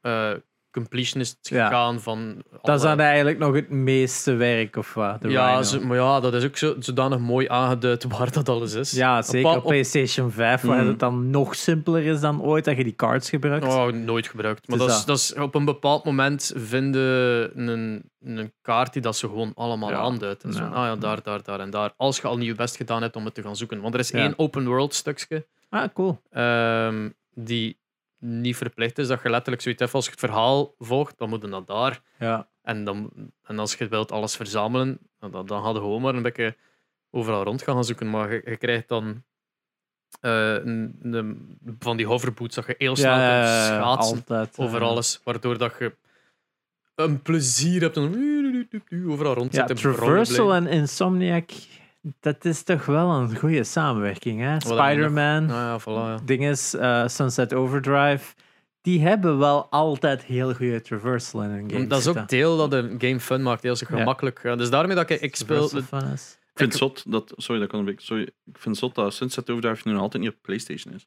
S1: eh, completionist
S3: Ja.
S1: gegaan van...
S3: Dat is
S1: alle-
S3: dan eigenlijk nog het meeste werk of wat? De
S1: ja,
S3: Rhino.
S1: zo- maar ja, dat is ook zo, zodanig mooi aangeduid waar dat alles is.
S3: ja, zeker.
S1: pa-
S3: Op, PlayStation 5, waar
S2: Mhm.
S3: het dan nog simpeler is dan ooit dat je die cards gebruikt.
S1: Oh, nooit gebruikt. Maar
S3: Dus
S1: dat is, dat is op een bepaald moment vinden een, een kaart die dat ze gewoon allemaal
S3: Ja.
S1: aanduidt. En zo,
S3: Ja.
S1: ah ja, daar, daar, daar en daar. Als je al niet je best gedaan hebt om het te gaan zoeken. Want er is
S3: Ja.
S1: één open world stukje
S3: Ah, cool.
S1: ehm, die niet verplicht is. Dat je letterlijk zoiets hebt als je het verhaal volgt, dan moet je naar daar.
S3: Ja.
S1: En, dan, en als je wilt alles verzamelen, nou, dan, dan dan hadden we gewoon maar een beetje overal rond gaan zoeken. Maar je, je krijgt dan eh, een- een- van die hoverboots dat je heel snel
S3: ja,
S1: kunt
S3: ja, ja,
S1: schaatsen
S3: altijd. eh,
S1: over
S3: ja.
S1: alles. Waardoor dat je een plezier hebt en overal rond
S3: Ja,
S1: zit. te
S3: Traversal
S1: brollen
S3: en Insomniac, dat is toch wel een goede samenwerking, hè?
S1: heb je nog? blijven.
S3: Spider-Man,
S1: Nou ja, voilà, ja.
S3: dinges, eh, Sunset Overdrive. Die hebben wel altijd heel goede traversal in hun games.
S1: Dat is ook
S3: zitten.
S1: deel dat een game fun maakt, heel zo
S3: Ja.
S1: gemakkelijk. Ja, Dus daarmee dat ik, ik speel...
S3: Traversal fun is.
S2: Ik vind zot dat, sorry, dat kan een beetje, sorry, ik vind zot dat Sunset Overdrive nu nog altijd niet op PlayStation is.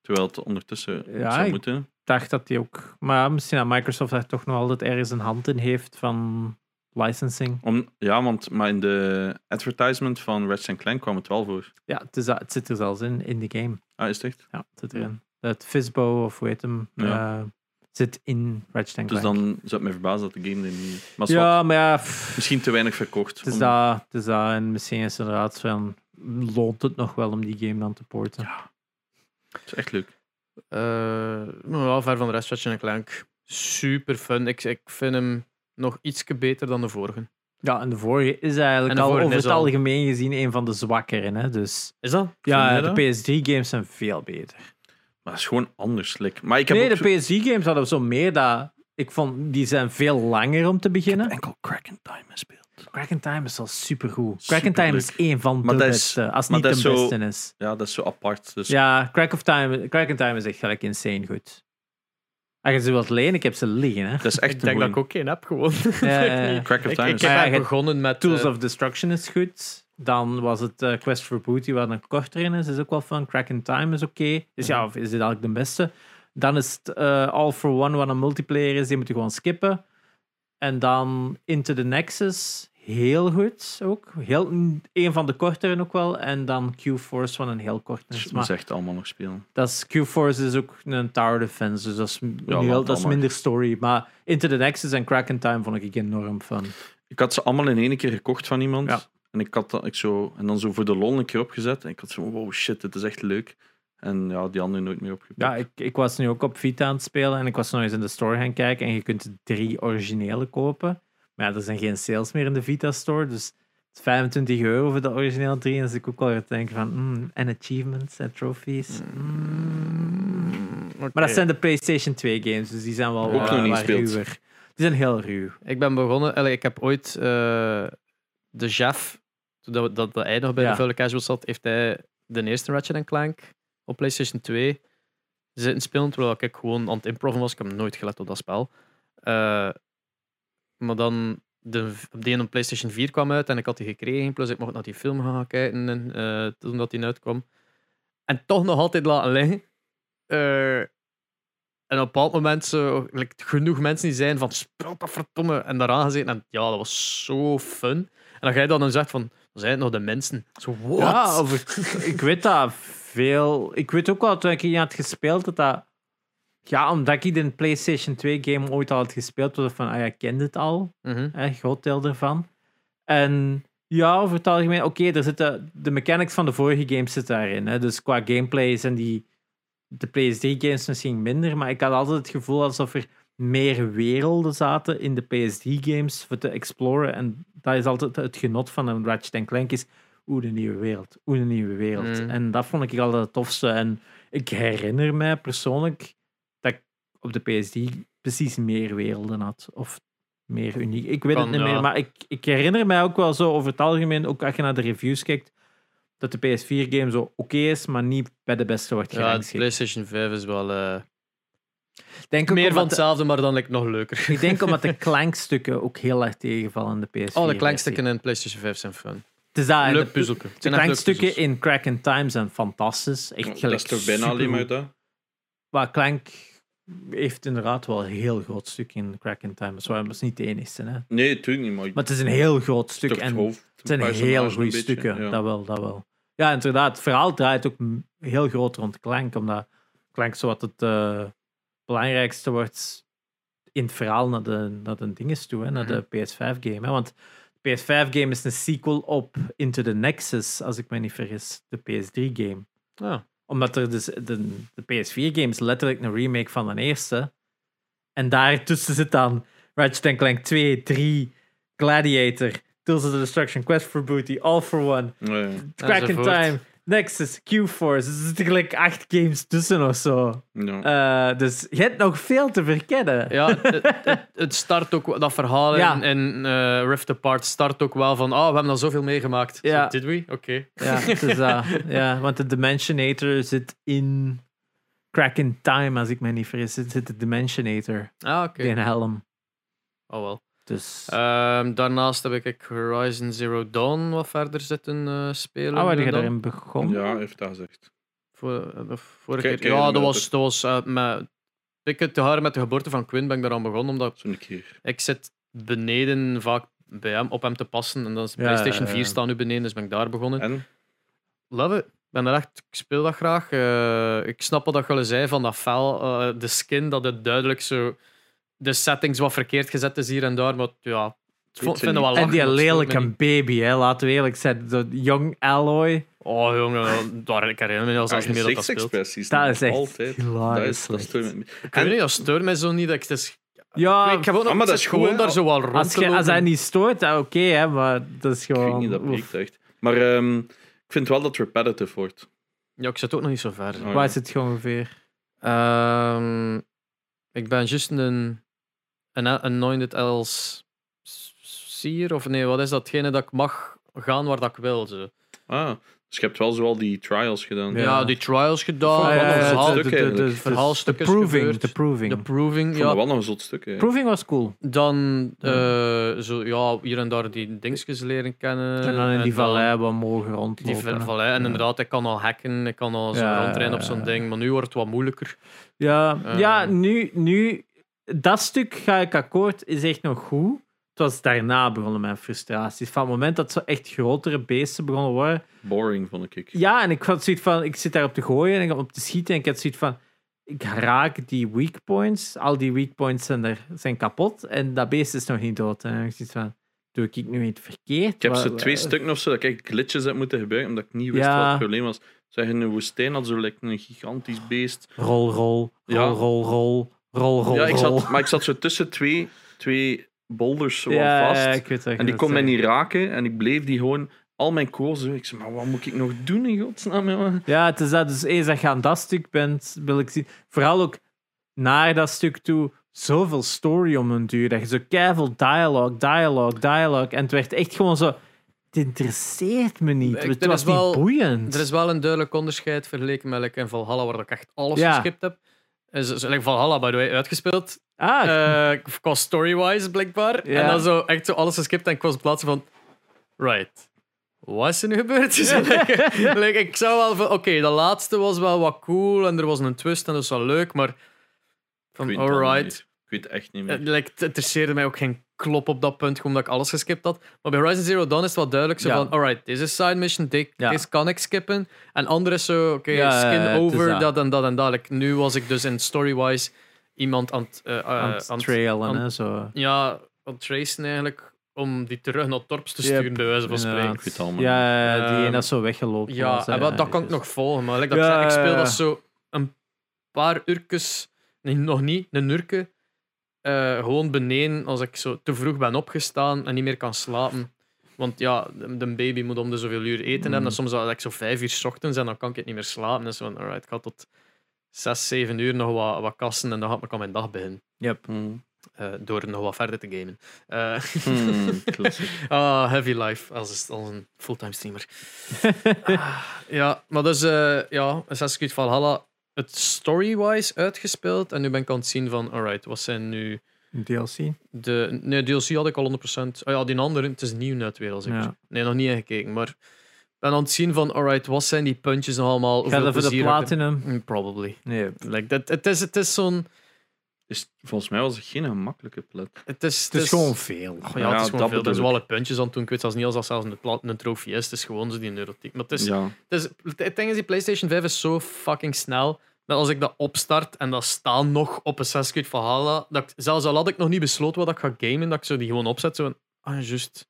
S2: Terwijl het ondertussen
S3: Ja,
S2: zou
S3: ik-
S2: moeten.
S3: Ik dacht dat die ook... Maar ja, misschien dat Microsoft daar toch nog altijd ergens een hand in heeft van licensing.
S2: Om, ja, want maar in de advertisement van Ratchet Clank kwam het wel voor.
S3: Ja, het, is, het zit er zelfs in, in de game.
S2: Ah, is het echt?
S3: Ja, het zit erin. Dat Fisbo, of hoe heet hem,
S2: Ja.
S3: eh, zit in Ratchet Clank.
S2: Dus dan zou het mij verbazen dat de game er niet is. Maar zwart,
S3: Ja, maar ja... pff.
S2: misschien te weinig verkocht.
S3: Het is
S2: om-
S3: dat, het is dat. En misschien is het inderdaad van... Loont het nog wel om die game dan te porten?
S2: het is echt leuk.
S1: Eh, nou ja, ver van de rest, Ratchet en Clank. Super fun. Ik, ik vind hem nog iets beter dan de vorige.
S3: Ja, en de vorige is eigenlijk
S1: En de
S3: al
S1: vorige
S3: over
S1: is
S3: het
S1: al-
S3: algemeen gezien een van de zwakkeren. Hè? Dus
S1: Is dat?
S3: ja,
S2: Vind
S3: de
S2: je
S3: PS3-games zijn veel beter.
S2: Maar het is gewoon anders. Like. Maar ik heb
S3: Nee,
S2: ook
S3: de
S2: zo-
S3: PS3-games hadden zo meer dat... Ik vond, die zijn veel langer om te beginnen.
S2: enkel Crack in Time gespeeld.
S3: Crack in Time is al supergoed. Crack in
S2: Superleuk.
S3: Time is één van
S2: Maar
S3: de
S2: dat is-
S3: beste, als
S2: maar
S3: niet de
S2: dat is zo-
S3: beste is.
S2: Ja, dat is zo apart. Dus
S3: Ja, Crack, of Time, Crack in Time is echt gelijk insane goed. Als je ze wilt lenen, ik heb ze liggen. Hè?
S2: dat is echt
S1: Ik denk
S2: een
S1: dat ik
S2: goeie.
S1: ook geen heb gewoon.
S3: Ja,
S1: Ik
S3: ja, ja.
S1: niet.
S2: Crack of
S1: Ik,
S2: Time.
S1: ik heb
S2: is-
S3: Maar ja,
S1: eigenlijk
S3: je-
S1: begonnen met
S3: Tools
S1: eh,
S3: of Destruction is goed. Dan was het eh, Quest for Booty, waar een korter in is, is ook wel fun. Crack in Time is oké. Dus
S2: Mhm.
S3: ja, is dit eigenlijk de beste? Dan is het eh, All for One, wat een multiplayer is, die moet je gewoon skippen. En dan Into the Nexus, heel goed ook. Heel, een van de korteren ook wel. En dan Q-Force, wat een heel kort is.
S2: Dat moet
S3: Maar
S2: echt allemaal nog spelen.
S3: dat is Q-Force is ook een tower defense, dus dat is, nu
S2: laat
S3: heel,
S2: dat
S3: dat is
S2: maar.
S3: minder story. Maar Into the Nexus en Crack in Time vond ik enorm fun.
S2: Ik had ze allemaal in één keer gekocht van iemand.
S3: Ja.
S2: En ik had dat, ik zo, en dan zo voor de lol een keer opgezet. En ik had zo, wow shit, dit is echt leuk. En ja, die andere nooit meer opgepakt.
S3: Ja, ik, ik was nu ook op Vita aan het spelen en ik was nog eens in de store gaan kijken en je kunt drie originele kopen. Maar ja, er zijn geen sales meer in de Vita store, dus het is 25 euro voor de originele drie. En dan zit ik ook al te denken van, mm, en achievements en trophies. mm. Maar
S1: oké.
S3: dat zijn de PlayStation 2 games, dus die zijn wel
S1: eh. Ook
S3: wat-
S1: nog niet
S3: wat
S2: gespeeld.
S3: ruwer. Die zijn heel ruw.
S1: Ik ben begonnen, allee, ik heb ooit eh, de chef, toen dat, we- dat, dat hij nog bij
S3: Ja.
S1: de Vuile Casual zat, heeft hij de eerste Ratchet Clank op PlayStation 2 zitten spelen, terwijl ik gewoon aan het improven was. Ik heb nooit gelet op dat spel. Eh, maar dan, de, de ene op PlayStation 4 kwam uit en ik had die gekregen, plus ik mocht naar die film gaan kijken en, eh, toen dat die uitkwam. En toch nog altijd laten liggen. Eh, en op een bepaald moment zo, like, genoeg mensen die zijn van speelt dat verdomme en daaraan gezeten. En ja, dat was zo fun. En dan ga je dan dan zegt van, dan zijn het nog de mensen. Zo, what?
S3: Ja, of ik, ik weet dat veel. Ik weet ook wel toen ik hier had gespeeld dat dat. Ja, omdat ik de PlayStation 2 game ooit al had gespeeld, was het van, ah ja, ik ken dit al.
S1: Mhm.
S3: Hè, een groot deel ervan. En ja, over het algemeen, oké, er zitten de mechanics van de vorige games zitten daarin. Hè, dus qua gameplay zijn die de PS3 games misschien minder, maar ik had altijd het gevoel alsof er meer werelden zaten in de PS3 games voor te exploren. En dat is altijd het genot van een Ratchet Clank is, oeh, de nieuwe wereld, oeh, de nieuwe wereld.
S1: Mm.
S3: En dat vond ik altijd het tofste. En ik herinner mij persoonlijk dat ik op de PSD precies meer werelden had. Of meer uniek. Ik weet
S1: Kan,
S3: het niet
S1: ja.
S3: meer, maar ik, ik herinner mij ook wel zo over het algemeen, ook als je naar de reviews kijkt, dat de PS4-game zo oké is, maar niet bij de beste wordt
S1: Ja, de
S3: gerangschikt.
S1: PlayStation 5 is wel eh,
S3: denk
S1: meer van
S3: ook omdat de-
S1: hetzelfde, maar dan like, nog leuker.
S3: Ik denk omdat de klankstukken ook heel erg tegenvallen in de PS4.
S1: Oh, de klankstukken in PlayStation 5 zijn fun.
S3: Het is daar,
S1: Leuk
S3: de, de
S1: puzzelke. Het zijn echt leuke
S3: klankstukken
S1: puzzels.
S3: in Crack and Time zijn fantastisch. Echt
S2: dat
S3: gelijk
S2: is toch bijna
S3: supergoed.
S2: alleen maar dat?
S3: Maar Clank heeft inderdaad wel een heel groot stuk in Crack and Time. Dat is waar, maar het is niet de enige. Hè. Maar
S2: Nee, tuurlijk niet, maar,
S3: het is een heel groot stuk.
S2: toch het
S3: En
S2: hoofd.
S3: het zijn
S2: personage
S3: heel
S2: een
S3: goede
S2: beetje,
S3: stukken.
S2: ja.
S3: Dat wel, dat wel. Ja, inderdaad. Het verhaal draait ook m- heel groot rond Clank. Omdat Clank zowat het eh, belangrijkste wordt in het verhaal naar de, naar de dinges toe. Hè, naar de
S2: Mhm.
S3: PS5-game. Want de PS5-game is een sequel op Into the Nexus, als ik me niet vergis. De PS3-game
S1: Ja.
S3: omdat er dus de, de PS4-game is letterlijk een remake van de eerste. En daartussen zit dan Ratchet Clank 2, 3, Gladiator, Tales of the Destruction, Quest for Booty, All for One,
S2: Ja, ja.
S3: Crack in
S1: Enzovoort.
S3: Time, Nexus, Q-Force. Dus er zitten gelijk acht games tussen of zo.
S2: Ja.
S3: Eh, dus je hebt nog veel te verkennen.
S1: Ja, het, het- het start ook, wel- dat verhaal
S3: Ja.
S1: in, in eh, Rift Apart start ook wel van, ah, we hebben al zoveel meegemaakt.
S3: Ja.
S1: Zo, Did we? Oké.
S3: Ja, het is dat. ja, want de Dimensionator zit in Crack in Time, als ik me niet vergis. Zit de Dimensionator
S1: Ah, oké.
S3: in Helm.
S1: Oh wel.
S3: Dus...
S1: Ehm, daarnaast heb ik Horizon Zero Dawn wat verder zitten eh, spelen.
S3: Ah, waar
S1: nu
S3: je
S1: en dan.
S3: daarin begonnen?
S2: ja, hij heeft dat gezegd.
S1: Voor- eh, vorige
S2: Kijk,
S1: keer.
S2: kijk,
S1: Ja, dat
S2: inderdaad.
S1: was, dat was eh, met, ik het te haar met de geboorte van Quinn ben ik daaraan begonnen, omdat
S2: Zo'n keer.
S1: ik zit beneden vaak bij hem, op hem te passen. En dan is de
S3: Ja,
S1: PlayStation
S3: ja,
S1: 4
S3: ja.
S1: staan nu beneden, dus ben ik daar begonnen.
S2: En?
S1: Love it. Ik ben er echt, ik speel dat graag. Eh, ik snap wat dat jullie zei van dat fel, eh, de skin, dat het duidelijk zo de settings wat verkeerd gezet is hier en daar, maar ja, het vo-
S2: Weet ze
S1: vinden we wel
S3: En
S1: lachen,
S3: die
S1: maar het stoort me
S3: lelijke
S1: niet.
S3: baby, hè, laten we eerlijk zijn. De jong Alloy,
S1: Oh jongen, daar ik herinner me als
S2: Haar
S1: als meer dat dat speelt.
S2: gezichtsexpressies.
S3: dat is echt
S2: Altijd. Dat is,
S3: hilarisch.
S2: dat
S3: slecht.
S2: stoort me.
S1: Ik weet niet, dat stoort mij zo niet. Dat ik, het is,
S3: ja,
S1: ik heb ook nog
S2: Ah, maar
S1: het
S2: dat is
S1: is
S2: goed,
S1: gewoon
S2: hè.
S1: daar zo wel rond
S3: Ah. als,
S1: te
S3: je, als
S1: lopen.
S3: hij niet stoort, dan oké, hè, maar dat is
S2: Ik
S3: gewoon...
S2: weet niet, dat
S3: oef.
S2: breekt echt. Maar ehm, ik vind wel dat het repetitive wordt.
S1: Ja, ik zit ook nog niet zo ver.
S2: Oh, ja.
S3: Waar is het gewoon ongeveer?
S1: Ehm, ik ben juist een, een Anointed als Seer, of nee, wat is datgene dat ik mag gaan waar dat ik wil? Zo.
S2: Ah, dus je hebt wel zoal die trials gedaan.
S1: Ja.
S3: Ja.
S1: die trials gedaan,
S2: Ah,
S3: Ja,
S2: ja,
S1: Oh, wat
S2: ja,
S1: een
S2: ja,
S1: verhaal.
S2: de- de-
S1: verhaalstuk
S3: de
S1: is
S3: proving,
S1: gebeurd.
S3: de proving.
S1: de proving,
S2: Ik vond dat
S1: ja.
S2: wel nog een zot stuk. hè.
S3: proving was cool.
S1: Dan eh, zo, ja, hier en daar die dingetjes leren kennen.
S3: En dan in die vallei wat mogen
S1: Die
S3: rondlopen. hè.
S1: vallei. En inderdaad, ik kan al hacken, ik kan al zo
S3: Ja,
S1: rondrijden op
S3: ja,
S1: zo'n
S3: ja.
S1: ding. Maar nu wordt het wat moeilijker.
S3: Ja,
S1: Eh.
S3: ja nu, nu, dat stuk ga ik akkoord, is echt nog goed. Het was daarna begonnen mijn frustraties. Van het moment dat ze echt grotere beesten begonnen worden.
S2: Boring, vond ik.
S3: Ja, en ik had zoiets van, ik zit daarop te gooien en ik op te schieten. En ik had zoiets van, ik raak die weak points. Al die weak points zijn, er, zijn kapot en dat beest is nog niet dood. En ik had zoiets van, doe ik nu iets verkeerd?
S2: Ik heb
S3: Wa-
S2: ze
S3: wa-
S1: eh,
S2: twee stukken of zo dat ik echt glitches heb moeten gebruiken, omdat ik niet wist
S3: Ja.
S2: wat het probleem was. Zeg, in een woestijn had zo like, een gigantisch beest.
S3: Rol, rol, rol,
S2: Ja.
S3: rol, rol, rol, rol,
S1: Oh.
S2: ja, ik
S3: rol.
S2: zat, maar ik zat zo tussen twee, twee boulders zo
S3: Ja,
S2: aan vast.
S3: ja, ik weet wat je
S2: en die
S3: wilt
S2: kon mij
S3: zeggen.
S2: niet raken. En ik bleef die gewoon al mijn koers doen. Ik zei, maar wat moet ik nog doen in godsnaam, jongen?
S3: Ja, het is dat. Dus eens dat je aan dat stuk bent, wil ik zien. Vooral ook naar dat stuk toe, zoveel story om een duur. Dat je zo keiveel dialoog, dialoog, dialoog. En het werd echt gewoon zo. Het interesseert me niet.
S1: Ik-
S3: het
S1: er
S3: was
S1: is wel-
S3: niet boeiend.
S1: Er is wel een duidelijk onderscheid vergeleken met like, in Valhalla, waar ik echt alles
S3: Ja.
S1: geskipt heb. Is, is, like, Valhalla, by the way, uitgespeeld.
S3: Ah,
S1: Eh, qua story-wise, blijkbaar.
S3: Ja.
S1: En dan zo echt zo alles geskipt en ik was plaatsen van... Right. Wat is er nu gebeurd? Dus like, like, ik zou wel van... Oké, de laatste was wel wat cool en er was een twist en dat was wel leuk, maar...
S2: Ik
S1: Van, Eh,
S2: weet het al niet
S1: alright.
S2: meer. Ik weet het echt niet
S1: Het
S2: meer.
S1: like, het interesseerde mij ook geen klop op dat punt, gewoon omdat ik alles geskipt had. Maar bij Horizon Zero Dawn is het wel duidelijk zo
S3: Ja.
S1: van, alright, deze is side mission, dit-
S3: Ja.
S1: deze kan ik skippen. En andere is zo, oké,
S3: Ja, ja,
S1: skin
S3: ja, het is
S1: over,
S3: dat.
S1: dat. en dat en dat. Like, nu was ik dus in story-wise iemand aan het... eh, eh,
S3: aan
S1: aan
S3: het
S1: het-
S3: trailen,
S1: aan-
S3: hè, zo.
S1: Ja, aan het tracen eigenlijk, om die terug naar Torps te
S3: Yep,
S1: sturen, bij wijze van
S3: inderdaad.
S1: spreken.
S2: Ik weet het allemaal niet.
S3: Ja, ja, die
S1: Ehm,
S3: ene dat zo weggelopen
S1: Ja,
S3: was,
S1: en
S3: hè.
S1: wel, dat kan ik
S3: Dus-
S1: nog volgen, maar like dat ik
S3: Ja,
S1: zei, ik
S3: ja,
S1: speel
S3: ja.
S1: dat zo een paar uurtjes, nee, nog niet, een uurke, eh, gewoon beneden als ik zo te vroeg ben opgestaan en niet meer kan slapen. Want ja, de de baby moet om de zoveel uur
S2: Mm.
S1: eten hebben. En soms had ik zo vijf uur 's ochtends en dan kan ik het niet meer slapen. Dus van, alright, ik had tot zes, zeven uur nog wat, wat kassen en dan had ik aan mijn dag beginnen.
S3: Yep.
S2: Hmm.
S1: eh, door nog wat verder te gamen. Eh,
S2: Klassiek.
S1: Ah, heavy life als, als een fulltime streamer. Ah, ja, maar dus, eh ja, Assassin's Creed Valhalla, het story-wise uitgespeeld. En nu ben ik aan het zien van, alright, wat zijn nu
S3: DLC.
S1: de... Nee, DLC had ik al 100%. Oh ja, die andere, het is nieuw net weer, als ik...
S3: Ja.
S1: Nee, nog niet ingekeken, maar... Ik ben aan het zien van, alright, wat zijn die puntjes nog allemaal?
S3: Gaat
S1: Hoeveel
S3: dat voor de
S1: plezier heb ik-
S3: platinum?
S1: Mm, Probably.
S3: Nee. Het
S1: Like, dat, het is, het is zo'n...
S2: Is, volgens mij was het geen gemakkelijke plat.
S1: Het is, het
S3: is
S1: is-
S3: gewoon veel.
S1: Oh ja,
S2: Ja,
S1: het is gewoon veel. Er
S2: dat bedoel
S1: is
S2: ik.
S1: wel alle puntjes aan toen. Ik weet zelfs niet als dat zelfs een, pla- een trofee is. Het is gewoon zo die neurotiek. Maar het is,
S2: Ja.
S1: het is, Dus het ding is, die PlayStation 5 is zo fucking snel. Dat als ik dat opstart en dat staat nog op een 6 van Hala. Dat ik, zelfs al had ik nog niet besloten wat ik ga gamen, dat ik zo die gewoon opzet. Zo van, ah, juist.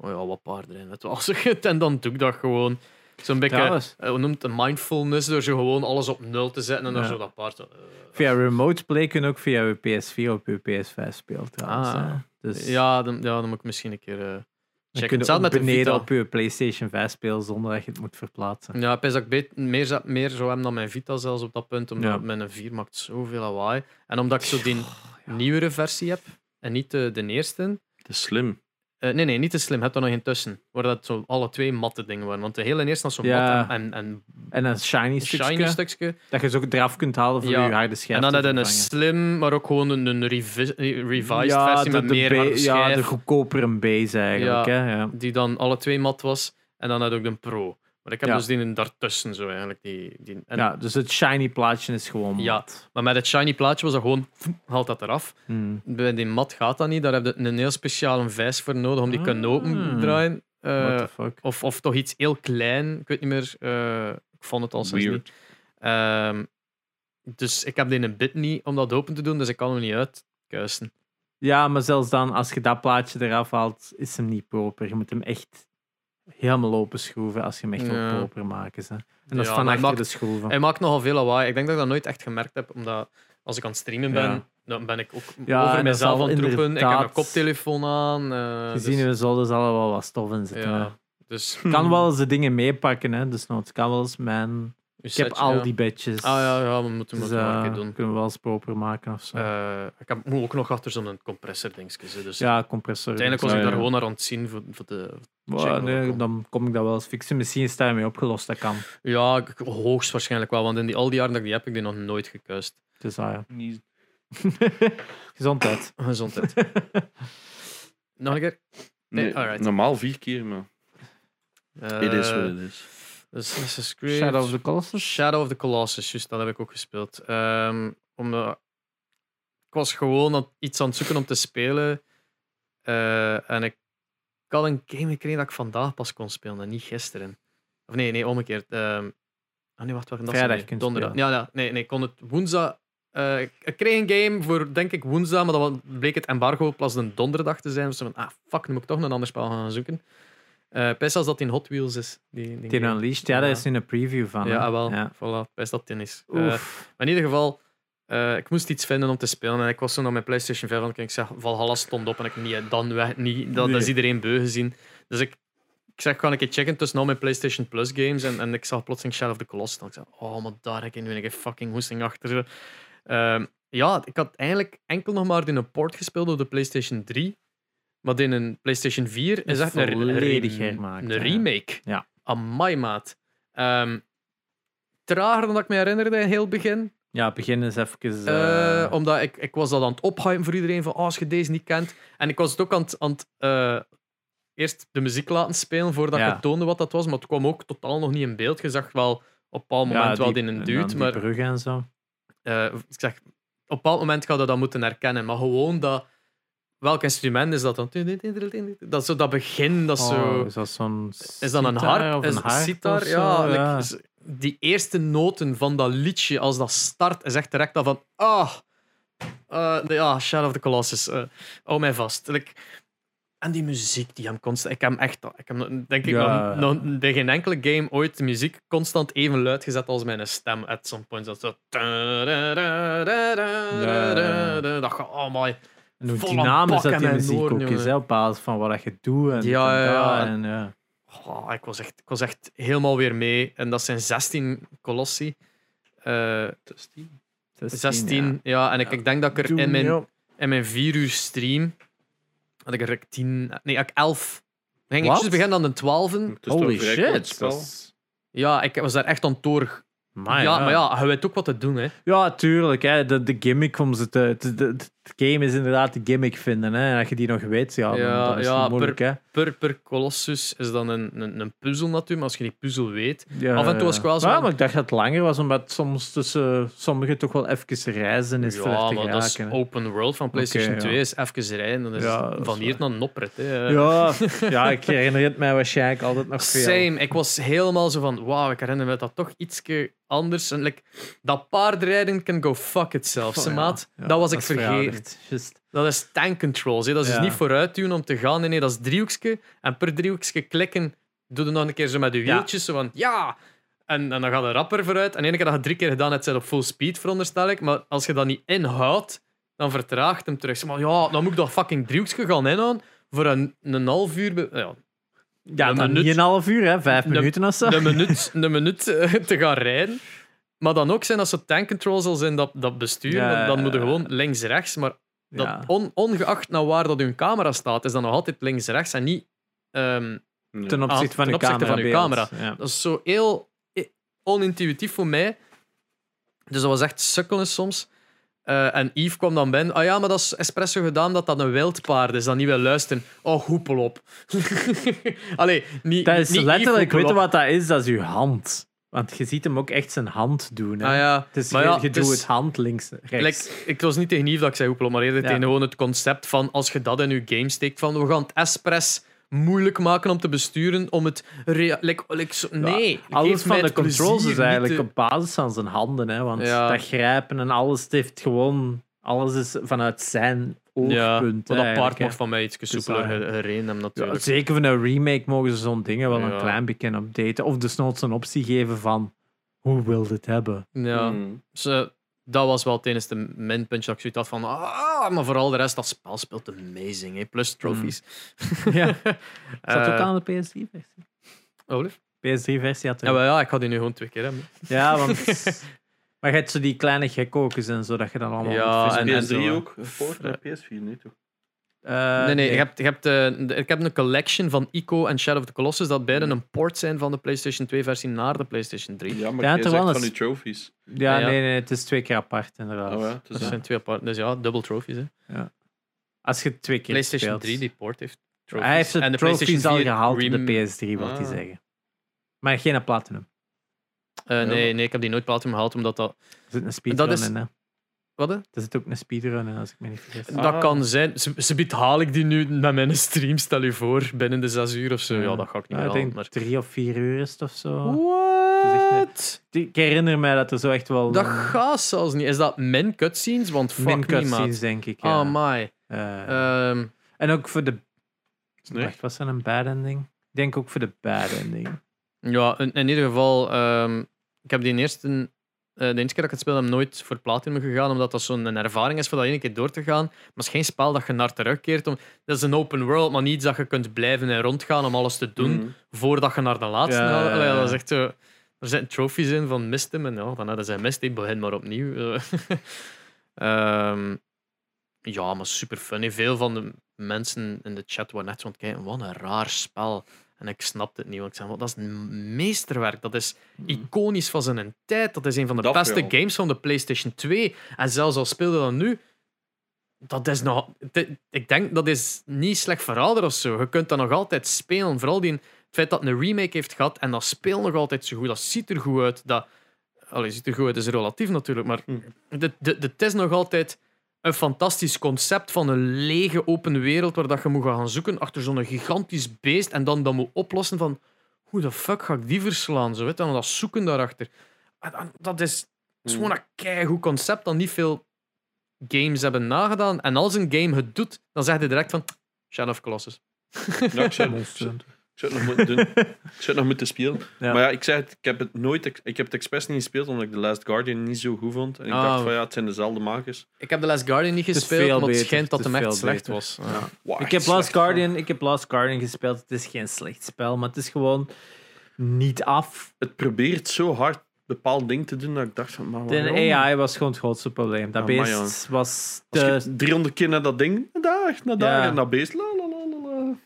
S1: Oh ja, wat paarden erin. Het was het. En dan doe ik dat gewoon. Zo'n beetje,
S3: Trouwens.
S1: eh, hoe noemt het, mindfulness, door zo gewoon alles op nul te zetten en dan
S3: Ja.
S1: zo dat paard. zo, eh.
S3: Via remote play kun je ook via je PS4 op je PS5 spelen. Trouwens,
S1: Ah.
S3: hè. dus
S1: ja, dan, ja, dan moet ik misschien een keer eh
S3: dan kun
S1: checken.
S3: je
S1: Hetzelfde
S3: ook
S1: met de
S3: beneden
S1: Vita.
S3: op je PlayStation 5 spelen zonder dat je het moet verplaatsen.
S1: Ja, ik pens dat ik bet- meer, za- meer zou hebben dan mijn Vita zelfs op dat punt. Omdat
S3: Ja.
S1: mijn 4 maakt zoveel lawaai. En omdat ik zo die nieuwere versie heb en niet de, de eerste.
S2: Het is slim.
S1: Eh, nee, nee, niet te slim. Heb er nog een tussen. Waar dat zo alle twee matte dingen waren. Want de hele eerste was zo'n
S3: Ja.
S1: mat en, en, en
S3: En een shiny stukje,
S1: shiny stukje.
S3: dat je ze ook eraf kunt halen voor
S1: Ja.
S3: je harde schijf.
S1: En dan
S3: te
S1: had je een
S3: vervangen.
S1: slim, maar ook gewoon een, een revi- revised
S3: Ja,
S1: versie met meer
S3: ba-
S1: harde
S3: Ja,
S1: schijf.
S3: de goedkopere base eigenlijk.
S1: Ja.
S3: Hè? Ja.
S1: Die dan alle twee mat was. En dan had ik ook de pro. Maar ik heb
S3: Ja.
S1: dus die daartussen zo eigenlijk. Die, die, en
S3: ja, dus het shiny plaatje is gewoon
S1: Ja.
S3: mat.
S1: Maar met het shiny plaatje was dat gewoon, haalt dat eraf.
S3: Hmm.
S1: Bij die mat gaat dat niet. Daar heb je een heel speciale vijs voor nodig om die te kunnen
S3: Ah.
S1: opendraaien. Eh,
S3: What the fuck?
S1: of, of toch iets heel klein. Ik weet niet meer. eh, ik vond het al sinds niet.
S2: Weird.
S1: Ehm, dus ik heb die een bit niet om dat open te doen, dus ik kan hem niet uitkuisen.
S3: Ja, maar zelfs dan, als je dat plaatje eraf haalt, is hem niet proper. Je moet hem echt helemaal open schroeven als je hem echt
S1: Ja.
S3: wil proper maken. Hè. En dat is
S1: Ja,
S3: van
S1: maar
S3: achter
S1: maakt-
S3: de schroeven.
S1: Hij maakt nogal veel lawaai. Ik denk dat ik dat nooit echt gemerkt heb, omdat als ik aan het streamen ben,
S3: Ja.
S1: dan ben ik ook
S3: Ja, en dat
S1: over
S3: is
S1: mezelf
S3: al
S1: aan het roepen. Ik heb een
S3: inderdaad-
S1: koptelefoon aan. eh,
S3: Gezien
S1: dus,
S3: we zullen dus al wel wat stof in zitten. hè.
S1: ja, dus
S3: eh, Ik kan wel eens de dingen meepakken, hè. Dus noods kan wel eens mijn... Ik heb al die bedjes.
S1: Ah ja, ja we moeten
S3: Dus,
S1: het maar een keer
S3: eh,
S1: doen.
S3: kunnen we wel eens proper maken of zo.
S1: Eh, ik heb, moet ook nog achter zo'n compressor dingetje. Dus
S3: ja, compressor.
S1: uiteindelijk was ik
S2: Ja,
S1: daar
S2: ja.
S1: gewoon naar aan het zien. Voor, voor de,
S3: Wow,
S1: check wel
S3: nee,
S1: wel.
S3: dan kom ik dat wel eens fixen. Misschien is daarmee opgelost, dat kan.
S1: ja, ik- hoogstwaarschijnlijk wel. Want in die, al die jaren dat ik die heb, heb ik die nog nooit gekuist.
S3: Dus ah, ja.
S2: Niet-
S3: Gezondheid.
S1: Gezondheid. nog een keer? Nee,
S2: Nee,
S1: alright.
S2: Normaal vier keer, maar
S1: Eh,
S2: it is what it is.
S1: dus Assassin's Creed.
S3: Shadow of the Colossus.
S1: Shadow of the Colossus, juist, dat heb ik ook gespeeld. Ehm, omdat ik was gewoon aan- iets aan het zoeken om te spelen. eh, en ik had een game gekregen dat ik vandaag pas kon spelen en niet gisteren. Of nee, nee, omgekeerd. Ehm oh nee, wacht, wacht. dat is
S3: Vrijdag
S1: niet.
S3: kun je
S1: Donderdag. Ja, ja, nee, nee, ik kon het woensdag... eh, ik- ik kreeg een game voor, denk ik, woensdag, maar dan bleek het embargo pas een donderdag te zijn. Dus ik van, ah, fuck, nu moet ik toch een ander spel gaan zoeken. Eh best als dat in Hot Wheels is. Die, die
S3: Teen
S1: game.
S3: Unleashed. Ja, daar
S1: Ja.
S3: is nu een preview van. hè.
S1: Ja, ah, wel.
S3: Ja.
S1: Voilà, best dat tennis. Eh,
S3: Oef.
S1: maar in ieder geval, eh, ik moest iets vinden om te spelen. En ik was zo naar mijn PlayStation 5 aan het kijken. Ik zeg, Valhalla stond op. En ik, niet, dan weg, niet. Dat, dat is
S3: Nee.
S1: iedereen beu gezien. Dus ik, ik zeg, ga een keer checken tussen al mijn PlayStation Plus games. En, en ik zag plotseling Shadow of the Colossus. En ik zeg, oh, maar daar heb ik nu een keer fucking hoesting achter. Ehm, ja, ik had eigenlijk enkel nog maar in een port gespeeld op de PlayStation 3. Maar in een PlayStation 4 is
S3: Is
S1: echt een, re-
S3: volledig
S1: re-
S3: hermaakt,
S1: een
S3: ja.
S1: remake.
S3: Ja.
S1: Amai, maat. Ehm, trager dan dat ik me herinnerde in heel het begin.
S3: Ja, begin eens even... eh,
S1: Eh, omdat ik, ik was dat aan het ophypen voor iedereen van oh, als je deze niet kent. En ik was het ook aan het, aan het, eh, eerst de muziek laten spelen voordat
S3: Ja.
S1: ik het toonde wat dat was, maar het kwam ook totaal nog niet in beeld. Je zag wel op een bepaald
S3: ja,
S1: moment wel
S3: die-
S1: in een
S3: en dan
S1: dude,
S3: die
S1: maar
S3: bruggen en zo.
S1: eh, ik zeg, op een bepaald moment ga je dat moeten herkennen. Maar gewoon dat, welk instrument is dat dan? Dat, zo, dat begin, dat zo...
S3: Oh, is dat zo'n
S1: Is dat een
S3: sitar
S1: harp?
S3: of
S1: Is
S3: een
S1: een
S3: harp of
S1: sitar?
S3: zo?
S1: Ja, like,
S3: ja.
S1: z- die eerste noten van dat liedje, als dat start, is echt direct al van... Ah, eh, de- ja, Shadow of the Colossus. eh, hou mij vast. Like, en die muziek die hem constant... Ik heb hem echt... Ik heb nog- denk ik
S3: Ja.
S1: nog, nog bij geen enkele game ooit de muziek constant even luid gezet als mijn stem. At some point. Dat zo...
S3: ja, ja.
S1: Dat gaat... Oh, my.
S3: En hoe
S1: Vol aan
S3: dynamisch dat
S1: bakken
S3: die
S1: en
S3: muziek
S1: hoorn,
S3: ook is,
S1: jongen.
S3: hè, op basis van wat dat je doet.
S1: Ja,
S3: En dit en
S1: ja, ja.
S3: dat En, ja.
S1: Goh, ik, was echt, ik was echt helemaal weer mee. En dat zijn 16 kolossi. Eh,
S2: 16.
S1: 16, ja. En ik, ik denk dat ik er
S3: Doom,
S1: in mijn,
S3: ja.
S1: in mijn 4 uur stream. had ik er like 10, nee, had ik 11. Dan ging
S3: Wat?
S1: ik dus beginnen aan de 12.
S2: Het is
S3: Holy
S2: toch een vrij kort
S3: shit.
S2: spel.
S3: dat is-
S1: Ja, ik was daar echt aan door.
S3: Maar
S1: ja, maar ja, je weet ook wat te doen, hè?
S3: Ja, tuurlijk. Hè. De, de gimmick om ze te. te- de- de- Het game is inderdaad de gimmick vinden. Hè. En als je die nog weet, ja, dan,
S1: Ja,
S3: dan is
S1: ja,
S3: het moeilijk. Hè.
S1: Per, per Colossus is dan een, een, een puzzel natuurlijk, maar als je die puzzel weet.
S3: Ja,
S1: Af en toe was ik wel zo
S3: Ja,
S1: aan-
S3: maar ik dacht dat het langer was, omdat soms tussen sommigen toch wel even reizen is voor
S1: ja,
S3: te
S1: maar dat is
S3: geraken. hè.
S1: open world van PlayStation
S3: Oké, ja.
S1: 2 is even rijden. Dan is
S3: Ja,
S1: het
S3: dat is
S1: van hier
S3: waar.
S1: naar een oprit. Hè.
S3: Ja, ja, ik herinner het mij waarschijnlijk altijd nog veel.
S1: Same. Ik was helemaal zo van, wauw, ik herinner me dat toch ietsje anders. En, like, dat paardrijden can go fuck itself,
S3: Oh,
S1: ze
S3: ja.
S1: maat.
S3: Ja,
S1: dat was ik
S3: is
S1: vergeten.
S3: verouderd. Just.
S1: Dat is tank controls. Hè. Dat is
S3: Ja.
S1: dus niet vooruit duwen om te gaan. Nee, nee, dat is driehoekje. En per driehoekje klikken, doe het nog een keer zo met je
S3: Ja.
S1: wieltjes. Zo van, ja! En, en dan gaat de rapper vooruit. En de ene keer dat je drie keer gedaan hebt, zit op full speed, veronderstel ik. Maar als je dat niet inhoudt, dan vertraagt hem terug. Zeg maar, ja, dan moet ik dat fucking driehoekje gaan inhouden voor een, een half uur... be- Ja,
S3: Ja,
S1: Een
S3: dan
S1: minuut.
S3: niet een half uur, hè, vijf
S1: Een-
S3: minuten of zo.
S1: een minuut, een minuut eh, te gaan rijden. Maar dan ook zijn dat zo tank controls al zijn dat, dat bestuur.
S3: Ja,
S1: dan- dan moet je
S3: ja,
S1: gewoon links-rechts. Maar dat
S3: Ja.
S1: on- ongeacht naar waar dat hun camera staat, is dat nog altijd links-rechts en niet. ehm,
S2: Nee.
S3: Ten opzichte van
S1: ten
S3: de
S1: opzichte van uw
S3: camerabeeld. Ja.
S1: dat is zo heel eh, onintuïtief voor mij. Dus dat was echt sukkelen soms. Eh, en Yves kwam dan binnen. Ah ja, maar dat is espresso gedaan dat dat een wild paard is. Dat niet wil luisteren. Oh, hoepel op. Allee, niet.
S3: Dat is
S1: niet Yves,
S3: letterlijk,
S1: hoepel
S3: weet je
S1: op.
S3: wat dat is? Dat is uw hand. Want je ziet hem ook echt zijn hand doen. Hè.
S1: Ah ja,
S3: Het is,
S1: maar
S3: je,
S1: ja, dus
S3: je
S1: het
S3: doet
S1: is-
S3: het hand links, rechts.
S1: Like, ik was niet tegen Yves dat ik zei hoepel, maar eerder
S3: Ja.
S1: tegen gewoon het concept van als je dat in je game steekt, van we gaan het expres moeilijk maken om te besturen, om het... rea- Like, like, zo- nee.
S3: Ja, alles
S1: geef mij
S3: van de
S1: het
S3: controls
S1: plezier,
S3: is eigenlijk
S1: niet
S3: op basis van zijn handen. Hè, want
S1: Ja.
S3: dat grijpen en alles het heeft gewoon... Alles is vanuit zijn
S1: de- Ja,
S3: oogpunt.
S1: want dat
S3: eigenlijk,
S1: paard
S3: hè.
S1: mocht van mij iets soepeler
S3: Dus, ah,
S1: ge- gereden hebben,
S3: Ja,
S1: natuurlijk.
S3: zeker van een remake mogen ze zo'n dingen wel
S1: Ja.
S3: een klein beetje updaten. Of desnoods een optie geven van hoe wil dit hebben.
S1: Ja,
S3: Hmm.
S2: Mm.
S1: dus, eh, dat was wel tijdens de minpuntje dat ik zoiets had van... Ah, maar vooral de rest, dat spel speelt amazing, hè. plus trophies.
S3: Ja. Hmm. Zat ook
S1: Eh,
S3: aan de PS3-versie.
S1: oh, lief.
S3: PS3-versie had er
S1: ja, maar ja, ik had die nu gewoon twee keer hebben.
S3: Ja, want. maar je hebt zo die kleine gekokers en zo, dat je dan allemaal.
S1: Ja,
S3: moet verzinnen
S1: en-
S2: PS3
S3: Ah, zo.
S2: ook, gepoord naar PS4 nu toch?
S3: Eh,
S1: nee, nee, Je hebt, je hebt, eh, de- ik heb een collection van Ico en Shadow of the Colossus, dat beide een port zijn van de PlayStation 2-versie naar de PlayStation 3.
S2: Ja, maar
S3: Hmm. Ja,
S2: jij
S3: toch
S2: zegt
S3: wel,
S2: van
S3: dat
S2: die
S3: is-
S2: trophies.
S3: Ja,
S1: Ja.
S3: nee, nee, het is twee keer apart inderdaad.
S2: Oh ja,
S1: Dat
S2: dus
S1: zijn twee apart. Dus ja, dubbel trophies. Hè.
S3: Als je het twee keer
S1: PlayStation
S3: speelt.
S1: 3 die port heeft trophies.
S3: Hij heeft de,
S1: en de
S3: trophies
S1: PlayStation
S3: al
S1: 4
S3: gehaald op
S1: rem-
S3: de PS3, wil hij
S2: Ah.
S3: zeggen. Maar geen platinum.
S1: Eh, nee,
S2: Ja.
S1: nee, ik heb die nooit platinum gehaald, omdat dat...
S3: Er zit een speedrun
S1: is-
S3: in. Hè.
S1: Wat? hè?
S3: Er zit ook een speedrun in, als ik me niet vergis.
S2: Ah.
S1: Dat kan zijn. Ze, ze biedt haal ik die nu naar mijn stream, stel je voor, binnen de 6 uur of zo. Ja, dat ga ik niet meer
S3: Nou, ik
S1: halen.
S3: denk Ah.
S1: Maar...
S3: drie of vier uur is het of zo.
S1: What?
S3: Ik herinner mij dat er zo echt wel
S1: Dat
S3: eh,
S1: gaat zelfs niet. Is dat min cutscenes? Want fuck
S3: min
S1: me,
S3: cutscenes,
S1: maat.
S3: denk ik. ja.
S1: Ah, my.
S3: Eh,
S1: Ehm,
S3: en ook voor de
S2: nee.
S3: Wacht, was dat een bad ending? Ik denk ook voor de bad ending.
S1: Ja, in, in ieder geval, ehm, ik heb die eerste, eh, de eerste keer dat ik het speelde, heb ik nooit voor platinum gegaan, omdat dat zo'n een ervaring is voor dat één keer door te gaan. Maar het is geen spel dat je naar terugkeert. Om, dat is een open world, maar niet dat je kunt blijven en rondgaan om alles te doen
S2: Mm.
S1: voordat je naar de laatste
S3: Ja,
S1: gaat.
S3: ja, ja.
S1: Allee, dat is echt zo. Er zitten trophies in van mist hem en ja, van, ah, dat zijn mist, ik begin maar opnieuw. Ehm, ja, maar super funny. Veel van de mensen in de chat waren net zo aan het kijken, wat een raar spel. En ik snapte het niet, want ik zei, "Wat, dat is een meesterwerk. Dat is iconisch van zijn tijd. Dat is een van de
S2: Hmm. Dat
S1: beste
S2: wel.
S1: games van de PlayStation 2. En zelfs al speelde dat nu, dat is nog... het- Ik denk, dat is niet slecht verouderd of zo. Je kunt dat nog altijd spelen. Vooral die, het feit dat het een remake heeft gehad en dat speelt nog altijd zo goed. Dat ziet er goed uit. Dat, allee, ziet er goed uit is relatief natuurlijk, maar
S2: Hm.
S1: dit- dit- dit is nog altijd een fantastisch concept van een lege open wereld waar dat je moet gaan zoeken achter zo'n gigantisch beest en dan dat moet oplossen van hoe de fuck ga ik die verslaan? Zo, weet je, en dat zoeken daarachter. En- en Dat is, dat is gewoon een keigoed concept dat niet veel games hebben nagedaan. En als een game het doet, dan zegt hij direct van Shadow of Colossus.
S2: Ja, ik zei-
S3: Monster Hunter.
S2: zou het nog moeten doen. Ik zou het nog moeten spelen.
S3: Ja.
S2: Maar ja, ik zei het, ik heb het nooit... Ik heb het expres niet gespeeld, omdat ik The Last Guardian niet zo goed vond. En ik
S1: Ah.
S2: dacht van, ja, het zijn dezelfde makers.
S1: Ik heb The Last Guardian niet
S3: is
S1: gespeeld,
S3: veel
S1: want het
S3: beter,
S1: schijnt dat
S3: het
S1: hem
S3: is
S1: echt
S3: veel
S1: slecht
S3: beter.
S1: was.
S2: Ja. Wow,
S3: Ik
S2: echt
S3: heb, Last
S2: slecht van.
S3: Guardian, ik heb Last Guardian gespeeld. Het is geen slecht spel, maar het is gewoon niet af.
S2: Het probeert zo hard bepaald ding te doen, dat ik dacht van, maar waarom?
S3: De AI was gewoon het grootste probleem. Dat
S1: Ah,
S2: Ja, maar
S3: beest was
S2: Als je
S3: te...
S2: 300 keer naar dat ding, naar daar, naar daar,
S3: Ja.
S2: en naar beest, la, la, la, la, la. En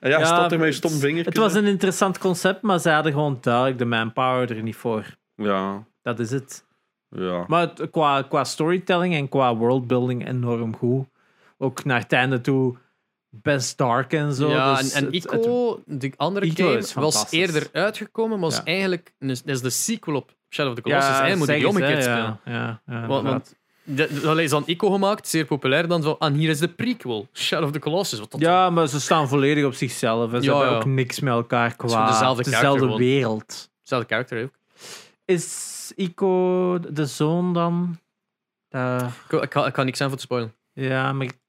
S2: ja,
S3: Ja,
S2: ja stond er met je
S3: het-
S2: stom vinger.
S3: Het was een interessant concept, maar ze hadden gewoon duidelijk de manpower er niet voor.
S2: Ja,
S3: Dat is het.
S2: ja.
S3: Maar het- qua, qua storytelling en qua worldbuilding enorm goed. Ook naar het einde toe best dark en zo.
S1: ja,
S3: dus
S1: en, en
S3: het- het-
S1: Ico, die andere
S3: Ico
S1: game,
S3: is
S1: was
S3: fantastisch.
S1: eerder uitgekomen, maar was
S3: Ja.
S1: eigenlijk... een- Dat is de sequel op Shadow of the Colossus. Hij moet
S3: zeg
S1: die
S3: eens, hè,
S1: omgekeerd spelen.
S3: ja, Ja,
S1: Want,
S3: ja, inderdaad.
S1: want de- de- allee, is dan Ico gemaakt, zeer populair. Dan zo, en hier is de prequel, Shadow of the Colossus. Wat dat
S3: Ja, maar ze staan volledig op zichzelf. En ze
S1: Ja,
S3: hebben
S1: ja.
S3: ook niks met elkaar
S1: is
S3: qua
S1: dezelfde karakter gewoon.
S3: wereld.
S1: Hetzelfde karakter hè, ook.
S3: Is Ico de zoon dan? Eh,
S1: Ik, ik, kan, ik kan niks aan voor te spoilen.
S3: ja, maar...
S1: Ik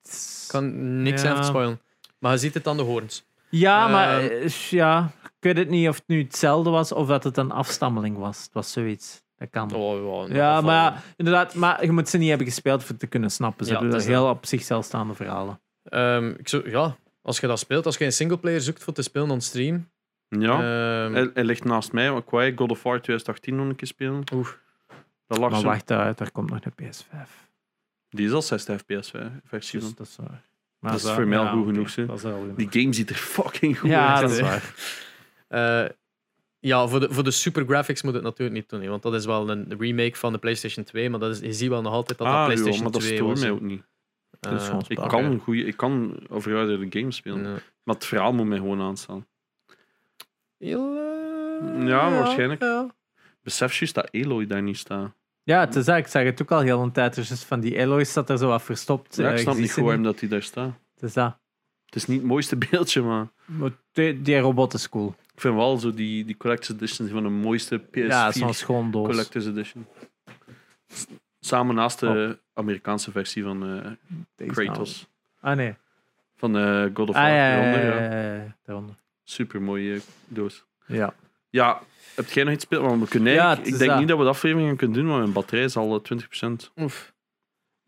S1: kan niks
S3: Ja.
S1: aan voor te spoilen. Maar je ziet het aan de hoorns.
S3: Ja,
S1: Eh,
S3: maar... eh, ja, ik weet het niet of het nu hetzelfde was of dat het een afstammeling was. Het was zoiets. Dat kan.
S1: Oh, in
S3: ja,
S1: ieder
S3: maar
S1: geval.
S3: ja, inderdaad. Maar je moet ze niet hebben gespeeld voor te kunnen snappen. Ze
S1: Ja,
S3: hebben
S1: dat is
S3: heel op zichzelf staande verhalen.
S1: Ehm, ik zou, ja, als je dat speelt, als je een singleplayer zoekt voor te spelen on stream.
S2: ja.
S3: Eh.
S1: ehm,
S2: Hij, hij ligt naast mij, want ik wou God of War 2018 nog een keer spelen.
S1: Oeh.
S2: Dat lag
S3: Maar
S2: zo.
S3: wacht uit, er komt nog een PS5.
S2: Die is al 60 fps hè, versie.
S3: Dus
S2: van.
S3: dat is waar. Maar
S2: Dat is voor mij al goed
S3: oké,
S2: genoeg, zeg.
S3: Dat is wel genoeg.
S2: Die game ziet er fucking goed
S3: Ja,
S2: uit.
S3: dat is
S2: hè.
S3: waar.
S1: eh, ja, voor de, voor de super graphics moet het natuurlijk niet doen. hè, Want dat is wel een remake van de PlayStation 2. Maar dat is, je ziet wel nog altijd dat dat
S2: Ah,
S1: PlayStation
S2: joh, maar dat
S1: 2
S2: stoort
S1: was.
S2: mij ook niet. Ah,
S1: Eh,
S3: Dat is gewoon
S2: Ik
S3: Oké.
S2: kan, goeie, ik kan overgehouden games spelen,
S1: ja.
S2: maar het verhaal moet mij gewoon aanstaan.
S1: Heel, eh,
S2: Ja, waarschijnlijk.
S1: ja.
S2: Besef juist dat Eloy daar niet staat.
S3: Ja, het is, dat. ik zag het ook al heel een tijd. Dus van die Eloy staat er zo wat verstopt.
S2: Ja,
S3: eh,
S2: ik
S3: je
S2: snap
S3: ziet
S2: niet
S3: ze
S2: goed waarom dat hij daar staat.
S3: Het is dat.
S2: Het is niet het mooiste beeldje, maar
S3: Maar die, die robot is cool.
S2: ik vind wel zo die, die Collector's Edition van de mooiste PS4
S3: ja, het is zo'n schoon doos.
S2: Collector's Edition. S- Samen naast de
S3: Oh.
S2: Amerikaanse versie van eh,
S3: Deze
S2: Kratos.
S3: Ah, nee.
S2: Van eh, God of
S3: Ah,
S2: War.
S3: ja, ja, ja,
S2: Daaronder,
S3: ja,
S2: ja.
S3: ja, ja, daaronder.
S2: Super mooie doos.
S3: Ja.
S2: Ja, heb jij nog iets gespeeld? Want we kunnen
S3: Ja,
S2: eigenlijk-
S3: het
S2: ik
S3: is
S2: denk
S3: dat.
S2: niet dat we de aflevering gaan kunnen doen, want mijn batterij is al eh, 20%.
S1: Oef.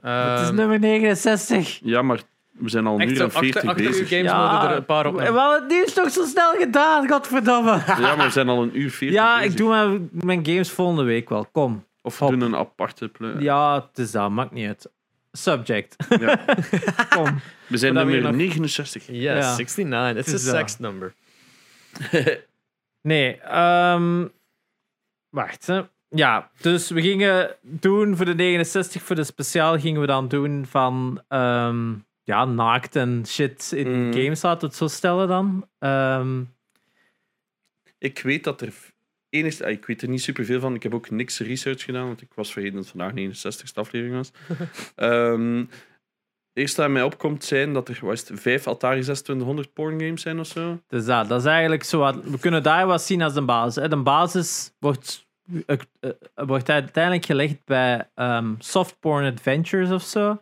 S3: het is
S1: Ehm,
S3: nummer 69.
S2: Ja, maar we zijn al een
S1: echt
S2: uur
S1: zo
S2: en
S1: achter,
S2: 40
S1: achter uw
S2: bezig.
S1: games worden er een paar op.
S3: We hadden het nieuws toch zo snel gedaan, godverdomme.
S2: Ja, maar we zijn al een uur 40
S3: Ja,
S2: bezig.
S3: ik doe mijn, mijn games volgende week wel. Kom.
S2: Of we
S3: Hop.
S2: doen een aparte... ple-
S3: Ja, het is dat. Maakt niet uit. Subject.
S2: Ja.
S3: Kom.
S2: We zijn
S3: Maar dan
S2: nummer
S3: weer nog-
S2: 69.
S1: Yes,
S3: Ja.
S1: 69. It's a
S3: Het is, eh,
S1: sex number.
S3: Nee, ehm, wacht. Hè. Ja, dus we gingen doen voor de 69, voor de speciaal gingen we dan doen van ehm, ja, naakt en shit in
S2: Mm.
S3: games, laten we het zo stellen dan. Ehm,
S2: Ik weet dat er... Enigst, ah, ik weet er niet superveel van. Ik heb ook niks research gedaan, want ik was vergeten dat vandaag 69ste aflevering was. Ehm eerst dat mij opkomt zijn dat er was het, vijf Atari 2600 porngames zijn of zo.
S3: dus dat, dat is eigenlijk zo wat. We kunnen daar wat zien als een basis. Hè. De basis wordt, eh, eh, wordt uiteindelijk gelegd bij ehm Soft Porn Adventures of zo.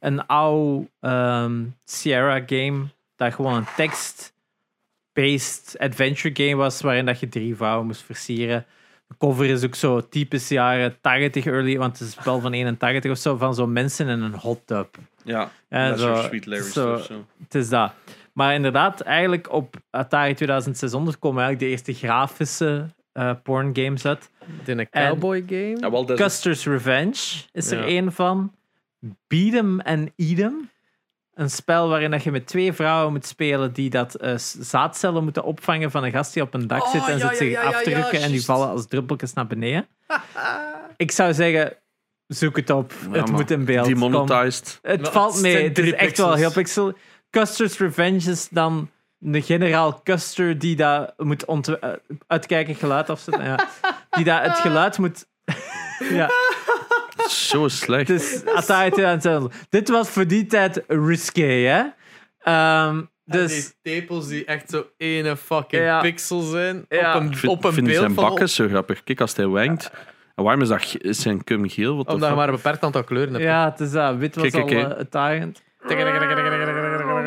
S3: een oude ehm, Sierra game dat gewoon een tekst-based adventure game was waarin dat je drie vrouwen moest versieren. De cover is ook zo typisch jaren 80 early, want het is wel van 81 of zo, van zo mensen in een hot tub.
S2: Ja,
S3: Ja,
S2: dat is
S3: zo-
S2: voor Sweet Larry
S3: zo-
S2: of zo.
S3: Het is dat. Maar inderdaad, eigenlijk op Atari 2600 komen eigenlijk de eerste grafische eh porn games uit.
S1: In een cowboy game.
S2: Ja, wel, dat is-
S3: Custer's Revenge is er
S1: Ja.
S3: één van. Beat'em en Edem. Een spel waarin dat je met twee vrouwen moet spelen die dat eh, s- zaadcellen moeten opvangen van een gast die op een dak
S1: Oh,
S3: zit en
S1: ja,
S3: zit
S1: ja,
S3: zich
S1: ja, ja,
S3: af te
S1: ja,
S3: rukken en die
S1: juist.
S3: vallen als druppeltjes naar beneden. Ik zou zeggen, zoek het op. het
S2: maar
S3: moet in beeld. Kom.
S2: Demonetized.
S3: Het
S1: Maar
S3: valt
S1: het
S3: mee.
S1: zijn
S3: Het is
S1: drie
S3: echt wel heel
S1: pixels.
S3: pixel. Custer's Revenge is dan de generaal Custer die daar moet ont- eh, uitkijken geluid afzetten. Ja. Die daar het geluid moet. ja,
S2: Zo slecht.
S3: het is Atari 2000. Dit was voor die tijd risqué, hè? Ehm, dus
S1: die tepels die echt zo ene fucking
S3: Ja.
S1: pixel zijn.
S3: Ja.
S1: Op
S2: Ik
S1: een,
S2: vind,
S1: op een
S2: vind
S1: beeld
S2: zijn
S1: van...
S2: bakken zo grappig. Kijk, als hij wankt. En waarom is, dat, ge- is zijn cum geel? Wat de
S1: Omdat je
S2: fuck?
S1: maar een beperkt aantal kleuren hebt.
S3: eh, ja, het is dat. Wit was
S2: Kijk,
S3: al
S2: kijk,
S3: eh,
S2: kijk.
S3: het tarend.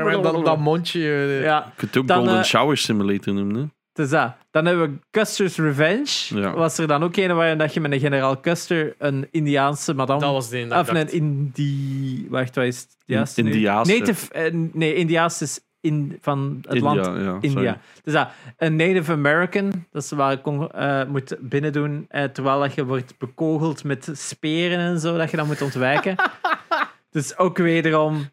S1: maar dat, dat mondje. eh,
S3: Ja,
S2: Je kunt het ook
S3: Dan,
S2: Golden
S3: eh,
S2: Shower Simulator noemen. Hè?
S3: het is dat. Dan hebben we Custer's Revenge.
S2: Ja.
S3: Was er dan ook een waarin dat je met een generaal Custer een Indiaanse madame...
S1: Dat was de ene. Nou, dat ik
S3: Of een
S1: dacht.
S3: Indi... Wacht, wat is het juiste nu?
S2: Indiaanse.
S3: Native... eh, nee, Indiaans is in, van het
S2: India,
S3: land
S2: ja, sorry.
S3: India. Dus dat, een Native American, dat is waar ik kon- eh, moet binnendoen, eh, terwijl dat je wordt bekogeld met speren en zo, dat je dan moet ontwijken. dus ook wederom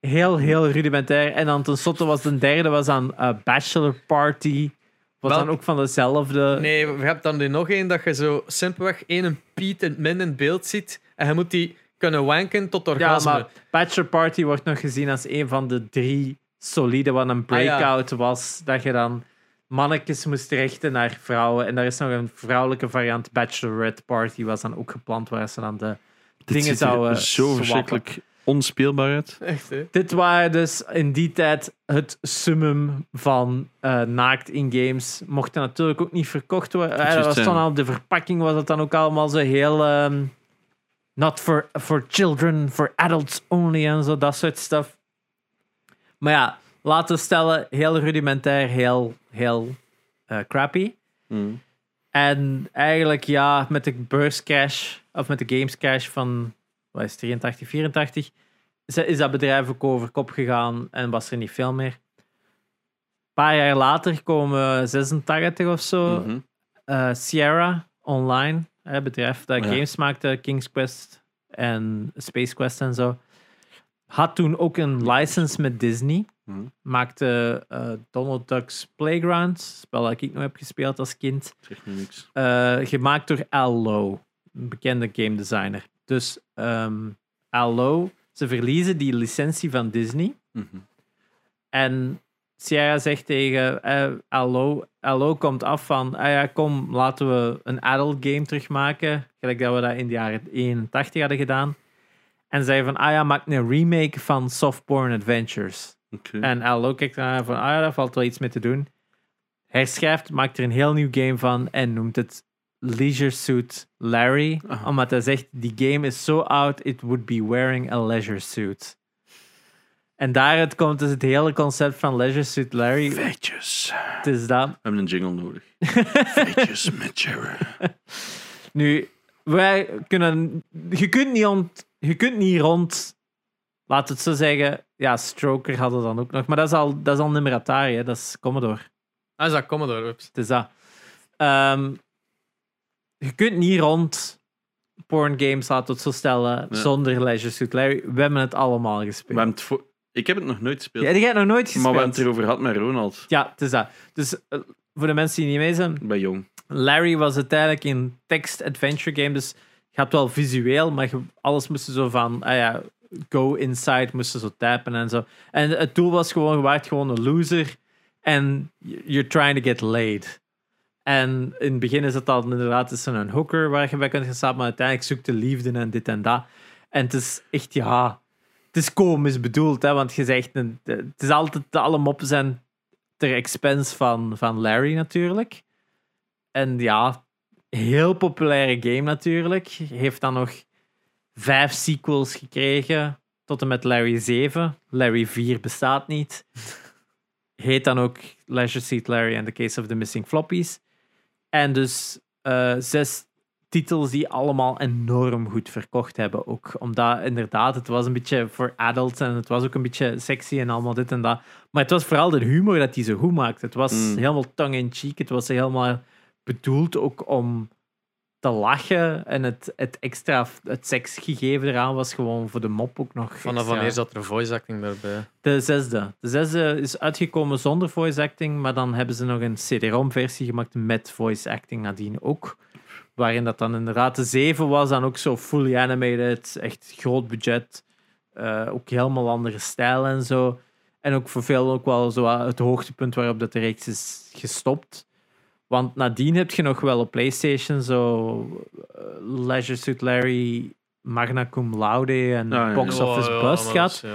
S3: heel, heel rudimentair. En dan tenslotte was de derde was aan eh, Bachelor Party, was
S1: Wel-
S3: dan ook van dezelfde...
S1: Nee, we hebben dan die nog één dat je zo simpelweg één een Piet en min in beeld ziet. En je moet die kunnen wanken tot
S3: Ja,
S1: orgasme.
S3: maar Bachelor Party wordt nog gezien als een van de drie solide, wat een
S1: Ah, ja.
S3: breakout was. Dat je dan mannetjes moest richten naar vrouwen. En daar is nog een vrouwelijke variant, Bachelorette Party, was dan ook gepland, waar ze dan de
S2: Dit
S3: dingen eh,
S2: ziet er
S3: zouden
S2: zo
S3: swappen.
S2: verschrikkelijk onspeelbaar uit.
S1: Echt, hè?
S3: Dit waren dus in die tijd het summum van eh, naakt in games. Mochten natuurlijk ook niet verkocht worden. Eh, dat
S2: juist
S3: was
S2: zijn.
S3: dan al, de verpakking was het dan ook allemaal zo heel. ehm, not for, for children, for adults only en zo, dat soort stuff. Maar ja, laten we stellen, heel rudimentair, heel, heel eh, crappy.
S2: Mm.
S3: En eigenlijk, ja, met de beurscrash, of met de gamescrash van, wat is het, 83, 84, is is dat bedrijf ook over kop gegaan en was er niet veel meer. Een paar jaar later komen 86 of zo,
S2: Mhm.
S3: eh, Sierra Online, hè, bedrijf dat
S2: Ja.
S3: games maakte, King's Quest en Space Quest en zo, had toen ook een license met Disney.
S2: Mhm.
S3: Maakte eh, Donald Duck's Playground, spel dat ik nog heb gespeeld als kind.
S2: Zegt me niks.
S3: Eh, gemaakt door Al Lowe, een bekende game designer. Dus ehm Al Lowe, ze verliezen die licentie van Disney.
S2: Mhm.
S3: En Sierra zegt tegen eh, Al Lowe, Al Lowe komt af van, ah ja, kom, laten we een adult game terugmaken. Gelijk dat we dat in de jaren 81 hadden gedaan. En zeiden van, ah ja, maak een remake van Softporn Adventures.
S2: Oké.
S3: En Allo kijkt ernaar van, ah ja, daar valt wel iets mee te doen. Herschrijft, maakt er een heel nieuw game van en noemt het Leisure Suit Larry.
S2: Aha.
S3: Omdat hij zegt, die game is so out, it would be wearing a leisure suit. En daaruit komt dus het hele concept van Leisure Suit Larry.
S2: Feitjes.
S3: Het is dat.
S2: We hebben een jingle nodig. Feitjes met Jerry.
S3: Nu, wij kunnen. Je kunt niet, ont, je kunt niet rond. Laat het zo zeggen. Ja, Stroker hadden dan ook nog. Maar dat is al, dat is al Numeratari, hè. dat is Commodore.
S1: Ah, is dat Commodore? Ups.
S3: Het is dat. Ehm, je kunt niet rond porn games, laten we het zo stellen,
S2: Nee.
S3: zonder Leisure Suit Larry. We hebben het allemaal
S2: We
S3: gespeeld.
S2: hebben het voor- Ik heb het nog nooit gespeeld.
S3: Ja, die heb nog nooit gespeeld.
S2: maar we hebben het erover gehad met Ronald.
S3: Ja, het is dat. Dus eh, voor de mensen die niet mee zijn,
S2: Ik ben jong.
S3: Larry was uiteindelijk een text-adventure game, dus je had wel visueel, maar je- alles moest zo van, ah ja, go inside, moesten zo typen en zo. En het doel was gewoon, je waart gewoon een loser en you're trying to get laid. En in het begin is het dan inderdaad is een hooker waar je bij kunt gaan slapen, maar uiteindelijk zoekt de liefde en dit en dat. En het is echt, ja, het is komisch bedoeld, hè, want je zegt, een- het is altijd, alle moppen zijn ter expense van, van Larry natuurlijk. En ja, heel populaire game natuurlijk. Heeft dan nog vijf sequels gekregen. Tot en met Larry 7. Larry 4 bestaat niet. Heet dan ook Leisure Suit Larry and the Case of the Missing Floppies. En dus eh, zes titels die allemaal enorm goed verkocht hebben ook. Omdat inderdaad, het was een beetje voor adults en het was ook een beetje sexy en allemaal dit en dat. Maar het was vooral de humor dat hij zo goed maakte. Het was
S2: Mm.
S3: helemaal tongue-in-cheek. Het was helemaal bedoeld ook om te lachen. En het, het extra, het seksgegeven eraan was gewoon voor de mop ook nog
S1: Vanaf
S3: extra.
S1: wanneer zat er voice acting daarbij?
S3: De zesde. De zesde is uitgekomen zonder voice acting, maar dan hebben ze nog een CD-ROM-versie gemaakt met voice acting nadien ook. Waarin dat dan inderdaad de zeven was, dan ook zo fully animated, echt groot budget. eh, ook helemaal andere stijl en zo. En ook voor veel ook wel zo wat het hoogtepunt waarop dat de reeks is gestopt. Want nadien heb je nog wel op PlayStation zo eh, Leisure Suit Larry, Magna Cum Laude en
S2: Ah, ja.
S3: Box Office Bust gehad.
S1: Ja.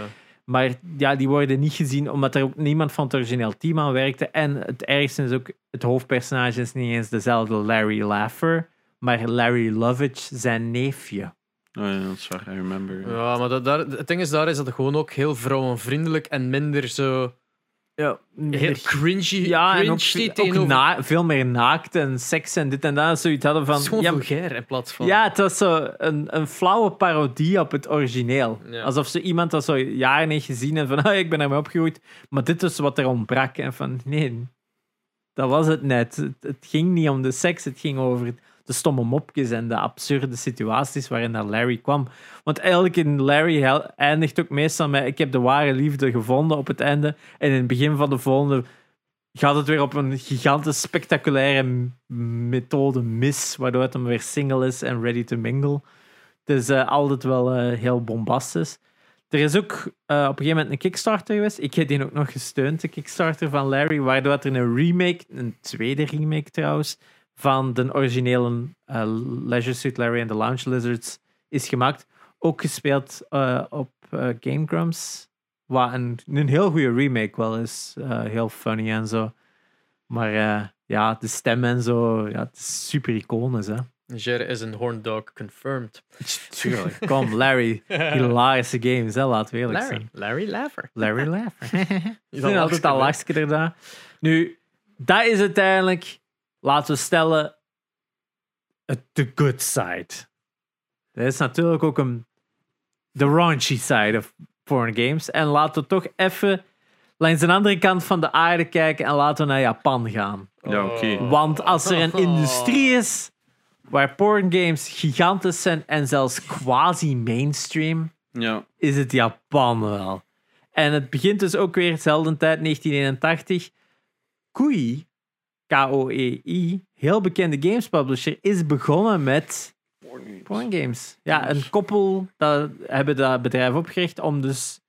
S3: Maar ja, die worden niet gezien omdat er ook niemand van het origineel team aan werkte. En het ergste is ook, het hoofdpersonage is niet eens dezelfde Larry Laffer, maar Larry Lovitch, zijn neefje.
S2: Oh ja, dat is waar. I remember.
S1: Ja, maar dat, daar, het ding is, daar is dat gewoon ook heel vrouwenvriendelijk en minder zo
S3: Ja,
S1: heel cringy.
S3: ja en ook,
S1: cringy
S3: ook
S1: tegenover-
S3: na- veel meer naakt en seks en dit en dat. Zoiets hadden
S1: Het is
S3: van.
S1: gewoon
S3: Ja,
S1: vulgair in plaats van...
S3: ja, het was zo een, een flauwe parodie op het origineel.
S1: Ja.
S3: Alsof ze iemand dat zo jaren heeft gezien en van, ah, ik ben ermee opgegroeid. Maar dit is wat er ontbrak. En van, nee, dat was het net. Het, het ging niet om de seks, het ging over de stomme mopjes en de absurde situaties waarin dat Larry kwam. Want eigenlijk in Larry hel- eindigt ook meestal met, ik heb de ware liefde gevonden op het einde. En in het begin van de volgende gaat het weer op een gigantisch spectaculaire m- methode mis, waardoor het hem weer single is en ready to mingle. Het is eh, altijd wel eh, heel bombastisch. Er is ook eh, op een gegeven moment een Kickstarter geweest. Ik heb die ook nog gesteund, de Kickstarter van Larry, waardoor er een remake, een tweede remake trouwens, van de originele eh, Leisure Suit Larry en de Lounge Lizards is gemaakt. Ook gespeeld eh, op eh, Game Grumps. Wat een, een heel goede remake wel is. Eh, heel funny en zo. Maar eh, ja, de stem en zo, ja, het is super iconisch. Hè?
S1: Jer is een horn dog confirmed.
S3: Tuurlijk. Kom, Larry. Hilarische games, hè, laten we eerlijk zijn.
S1: Larry Laver.
S3: Larry Laffer.
S1: Is
S3: Ik vind altijd dat lachje erna. Nu, dat is uiteindelijk, laten we stellen, het the good side. Dat is natuurlijk ook een the raunchy side of foreign games. En laten we toch even langs de andere kant van de aarde kijken en laten we naar Japan gaan.
S2: Ja, oké.
S3: Want als er een
S1: Oh.
S3: industrie is waar porn games gigantisch zijn en zelfs quasi mainstream,
S2: Ja.
S3: is het Japan wel. En het begint dus ook weer zelden tijd, 1981. Koei, K-O-E-I, E heel bekende games publisher, is begonnen met porn games. Ja, een koppel dat, hebben dat bedrijf opgericht om dus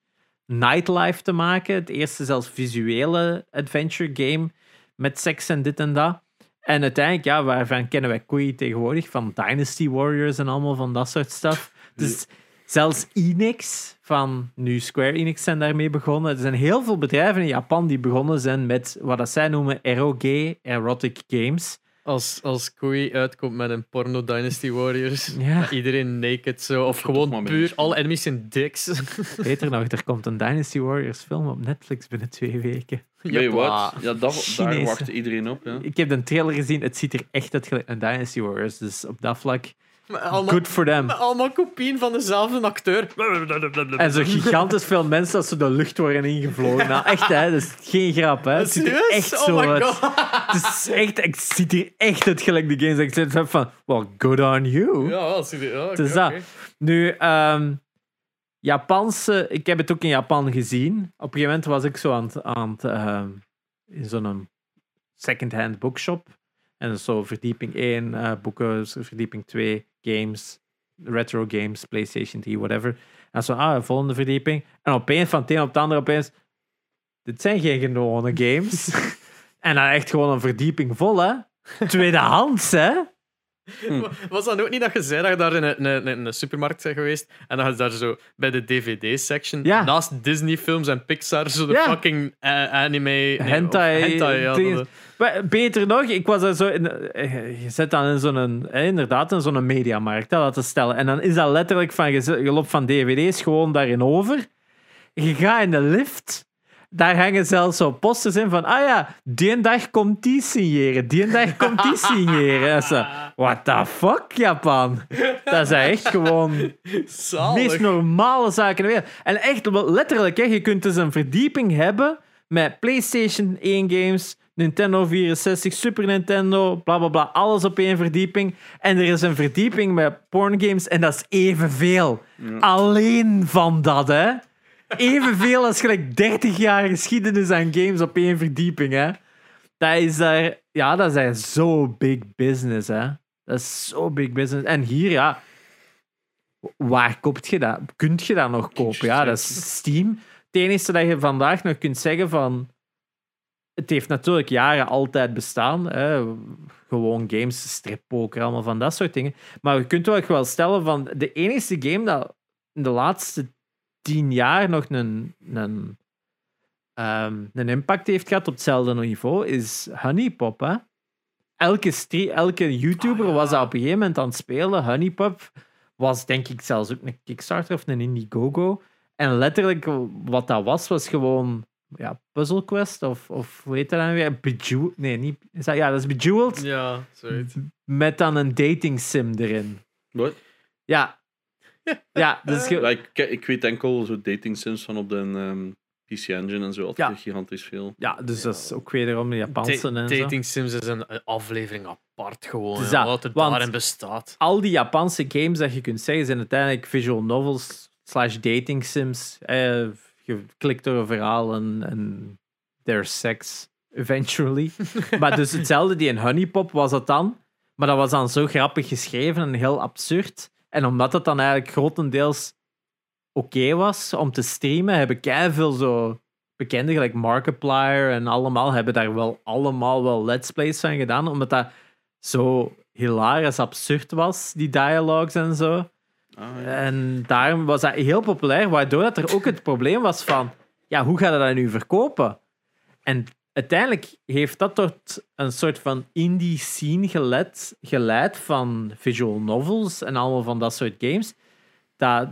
S3: nightlife te maken. Het eerste zelfs visuele adventure game met seks en dit en dat. En uiteindelijk, ja, waarvan kennen wij Koei tegenwoordig? Van Dynasty Warriors en allemaal van dat soort stuff. Dus zelfs Enix, van nu Square Enix, zijn daarmee begonnen. Er zijn heel veel bedrijven in Japan die begonnen zijn met wat dat zij noemen ROG, Erotic Games.
S1: Als, als Koei uitkomt met een porno Dynasty Warriors.
S3: Ja.
S1: dat Iedereen naked zo. Of
S2: Verdomme,
S1: gewoon
S2: man.
S1: puur. Alle enemies zijn dicks.
S3: Beter nog, er komt een Dynasty Warriors film op Netflix binnen twee weken.
S2: Weet je
S1: Jopla.
S2: wat? Ja, dat, daar
S3: Chinezen.
S2: wacht iedereen op. Ja.
S3: Ik heb de trailer gezien, het ziet er echt uit gelijk een Dynasty Warriors. Dus op dat vlak,
S1: Maar Allemaal,
S3: good for them.
S1: allemaal kopieën van dezelfde acteur.
S3: En zo gigantisch veel mensen dat ze de lucht worden ingevlogen. Nou, echt, hè? Dat is geen grap, hè? Het ziet er
S1: Serieus?
S3: echt
S1: Oh
S3: zo
S1: my
S3: uit.
S1: God.
S3: Het is echt, ik ziet hier echt het gelijk de games. dat Ik zit zo van, well, good on you.
S1: Ja, wel, zie je. Ja,
S3: Het is
S1: oké,
S3: dat.
S1: oké.
S3: Nu, ehm, Japanse... Ik heb het ook in Japan gezien. Op een gegeven moment was ik zo aan het... Aan het ehm, in zo'n second-hand bookshop. En dat is zo verdieping 1, eh, boeken, zo verdieping 2, games, retro games, PlayStation 3, whatever. En zo, ah, volgende verdieping. En opeens, van het een op het andere, opeens... Dit zijn geen gewone games. en dan echt gewoon een verdieping vol, hè. Tweedehands, hè.
S1: Hm. Was dat ook niet dat je zei dat je daar in een, een, een, een supermarkt bent geweest en dat je daar zo bij de DVD-section
S3: Ja.
S1: naast Disney-films en Pixar zo de
S3: Ja.
S1: fucking eh, anime... nee, of
S3: hentai. eh,
S1: hentai ja,
S3: dingen.
S1: dat-
S3: Maar Beter nog, ik was daar zo. In, eh, je zit dan in zo'n. eh, Inderdaad, in zo'n mediamarkt, hè, laten stellen. En dan is dat letterlijk van. Je zit- je loopt van DVD's gewoon daarin over. Je gaat in de lift. Daar hangen zelfs zo posters in van. Ah ja, die dag komt die signeren. Die dag komt die signeren. En zo, what the fuck, Japan? Dat is echt gewoon
S1: Zalig.
S3: meest normale zaken in de wereld. En echt, wel letterlijk, hè, je kunt dus een verdieping hebben met PlayStation 1 games, Nintendo 64, Super Nintendo, bla bla bla, alles op één verdieping. En er is een verdieping met porn games en dat is evenveel. Alleen van dat, hè? Evenveel als gelijk 30 jaar geschiedenis aan games op één verdieping, hè? Dat is daar, ja, dat is daar zo big business, hè? Dat is zo big business. En hier, ja, waar koopt je dat? Kunt je dat nog kopen? Ja, dat is Steam. Het enige dat je vandaag nog kunt zeggen van... Het heeft natuurlijk jaren altijd bestaan. Hè? Gewoon games, strippoker, allemaal van dat soort dingen. Maar je kunt wel echt wel stellen van... De enige game dat in de laatste tien jaar nog een... een ehm, een impact heeft gehad op hetzelfde niveau is Honeypop. Hè? Elke, stre- elke YouTuber was dat op een gegeven moment aan het spelen. Honeypop was denk ik zelfs ook een Kickstarter of een Indiegogo. En letterlijk wat dat was, was gewoon ja, Puzzle Quest of, of hoe heet dat dan weer? Bejeweled? Nee, niet, is dat, ja, dat is Bejeweled
S1: Ja, zoiets.
S3: met dan een dating sim erin.
S2: What?
S3: Ja. Ja, dus
S2: Ja,
S3: je-
S2: ik, ke- ik weet enkel zo dating sims van op de ehm, PC Engine en zo. Altijd
S3: Ja.
S2: gigantisch veel.
S3: ja, dus dat is ook wederom de Japanse en zo.
S1: Dating Sims is een een aflevering apart gewoon.
S3: Dus
S1: Dus
S3: dat,
S1: wat er
S3: want-
S1: daarin bestaat.
S3: al die Japanse games dat je kunt zeggen zijn uiteindelijk visual novels slash dating sims. Eh, je klikt door een verhaal en, en there's sex eventually. maar dus hetzelfde, die in Honeypop was dat dan. Maar dat was dan zo grappig geschreven en heel absurd. En omdat dat dan eigenlijk grotendeels oké was om te streamen, hebben veel zo bekende, gelijk Markiplier en allemaal, hebben daar wel allemaal wel let's plays van gedaan. Omdat dat zo hilarisch absurd was, die dialogues en zo.
S2: Ah, ja.
S3: En daarom was dat heel populair, waardoor dat er ook het probleem was van, ja, hoe ga je dat nu verkopen? En uiteindelijk heeft dat tot een soort van indie scene geleid, geleid van visual novels en allemaal van dat soort games, dat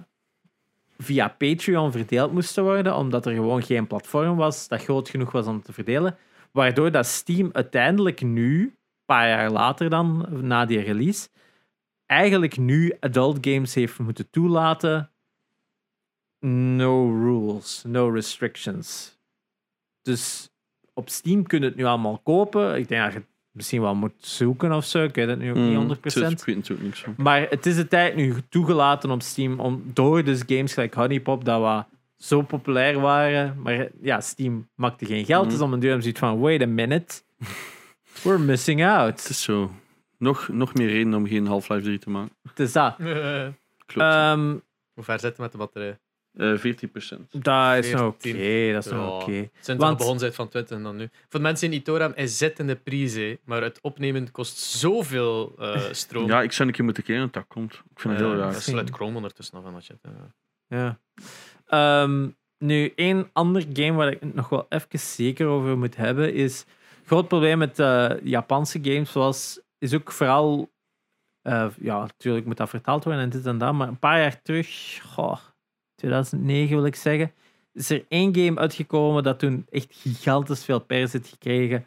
S3: via Patreon verdeeld moesten worden, omdat er gewoon geen platform was dat groot genoeg was om te verdelen. Waardoor dat Steam uiteindelijk nu, een paar jaar later dan, na die release, eigenlijk nu adult games heeft moeten toelaten. No rules, no restrictions. Dus op Steam kun je het nu allemaal kopen. Ik denk dat je het misschien wel moet zoeken of zo. Ik weet het nu ook
S2: Mm,
S3: niet 100%.
S2: het is- Ik weet natuurlijk niks van.
S3: Maar het is de tijd nu toegelaten op Steam om door dus games gelijk Honeypop, dat wat zo populair waren. Maar ja, Steam maakte geen geld.
S2: Mhm.
S3: Dus om een duur hebben ze zoiets van, wait a minute. We're missing
S2: Het
S3: out.
S2: is zo. Nog, nog meer reden om geen Half-Life 3 te maken.
S3: Het is dat.
S2: Klopt.
S3: Ehm,
S1: Hoe ver zitten we met de batterij?
S2: Eh, 14%.
S3: dat is nog oké.
S1: 14.
S3: dat is nog
S1: Ja.
S3: oké.
S1: Het zijn
S3: Want-
S1: Want... begonnen zijn van Twitter en dan nu. Voor de mensen in Itoram, hij zit in de prijs, hè, maar het opnemen kost zoveel eh, stroom.
S2: Ja, ik zou een keer moeten kijken dat dat komt. Ik vind het heel
S1: Eh,
S2: raar.
S3: dus-
S1: dat sluit Chrome ondertussen af en dat shit. eh.
S3: Ja. Ehm, nu, één ander game waar ik het nog wel even zeker over moet hebben is. Groot probleem met eh, Japanse games was, is ook vooral. eh, ja, natuurlijk moet dat vertaald worden en dit en dat, maar een paar jaar terug, goh, 2009 wil ik zeggen, is er één game uitgekomen dat toen echt gigantisch veel pers heeft gekregen.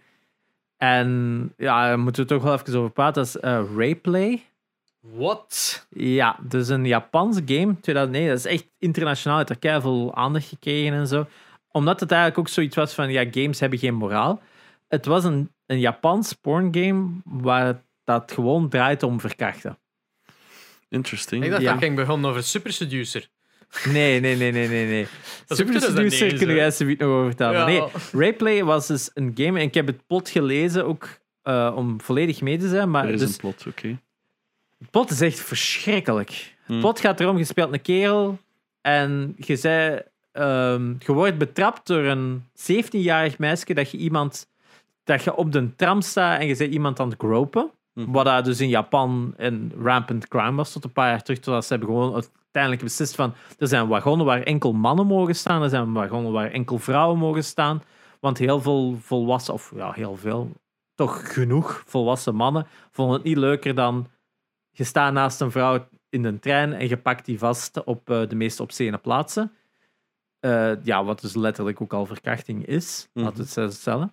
S3: En ja, daar moeten we toch wel even over praten. Dat is eh, Rayplay.
S1: Wat?
S3: Ja, dus een Japanse game, 2009, dat is echt internationaal, heeft er keiveel aandacht gekregen en zo. Omdat het eigenlijk ook zoiets was van, ja, games hebben geen moraal. Het was een, een Japans porngame waar het- dat gewoon draait om verkrachten.
S2: Interesting.
S1: Ik dacht
S3: Ja.
S1: dat ik begon over Super Seducer.
S3: Nee, nee, nee, nee, nee. nee.
S1: Dat
S3: Super
S1: is ook
S3: Seducer
S1: 2009
S3: kunnen
S1: zo.
S3: jij zoiets nog over vertellen.
S1: Ja.
S3: Nee, Rayplay was dus een game, en ik heb het plot gelezen ook eh, om volledig mee te zijn, maar
S2: er is
S3: dus
S2: een plot, oké.
S3: Het plot is echt verschrikkelijk. Het
S2: Hmm.
S3: plot gaat erom, je speelt een kerel en je, zei, ehm, je wordt betrapt door een 17-jarig meisje dat je iemand dat je op de tram staat en je bent iemand aan het gropen.
S2: Mhm.
S3: Wat daar dus in Japan een rampant crime was tot een paar jaar terug. Totdat ze hebben gewoon uiteindelijk beslist van... Er zijn wagonnen waar enkel mannen mogen staan. Er zijn wagonnen waar enkel vrouwen mogen staan. Want heel veel volwassen... Of ja, heel veel. Toch genoeg volwassen mannen vonden het niet leuker dan... Je staat naast een vrouw in een trein en je pakt die vast op eh, de meest obscene plaatsen. Eh, ja, wat dus letterlijk ook al verkrachting is.
S2: Mhm.
S3: Laten we het zo stellen.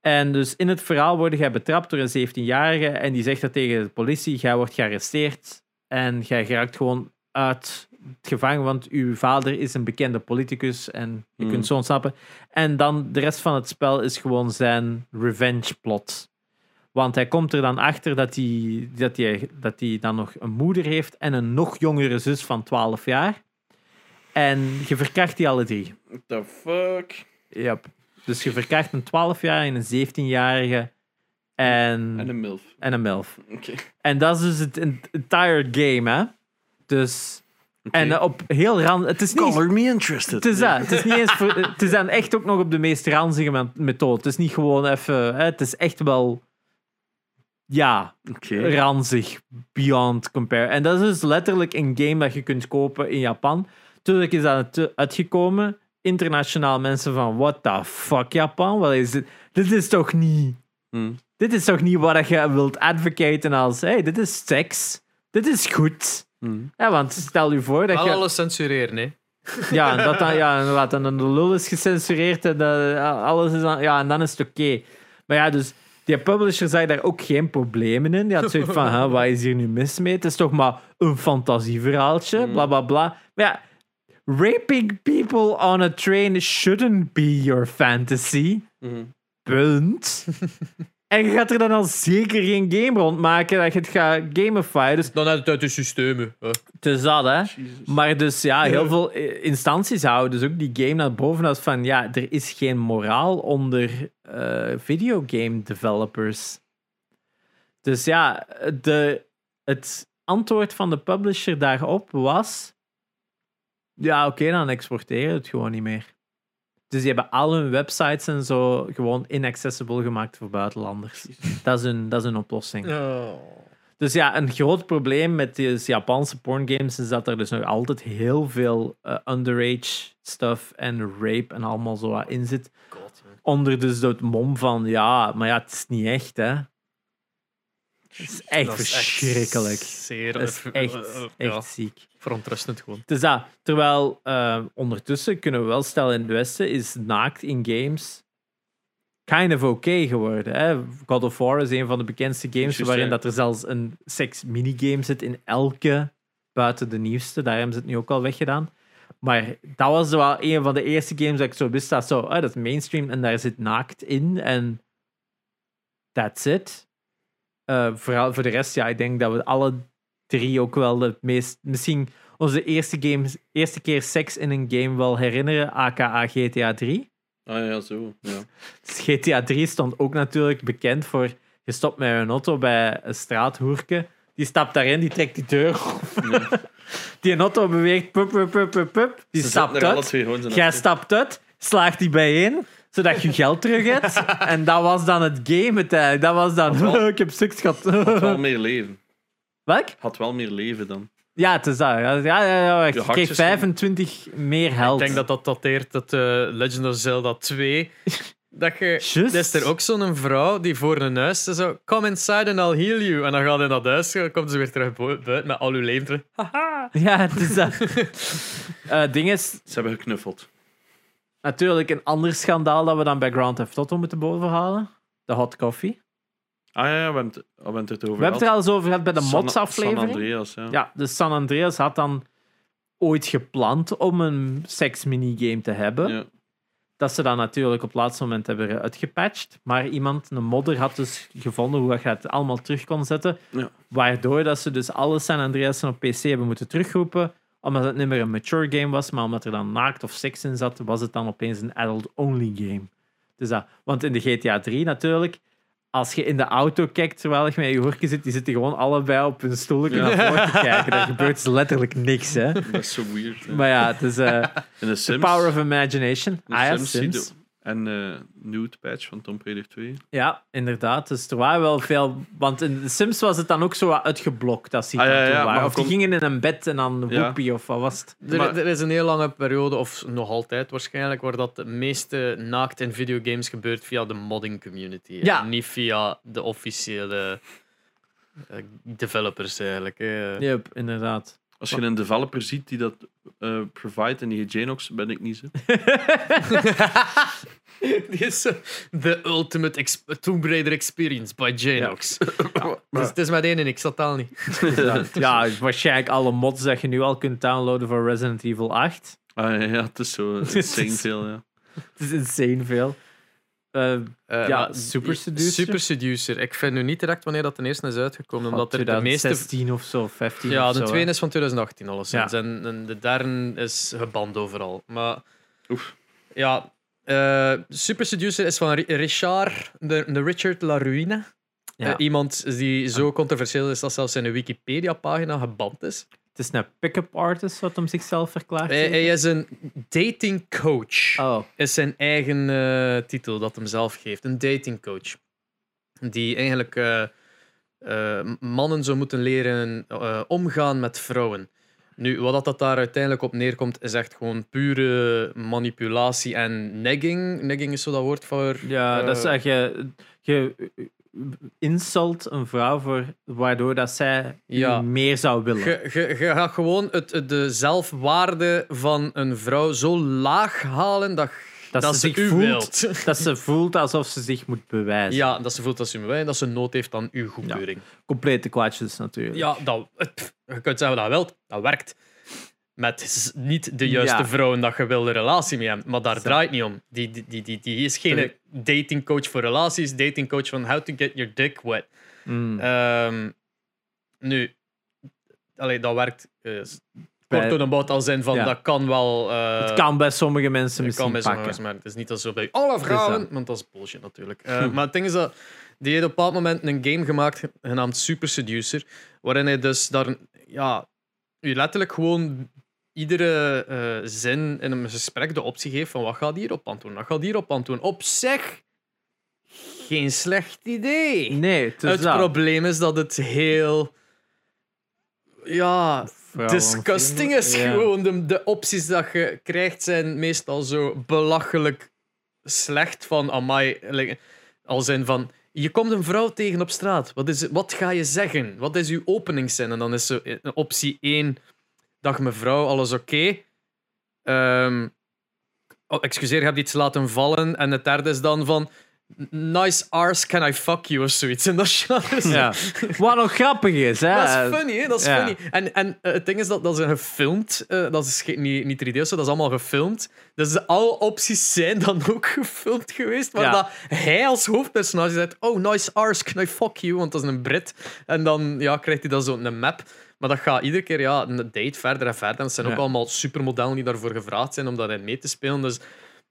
S3: En dus in het verhaal word jij betrapt door een 17-jarige en die zegt dat tegen de politie. Jij wordt gearresteerd en jij geraakt gewoon uit het gevangen, want uw vader is een bekende politicus en je
S2: Mm.
S3: kunt zo ontsnappen. En dan de rest van het spel is gewoon zijn revenge plot. Want hij komt er dan achter dat hij, dat hij, dat hij dan nog een moeder heeft en een nog jongere zus van 12 jaar. En je verkracht die alle drie.
S2: What the fuck?
S3: Yep. Dus je verkrijgt een 12-jarige en een 17-jarige en,
S2: En een milf.
S3: en een MILF.
S2: Oké.
S3: En dat is dus het en- entire game, hè? Dus. En eh, op heel ran. Het is niet.
S2: me interested.
S3: Het is, eh, dat. het is niet eens. voor- het is dan echt ook nog op de meest ranzige me- methode. Het is niet gewoon even. Hè? Het is echt wel. Ja,
S2: Oké.
S3: ranzig. Beyond compare. En dat is dus letterlijk een game dat je kunt kopen in Japan. Tuurlijk is dat uit- uitgekomen. Internationaal mensen van. What the fuck, Japan? Wat is dit? Dit is toch niet.
S2: Hm.
S3: Dit is toch niet wat je wilt advocaten als. hey, dit is seks. Dit is goed. Ja, want stel u voor dat
S1: Wel
S3: je...
S1: alles censureren, hè.
S3: Ja, en dat dan, ja, inderdaad. En dan de lul is gecensureerd en de- alles is aan, ja, en dan is het oké. Maar ja, dus die publisher zei daar ook geen problemen in. Die had zoiets van, hè, wat is hier nu mis mee? Het is toch maar een fantasieverhaaltje, bla bla bla. Maar ja, raping people on a train shouldn't be your fantasy. Punt. En je gaat er dan al zeker geen game rond maken dat je het gaat gamifyen. Dus
S1: Dan uit het uit de systemen. hè.
S3: het is dat, hè.
S2: Jezus.
S3: Maar dus ja, heel veel eh, instanties houden dus ook die game naar boven als van ja, er is geen moraal onder eh, videogame developers. Dus ja, de, het antwoord van de publisher daarop was: ja, oké, dan exporteren we het gewoon niet meer. Dus die hebben al hun websites en zo gewoon inaccessible gemaakt voor buitenlanders. Dat is hun, dat is hun oplossing.
S1: Oh,
S3: Dus ja, een groot probleem met die Japanse porngames is dat er dus nog altijd heel veel eh, underage stuff en rape en allemaal zo wat in zit. Onder dus dat mom van ja, maar ja, het is niet echt, hè. Het is echt
S1: Dat is echt
S3: verschrikkelijk.
S1: Zeer eh,
S3: Dat is echt,
S1: ja,
S3: echt ziek.
S1: verontrustend gewoon.
S3: Dus dat, terwijl eh, ondertussen kunnen we wel stellen in het Westen is naakt in games kind of oké geworden. Hè? God of War is een van de bekendste games
S2: Juist,
S3: waarin
S2: ja.
S3: dat er zelfs een seks minigame zit in elke, buiten de nieuwste. Daar hebben ze het nu ook al weggedaan. Maar dat was wel een van de eerste games dat ik zo wist dat zo, ah, dat is mainstream en daar zit naakt in en that's it. Eh, vooral voor de rest, ja, ik denk dat we alle drie ook wel het meest, misschien onze eerste, games, eerste keer seks in een game wel herinneren, aka GTA 3.
S2: Ah ja, zo. Ja.
S3: Dus GTA 3 stond ook natuurlijk bekend voor. Je stopt met een auto bij een straathoerke. Die stapt daarin, die trekt die deur open. Die auto beweegt, pup, pup, pup, pup, pup. Die
S2: Ze
S3: stapt
S2: zetten er alle
S3: uit.
S2: twee gewoon zijn
S3: Jij
S2: auto.
S3: stapt uit, slaagt die bijeen, zodat je geld terug hebt. En dat was dan het game uiteindelijk. Dat was dan,
S2: wel-
S3: ik heb seks gehad.
S2: Had wel meer leven.
S3: Wat?
S2: Had wel meer leven dan.
S3: Ja, het is dat. Ja, ja, ja, ja.
S2: Je
S3: Je kreeg
S2: hartjes-
S3: 25 meer
S1: Ik
S3: held.
S1: denk dat dat dateert dat eh, Legend of Zelda 2. Dat je,
S3: Just.
S1: Er is er ook zo'n vrouw die voor een huis ze zo. Come inside and I'll heal you. En dan gaat hij naar huis, dan komt ze weer terug bo- buiten met al uw leven terug.
S3: Ja, het is dat. Eh, ding is,
S2: Ze hebben geknuffeld.
S3: Natuurlijk, een ander schandaal dat we dan bij Grand Theft Auto moeten bovenhalen. De hot coffee.
S2: Ah ja, ja, we hebben het, we hebben het erover
S3: We hebben het er al eens over gehad bij de mods
S2: San
S3: aflevering.
S2: Andreas, ja.
S3: Ja, dus San Andreas had dan ooit gepland om een seks minigame te hebben.
S2: Ja.
S3: Dat ze dan natuurlijk op het laatste moment hebben eh, uitgepatcht. Maar iemand, een modder, had dus gevonden hoe je het allemaal terug kon zetten.
S2: Ja.
S3: Waardoor dat ze dus alle San Andreasen op PC hebben moeten terugroepen. Omdat het niet meer een mature game was, maar omdat er dan naakt of seks in zat, was het dan opeens een adult-only game. Dus dat, want in de GTA 3 natuurlijk, als je in de auto kijkt terwijl je met je horkje zit, die zitten gewoon allebei op hun stoeltje
S2: Ja.
S3: naar voren te kijken. Daar gebeurt dus letterlijk niks, hè.
S2: Dat is zo weird. hè.
S3: Maar ja, het is eh,
S2: In de
S3: the
S2: Sims...
S3: power of imagination.
S2: de
S3: I have
S2: Sims zie je-
S3: Sims.
S2: En eh Nude Patch van Tomb Raider 2.
S3: Ja, inderdaad. Dus er waren wel veel. Want in The Sims was het dan ook zo wat uitgeblokt. Dat ze
S2: Ah, ja,
S3: dan toen
S2: ja,
S3: waren.
S2: maar
S3: Of die
S2: kom-
S3: gingen in een bed en dan
S2: Ja.
S3: whoopie of wat was het?
S1: Er,
S2: Maar-
S1: er is een heel lange periode, of nog altijd waarschijnlijk, waar dat de meeste naakt in videogames gebeurt via de modding community. en
S3: Ja.
S1: Niet via de officiële eh, developers eigenlijk. hè.
S3: Yep, inderdaad.
S2: Als je een developer ziet die dat eh provide en die Genox, ben ik niet zo.
S1: Die is zo, The Ultimate ex- Tomb Raider Experience by Janox. Dus het is met één en ik zat al niet.
S3: ja, waarschijnlijk alle mods dat je nu al kunt downloaden voor Resident Evil 8.
S2: Ah ja, ja, het is zo insane veel, ja.
S3: Het is insane veel. Eh,
S1: Eh,
S3: Ja,
S1: maar-
S3: Super Seducer?
S1: Super Seducer. Ik vind nu niet direct wanneer dat de eerste is uitgekomen, omdat er de meeste
S3: 2016 of zo, 15
S1: Ja,
S3: of
S1: de
S3: zo,
S1: tweede
S3: hè.
S1: is van 2018 alleszins. En, en de derde is geband overal. Maar
S2: Oef.
S1: ja, eh, Super Seducer is van Ri- Richard, de, de Richard La Ruine.
S3: Ja.
S1: Eh, iemand die zo controversieel is dat zelfs zijn Wikipedia-pagina geband is.
S3: Het is een pick-up artist wat hem zichzelf verklaart.
S1: Hij, hij is een dating coach.
S3: Oh,
S1: Is zijn eigen eh, titel dat hem zelf geeft. Een dating coach. Die eigenlijk eh, eh, mannen zou moeten leren eh, omgaan met vrouwen. Nu, wat dat- dat daar uiteindelijk op neerkomt, is echt gewoon pure manipulatie en negging. Negging is zo dat woord voor.
S3: ja, dat is
S1: eh,
S3: echt. Je, je insult een vrouw voor, waardoor dat zij
S1: Ja.
S3: meer zou willen.
S1: Je, je, je gaat gewoon het, het- de zelfwaarde van een vrouw zo laag halen dat,
S3: dat, ze zich
S1: u
S3: voelt,
S1: wilt.
S3: dat ze voelt alsof ze zich moet bewijzen.
S1: Ja, dat ze voelt dat ze me wil en dat ze nood heeft aan uw goedkeuring.
S3: Complete kwaadjes natuurlijk.
S1: Ja, dat, pff, je kunt zeggen dat wel, dat werkt. Met z- niet de juiste
S3: Ja.
S1: vrouwen dat je wilde relatie mee hebt. Maar daar draait niet om. Die, die, die, die, die is geen
S3: Terug.
S1: datingcoach voor relaties, datingcoach van how to get your dick wet.
S3: Mm.
S1: Ehm, nu, allee, dat werkt eh,
S3: Bij-
S1: kort door de bocht als zin van
S3: Ja.
S1: dat kan wel. eh,
S3: het kan bij sommige mensen
S1: het kan
S3: misschien
S1: bij sommige
S3: pakken.
S1: mensen, maar het is niet dat zo bij alle vrouwen,
S3: dat.
S1: want dat is bullshit natuurlijk. Eh,
S3: Hm.
S1: Maar het ding is dat die heeft op een bepaald moment een game gemaakt genaamd Super Seducer, waarin hij dus daar ja, u letterlijk gewoon iedere eh, zin in een gesprek de optie geeft van wat gaat hierop aan doen, wat gaat hierop aan doen. Op zich geen slecht idee
S3: Nee, het is
S1: het
S3: dat.
S1: probleem is dat het heel. Ja,
S3: Vrouwen-
S1: disgusting is
S3: Ja.
S1: gewoon. De, de opties dat je krijgt zijn meestal zo belachelijk slecht van amai. like, Al zijn van. Je komt een vrouw tegen op straat. Wat, is, wat ga je zeggen? Wat is uw openingszin? En dan is zo eh, optie 1. Dag mevrouw, alles oké. Ehm, oh, excuseer, je hebt iets laten vallen. En het derde is dan van. Nice arse, can I fuck you? Of zoiets. En dat is
S3: Ja. Wat nog grappig is, hè?
S1: dat is funny, hè? Dat is
S3: ja.
S1: funny. En, en eh, het ding is dat dat is gefilmd. eh, dat is ge- niet, niet 3D of zo, dat is allemaal gefilmd. Dus de- alle opties zijn dan ook gefilmd geweest. Maar
S3: Ja.
S1: dat hij als hoofdpersonage zegt: Oh, nice arse, can I fuck you? Want dat is een Brit. En dan ja, krijgt hij dan zo'n map. Maar dat gaat iedere keer ja, een date verder en verder. En het zijn ook
S3: Ja.
S1: allemaal supermodellen die daarvoor gevraagd zijn om daarin mee te spelen. Dus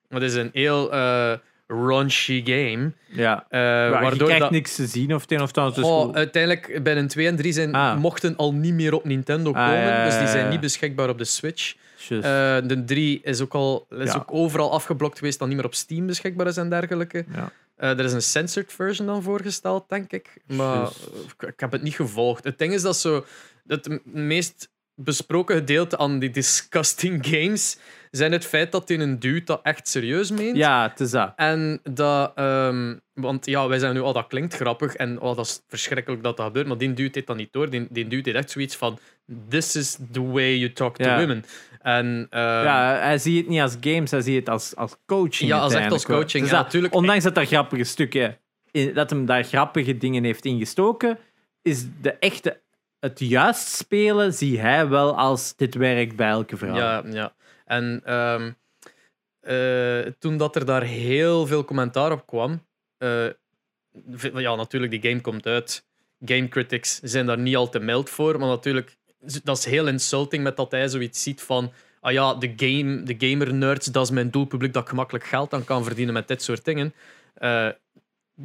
S1: dat is een heel eh raunchy game.
S3: Ja.
S1: eh,
S3: Ja, je
S1: waardoor
S3: krijgt
S1: dat...
S3: niks te zien of het een of het ander. Dus
S1: Oh,
S3: goed.
S1: uiteindelijk, bij een 2 en 3 zijn,
S3: Ah.
S1: mochten al niet meer op Nintendo
S3: Ah,
S1: komen.
S3: ja, ja,
S1: Dus die
S3: ja,
S1: zijn
S3: ja.
S1: niet beschikbaar op de Switch.
S3: Tjus.
S1: Eh, de 3 is ook, al, is
S3: Ja.
S1: ook overal afgeblokt geweest, dat niet meer op Steam beschikbaar is en dergelijke.
S3: Ja.
S1: Eh, er is een censored version dan voorgesteld, denk ik. Maar
S3: Juist.
S1: eh, ik, ik heb het niet gevolgd. Het ding is dat zo. Het m- meest besproken gedeelte aan die disgusting games zijn het feit dat die een dude dat echt serieus meent.
S3: ja, het is dat.
S1: En dat, ehm, want ja, wij zijn nu, oh, dat klinkt grappig en oh, dat is verschrikkelijk dat dat gebeurt, maar die duwt dit dan niet door. Die, die duwt dit echt zoiets van: This is the way you talk to
S3: Ja.
S1: women. En, ehm,
S3: Ja, hij ziet het niet als games, hij ziet het als, als coaching.
S1: Ja, als echt
S3: uiteindelijk,
S1: als
S3: hoor.
S1: coaching,
S3: Het is
S1: ja,
S3: dat.
S1: natuurlijk.
S3: Ondanks dat daar grappige stukken, in, dat hem daar grappige dingen heeft ingestoken, is de echte, het juist spelen zie hij wel als dit werkt bij elke vrouw.
S1: Ja, ja. En ehm, eh, toen dat er daar heel veel commentaar op kwam, eh, v- ja, natuurlijk, die game komt uit. Game critics zijn daar niet al te mild voor, maar natuurlijk, z- dat is heel insulting met dat hij zoiets ziet van. Ah ja, de, game, de gamer nerds, dat is mijn doelpubliek dat ik gemakkelijk geld aan kan verdienen met dit soort dingen. Eh,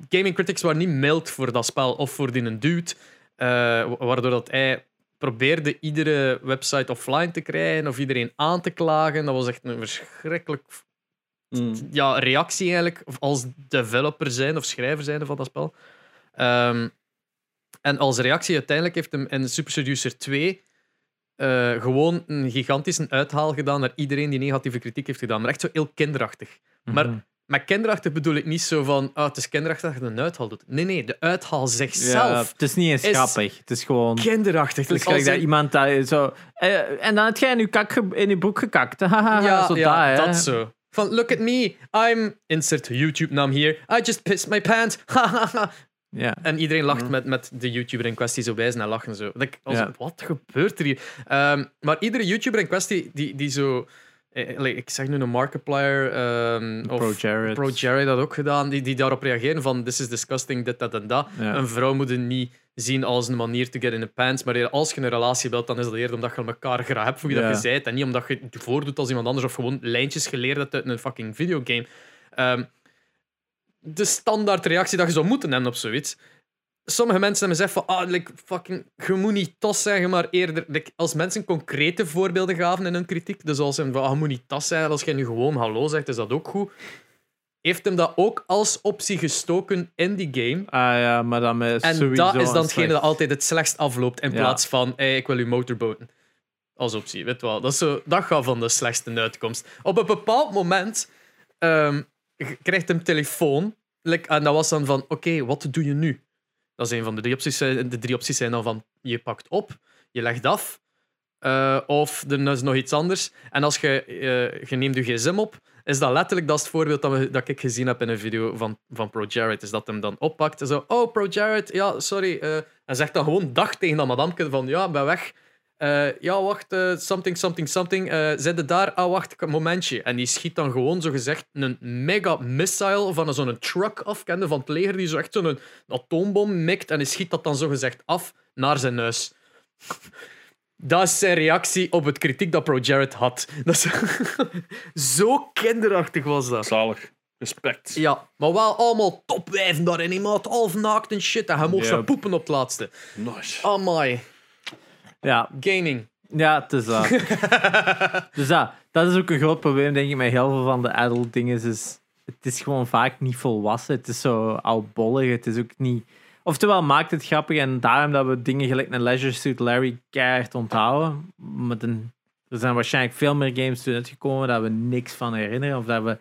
S1: gaming critics waren niet mild voor dat spel of voor die een dude, eh, wa- waardoor dat hij probeerde iedere website offline te krijgen of iedereen aan te klagen. Dat was echt een verschrikkelijk
S3: Mm.
S1: ja, reactie eigenlijk of als developer zijn of schrijver zijn van dat spel. Ehm, en als reactie uiteindelijk heeft hem in Super Seducer 2 eh, gewoon een gigantische uithaal gedaan naar iedereen die negatieve kritiek heeft gedaan. Maar echt zo heel kinderachtig. Maar
S3: Mhm.
S1: met kinderachtig bedoel ik niet zo van ah, het is kinderachtig dat je een uithaal doet. Nee, nee, de uithaal
S3: Ja,
S1: zichzelf.
S3: het is niet eens
S1: is-
S3: grappig. Het is gewoon.
S1: Kinderachtig.
S3: Het is
S1: Dus als
S3: gelijk dat
S1: in-
S3: iemand daar zo. eh, en dan had jij in je, kak ge- in je broek gekakt. Haha,
S1: Ja,
S3: zo
S1: ja
S3: dat, hè.
S1: dat zo. Van, look at me, I'm, insert YouTube-naam hier, I just pissed my pants, Mm.
S3: Ja.
S1: En iedereen lacht met, met de YouTuber in kwestie zo wijzen en lachen. Zo. Dat ik was
S3: Ja.
S1: zo, Wat gebeurt er hier? Ehm, maar iedere YouTuber in kwestie die, die zo. eh, like, ik zeg nu een Markiplier ehm of
S3: Pro Jared.
S1: Pro Jared had ook gedaan, die, die daarop reageren van this is disgusting, dit, dat en dat.
S3: Ja.
S1: Een vrouw moet het niet zien als een manier to get in the pants, maar eerder als je een relatie wilt, dan is dat eerder omdat je elkaar graag hebt voor wie
S3: Ja.
S1: dat je bent en niet omdat je het voordoet als iemand anders of gewoon lijntjes geleerd hebt uit een fucking videogame. Ehm, de standaard reactie dat je zou moeten hebben op zoiets. Sommige mensen hebben gezegd van, ah, like, fucking, je moet niet tas zeggen, maar eerder, like, als mensen concrete voorbeelden gaven in hun kritiek, dus als ze van, ah, je moet niet tas zeggen, als je nu gewoon hallo zegt, is dat ook goed. Heeft hem dat ook als optie gestoken in die game?
S3: Ah ja, maar dan met
S1: En
S3: sowieso
S1: dat is
S3: een
S1: dan
S3: slecht-
S1: hetgene dat altijd het slechtst afloopt, in
S3: Ja.
S1: plaats van, hey, ik wil u motorboten. Als optie, weet je wel. Dat, is zo, dat gaat van de slechtste uitkomst. Op een bepaald moment ehm, je krijgt hem telefoon, like, en dat was dan van, oké, wat doe je nu? Dat is een van de drie opties. Eh, De drie opties zijn dan van je pakt op, je legt af, eh, of er is nog iets anders. En als je, eh, je neemt je gsm op, is dat letterlijk dat is het voorbeeld dat, we, dat ik gezien heb in een video van, van Pro Jared. Is dat hem dan oppakt en zo, oh Pro Jared, ja, sorry. eh, en zegt dan gewoon dag tegen dat madamke van, ja, ik ben weg. Eh, ja, wacht, eh, something, something, something. eh zit het daar? Ah, wacht, een momentje. En die schiet dan gewoon, zo gezegd, een mega missile van zo'n truck af. Kende van het leger die zo echt zo'n atoombom mikt. En die schiet dat dan zo gezegd af naar zijn neus. Dat is zijn reactie op het kritiek dat Pro Jared had. Dat is zo kinderachtig was dat.
S2: Zalig. Respect.
S1: Ja, maar wel allemaal topwijven daarin. Iemand half naakt en shit. En hij mocht
S3: Ja.
S1: zo poepen op het laatste.
S2: Nice.
S1: Amai.
S3: Ja,
S1: Gaming.
S3: ja het is dat. dus ja, dat is ook een groot probleem, denk ik, met heel veel van de adult dingen. Is, het is gewoon vaak niet volwassen. Het is zo oudbollig. Het is ook niet... Oftewel maakt het grappig en daarom dat we dingen gelijk naar Leisure Suit Larry keihard onthouden. Met een, er zijn waarschijnlijk veel meer games toen uitgekomen dat we niks van herinneren. Of dat we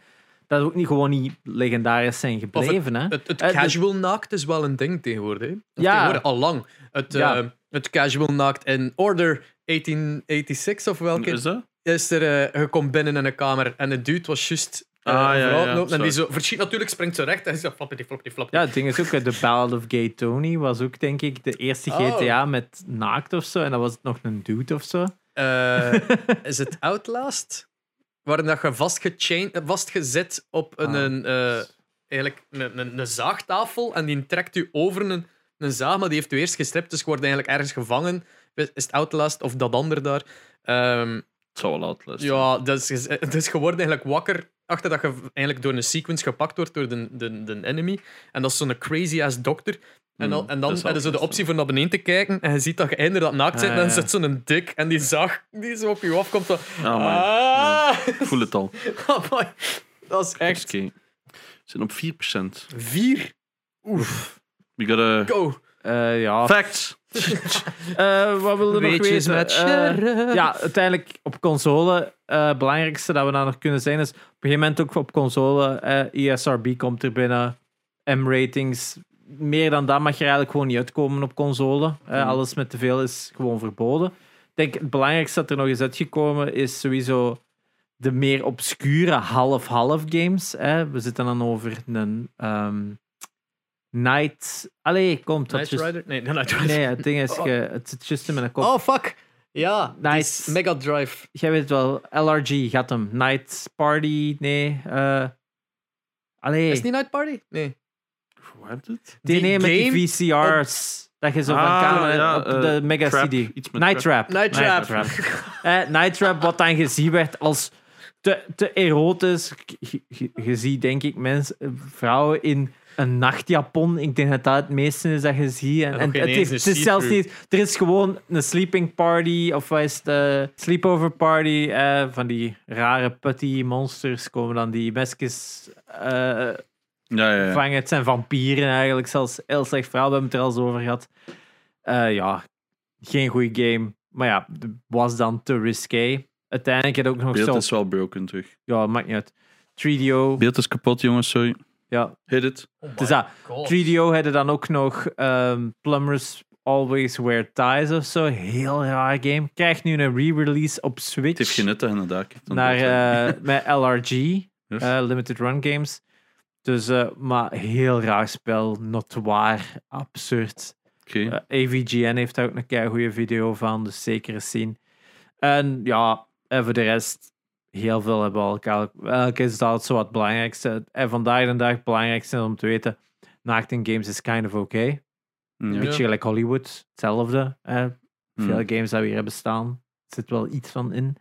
S3: dat ook niet, gewoon niet legendarisch zijn
S1: Of
S3: gebleven. hè?
S1: Het, het
S3: Eh, dus-
S1: casual naakt is wel een ding tegenwoordig. hè. Of
S3: Ja.
S1: Tegenwoordig al lang. Het,
S3: Ja.
S1: eh, het casual naakt in Order 1886 of welke
S2: Is dat?
S1: is er, eh, je komt binnen in een kamer en een dude was juist eh,
S2: Ah, ja,
S1: een vrouw
S2: ja,
S1: lopen en die zo
S2: sorry.
S1: verschiet natuurlijk, springt zo recht en zegt flappity flappity flappity.
S3: Ja, het ding is ook, eh, de Ballad of Gay Tony was ook, denk ik, de eerste
S1: Oh.
S3: GTA met naakt of zo. En dat was het nog een dude of zo.
S1: Eh, is het Outlast? Waarin dat je vastgechain- eh, vastgezet op een,
S3: Ah.
S1: een, eh, eigenlijk een, een, een zaagtafel en die trekt u over een, een zaag, maar die heeft u eerst gestript, dus je wordt eigenlijk ergens gevangen. Is het Outlast of dat ander daar? Ehm,
S2: Het zou wel outlast.
S1: ja, dus, je- dus je wordt eigenlijk wakker achter dat je eigenlijk door een sequence gepakt wordt door de, de, de enemy. En dat is zo'n crazy-ass dokter. En, dan
S2: Hmm,
S1: en
S2: dat
S1: dan
S2: is
S1: hebben ze de
S2: wel
S1: optie voor naar beneden te kijken en je ziet dat je inderdaad naakt zit.
S3: Ah,
S1: en dan
S3: ja.
S1: zit zo'n dik en die zag die zo op je afkomt. Van,
S2: Ah, man.
S1: ah,
S2: Ik voel het al.
S1: Amai. Dat is echt
S2: Oké. We zijn op 4%.
S1: vier. Oef.
S2: We got a...
S1: Go.
S3: Eh, ja,
S2: Facts.
S3: Eh, wat wilde nog
S1: Weetjes
S3: weten?
S1: met
S3: Eh,
S1: Sharon.
S3: ja, uiteindelijk op console. eh, het belangrijkste dat we daar nog kunnen zijn is... Op een gegeven moment ook op console. eh ESRB komt er binnen. M-ratings. Meer dan dat mag je eigenlijk gewoon niet uitkomen op console. Eh,
S2: Mhm.
S3: Alles met te veel is gewoon verboden. Ik denk het belangrijkste dat er nog is uitgekomen is sowieso de meer obscure half-half games. Hè. We zitten dan over een ehm, Night... Allee, komt dat
S1: Knight
S3: juist-
S1: Rider? Nee, nee, Knight Rider.
S3: Nee, het ding is, ge- het zit juist in mijn kop.
S1: Oh, fuck. Ja, die
S3: Nice.
S1: is Mega Drive.
S3: Jij weet wel, LRG gaat hem. Night Party, nee. eh allee,
S1: Is het niet Night Party? Nee.
S2: Hoe heb je het?
S3: die,
S1: die
S3: nee met
S1: game
S3: die VCR's. Dat je zo van
S2: Ah,
S3: camera
S2: ja,
S3: op
S2: eh,
S3: de Mega
S2: Trap,
S3: CD.
S2: iets met
S3: Night Trap.
S1: Night Trap.
S3: Eh, Night Trap, wat dan gezien werd als te, te erotisch. Je- je- Je ziet, denk ik, mensen, eh, vrouwen in een nachtjapon. Ik denk dat dat het meeste is dat je ziet. En,
S1: nog
S3: en
S1: geen
S3: het,
S1: eens
S3: heeft-
S1: een
S3: het is zelfs
S1: see-through.
S3: niet... Er is gewoon een sleeping party, of wat is het, eh, sleepover party. eh, van die rare putty monsters komen dan die mesjes eh,
S2: Ja, ja, ja.
S3: vangen. Het zijn vampieren eigenlijk, zelfs heel slecht verhaal. We hebben het er al eens over gehad. Eh, ja, geen goede game. Maar ja, d- was dan te risqué. Uiteindelijk had ook nog
S2: Beeld
S3: zo...
S2: is wel broken terug.
S3: Ja, maakt niet uit. 3DO.
S2: Beeld is kapot, jongens. Sorry.
S3: Ja,
S2: Hit it.
S1: Oh
S3: het is dat.
S1: God.
S3: 3DO hadden dan ook nog ehm, Plumbers Always Wear Ties of zo. Heel raar game. Krijgt nu een re-release op Switch
S2: Het heeft geen nut dat je naar daar kijkt.
S3: naar, eh, met LRG,
S2: Yes.
S3: eh, Limited Run Games. Dus, eh, maar heel raar spel, notoire, absurd.
S2: Oké.
S3: Eh, AVGN heeft daar ook een kei goede video van, dus zeker eens zien. En ja, en voor de rest, heel veel hebben we al elkaar. Elke is dat zo wat het belangrijkste. En vandaag de dag het belangrijkste om te weten: naakt in games is kind of okay. Een
S2: Mm, Ja.
S3: beetje gelijk Hollywood, hetzelfde. eh, veel
S2: Hmm.
S3: games dat we hier hebben staan, er zit wel iets van in.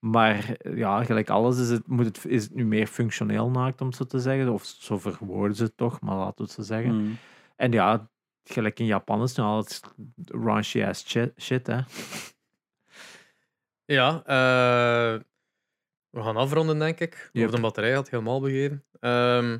S3: Maar eh, ja, gelijk alles is het, moet het, is het nu meer functioneel naakt, om het zo te zeggen. Of zo verwoorden ze het toch, maar laten we het zo zeggen.
S2: Hmm.
S3: En ja, gelijk in Japan is nu al het raunchy ass shit, shit hè.
S1: Ja, eh, we gaan afronden, denk ik.
S3: Yep.
S1: Of de batterij had helemaal begeven. Ehm,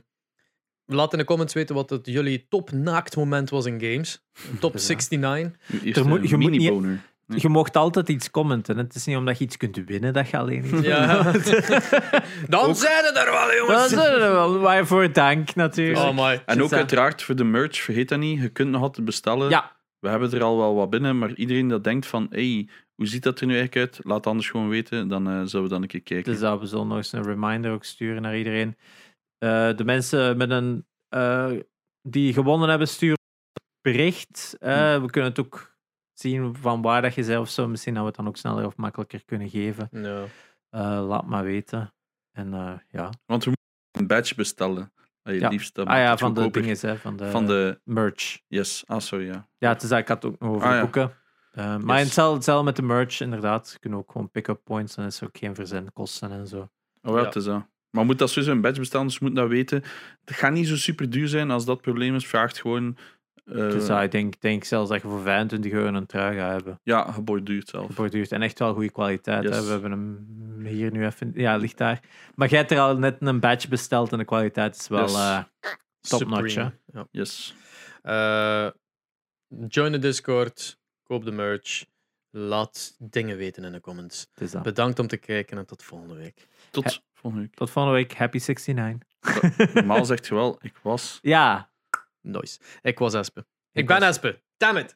S1: laat in de comments weten wat het jullie top naaktmoment was in games. Top 69.
S2: Eerst
S3: Er moet-
S2: een
S3: je moet niet-
S2: mini-boner.
S3: Je mocht altijd iets commenten. hè. Het is niet omdat je iets kunt winnen dat je alleen iets
S1: Ja. Dan zijn het er wel, jongens.
S3: Dat is er wel. Waarvoor dank natuurlijk.
S1: Oh my.
S2: En ook
S3: Zit, eh,
S2: uiteraard voor de merch, vergeet dat niet. Je kunt nog altijd bestellen.
S3: Ja.
S2: We hebben er al wel wat binnen, maar iedereen dat denkt van... Hey, hoe ziet dat er nu eigenlijk uit? Laat anders gewoon weten, dan eh, zullen we dan een keer kijken.
S3: Dus dat we zullen nog eens een reminder ook sturen naar iedereen. Eh, de mensen met een, eh, die gewonnen hebben, sturen bericht. Eh,
S2: Hmm.
S3: We kunnen het ook zien van waar dat je zelf zo. Misschien dat we het dan ook sneller of makkelijker kunnen geven.
S1: No.
S3: Eh, laat maar weten. En eh, ja.
S2: Want we moeten een badge bestellen. Allee,
S3: Ja.
S2: liefst, dat
S3: Ah ja,
S2: maakt het
S3: van de
S2: goedkoper.
S3: dingen, eh, hè, van de,
S2: Van de...
S3: merch.
S2: Yes. Ah, sorry, ja.
S3: Ja, het is eigenlijk ik had het ook nog over
S2: Ah, ja.
S3: boeken. Eh, maar
S2: Yes.
S3: hetzelfde, hetzelfde met de merch, inderdaad. Kunnen ook gewoon pick-up points en is er ook geen verzendkosten en zo.
S2: Oh, ja,
S1: Ja.
S2: het is dat. Maar moet dat sowieso een badge bestellen, dus moet dat weten. Het gaat niet zo super duur zijn als dat probleem is. Vraagt gewoon... eh,
S3: Dus ja, ik denk, denk zelfs dat je voor 25 euro een trui gaat hebben.
S2: ja, geboord duurt zelf.
S3: geborduurd. En echt wel goede kwaliteit.
S2: Yes.
S3: Hè? We hebben hem hier nu even. Ja, ligt daar. Maar jij hebt er al net een badge besteld en de kwaliteit is wel.
S2: Yes.
S3: eh, Top-notch,
S1: Supreme. Ja.
S2: Yes.
S1: Eh, join de Discord. Koop de merch. Laat dingen weten in de comments.
S3: het is dat.
S1: Bedankt om te kijken en tot volgende week.
S2: Tot
S3: He-
S2: volgende week.
S3: Tot volgende week. Happy 69.
S2: Normaal zegt je wel, ik was...
S3: ja,
S1: Nice. Ik was Espe. Ik,
S3: Ik
S1: ben
S3: was-
S1: Espe. Damn it.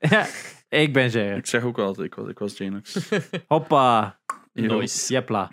S3: ik ben Gerard.
S2: Ik zeg ook altijd, ik was, ik was Janox.
S3: Hoppa.
S2: Yo.
S1: Nice.
S3: Jepla.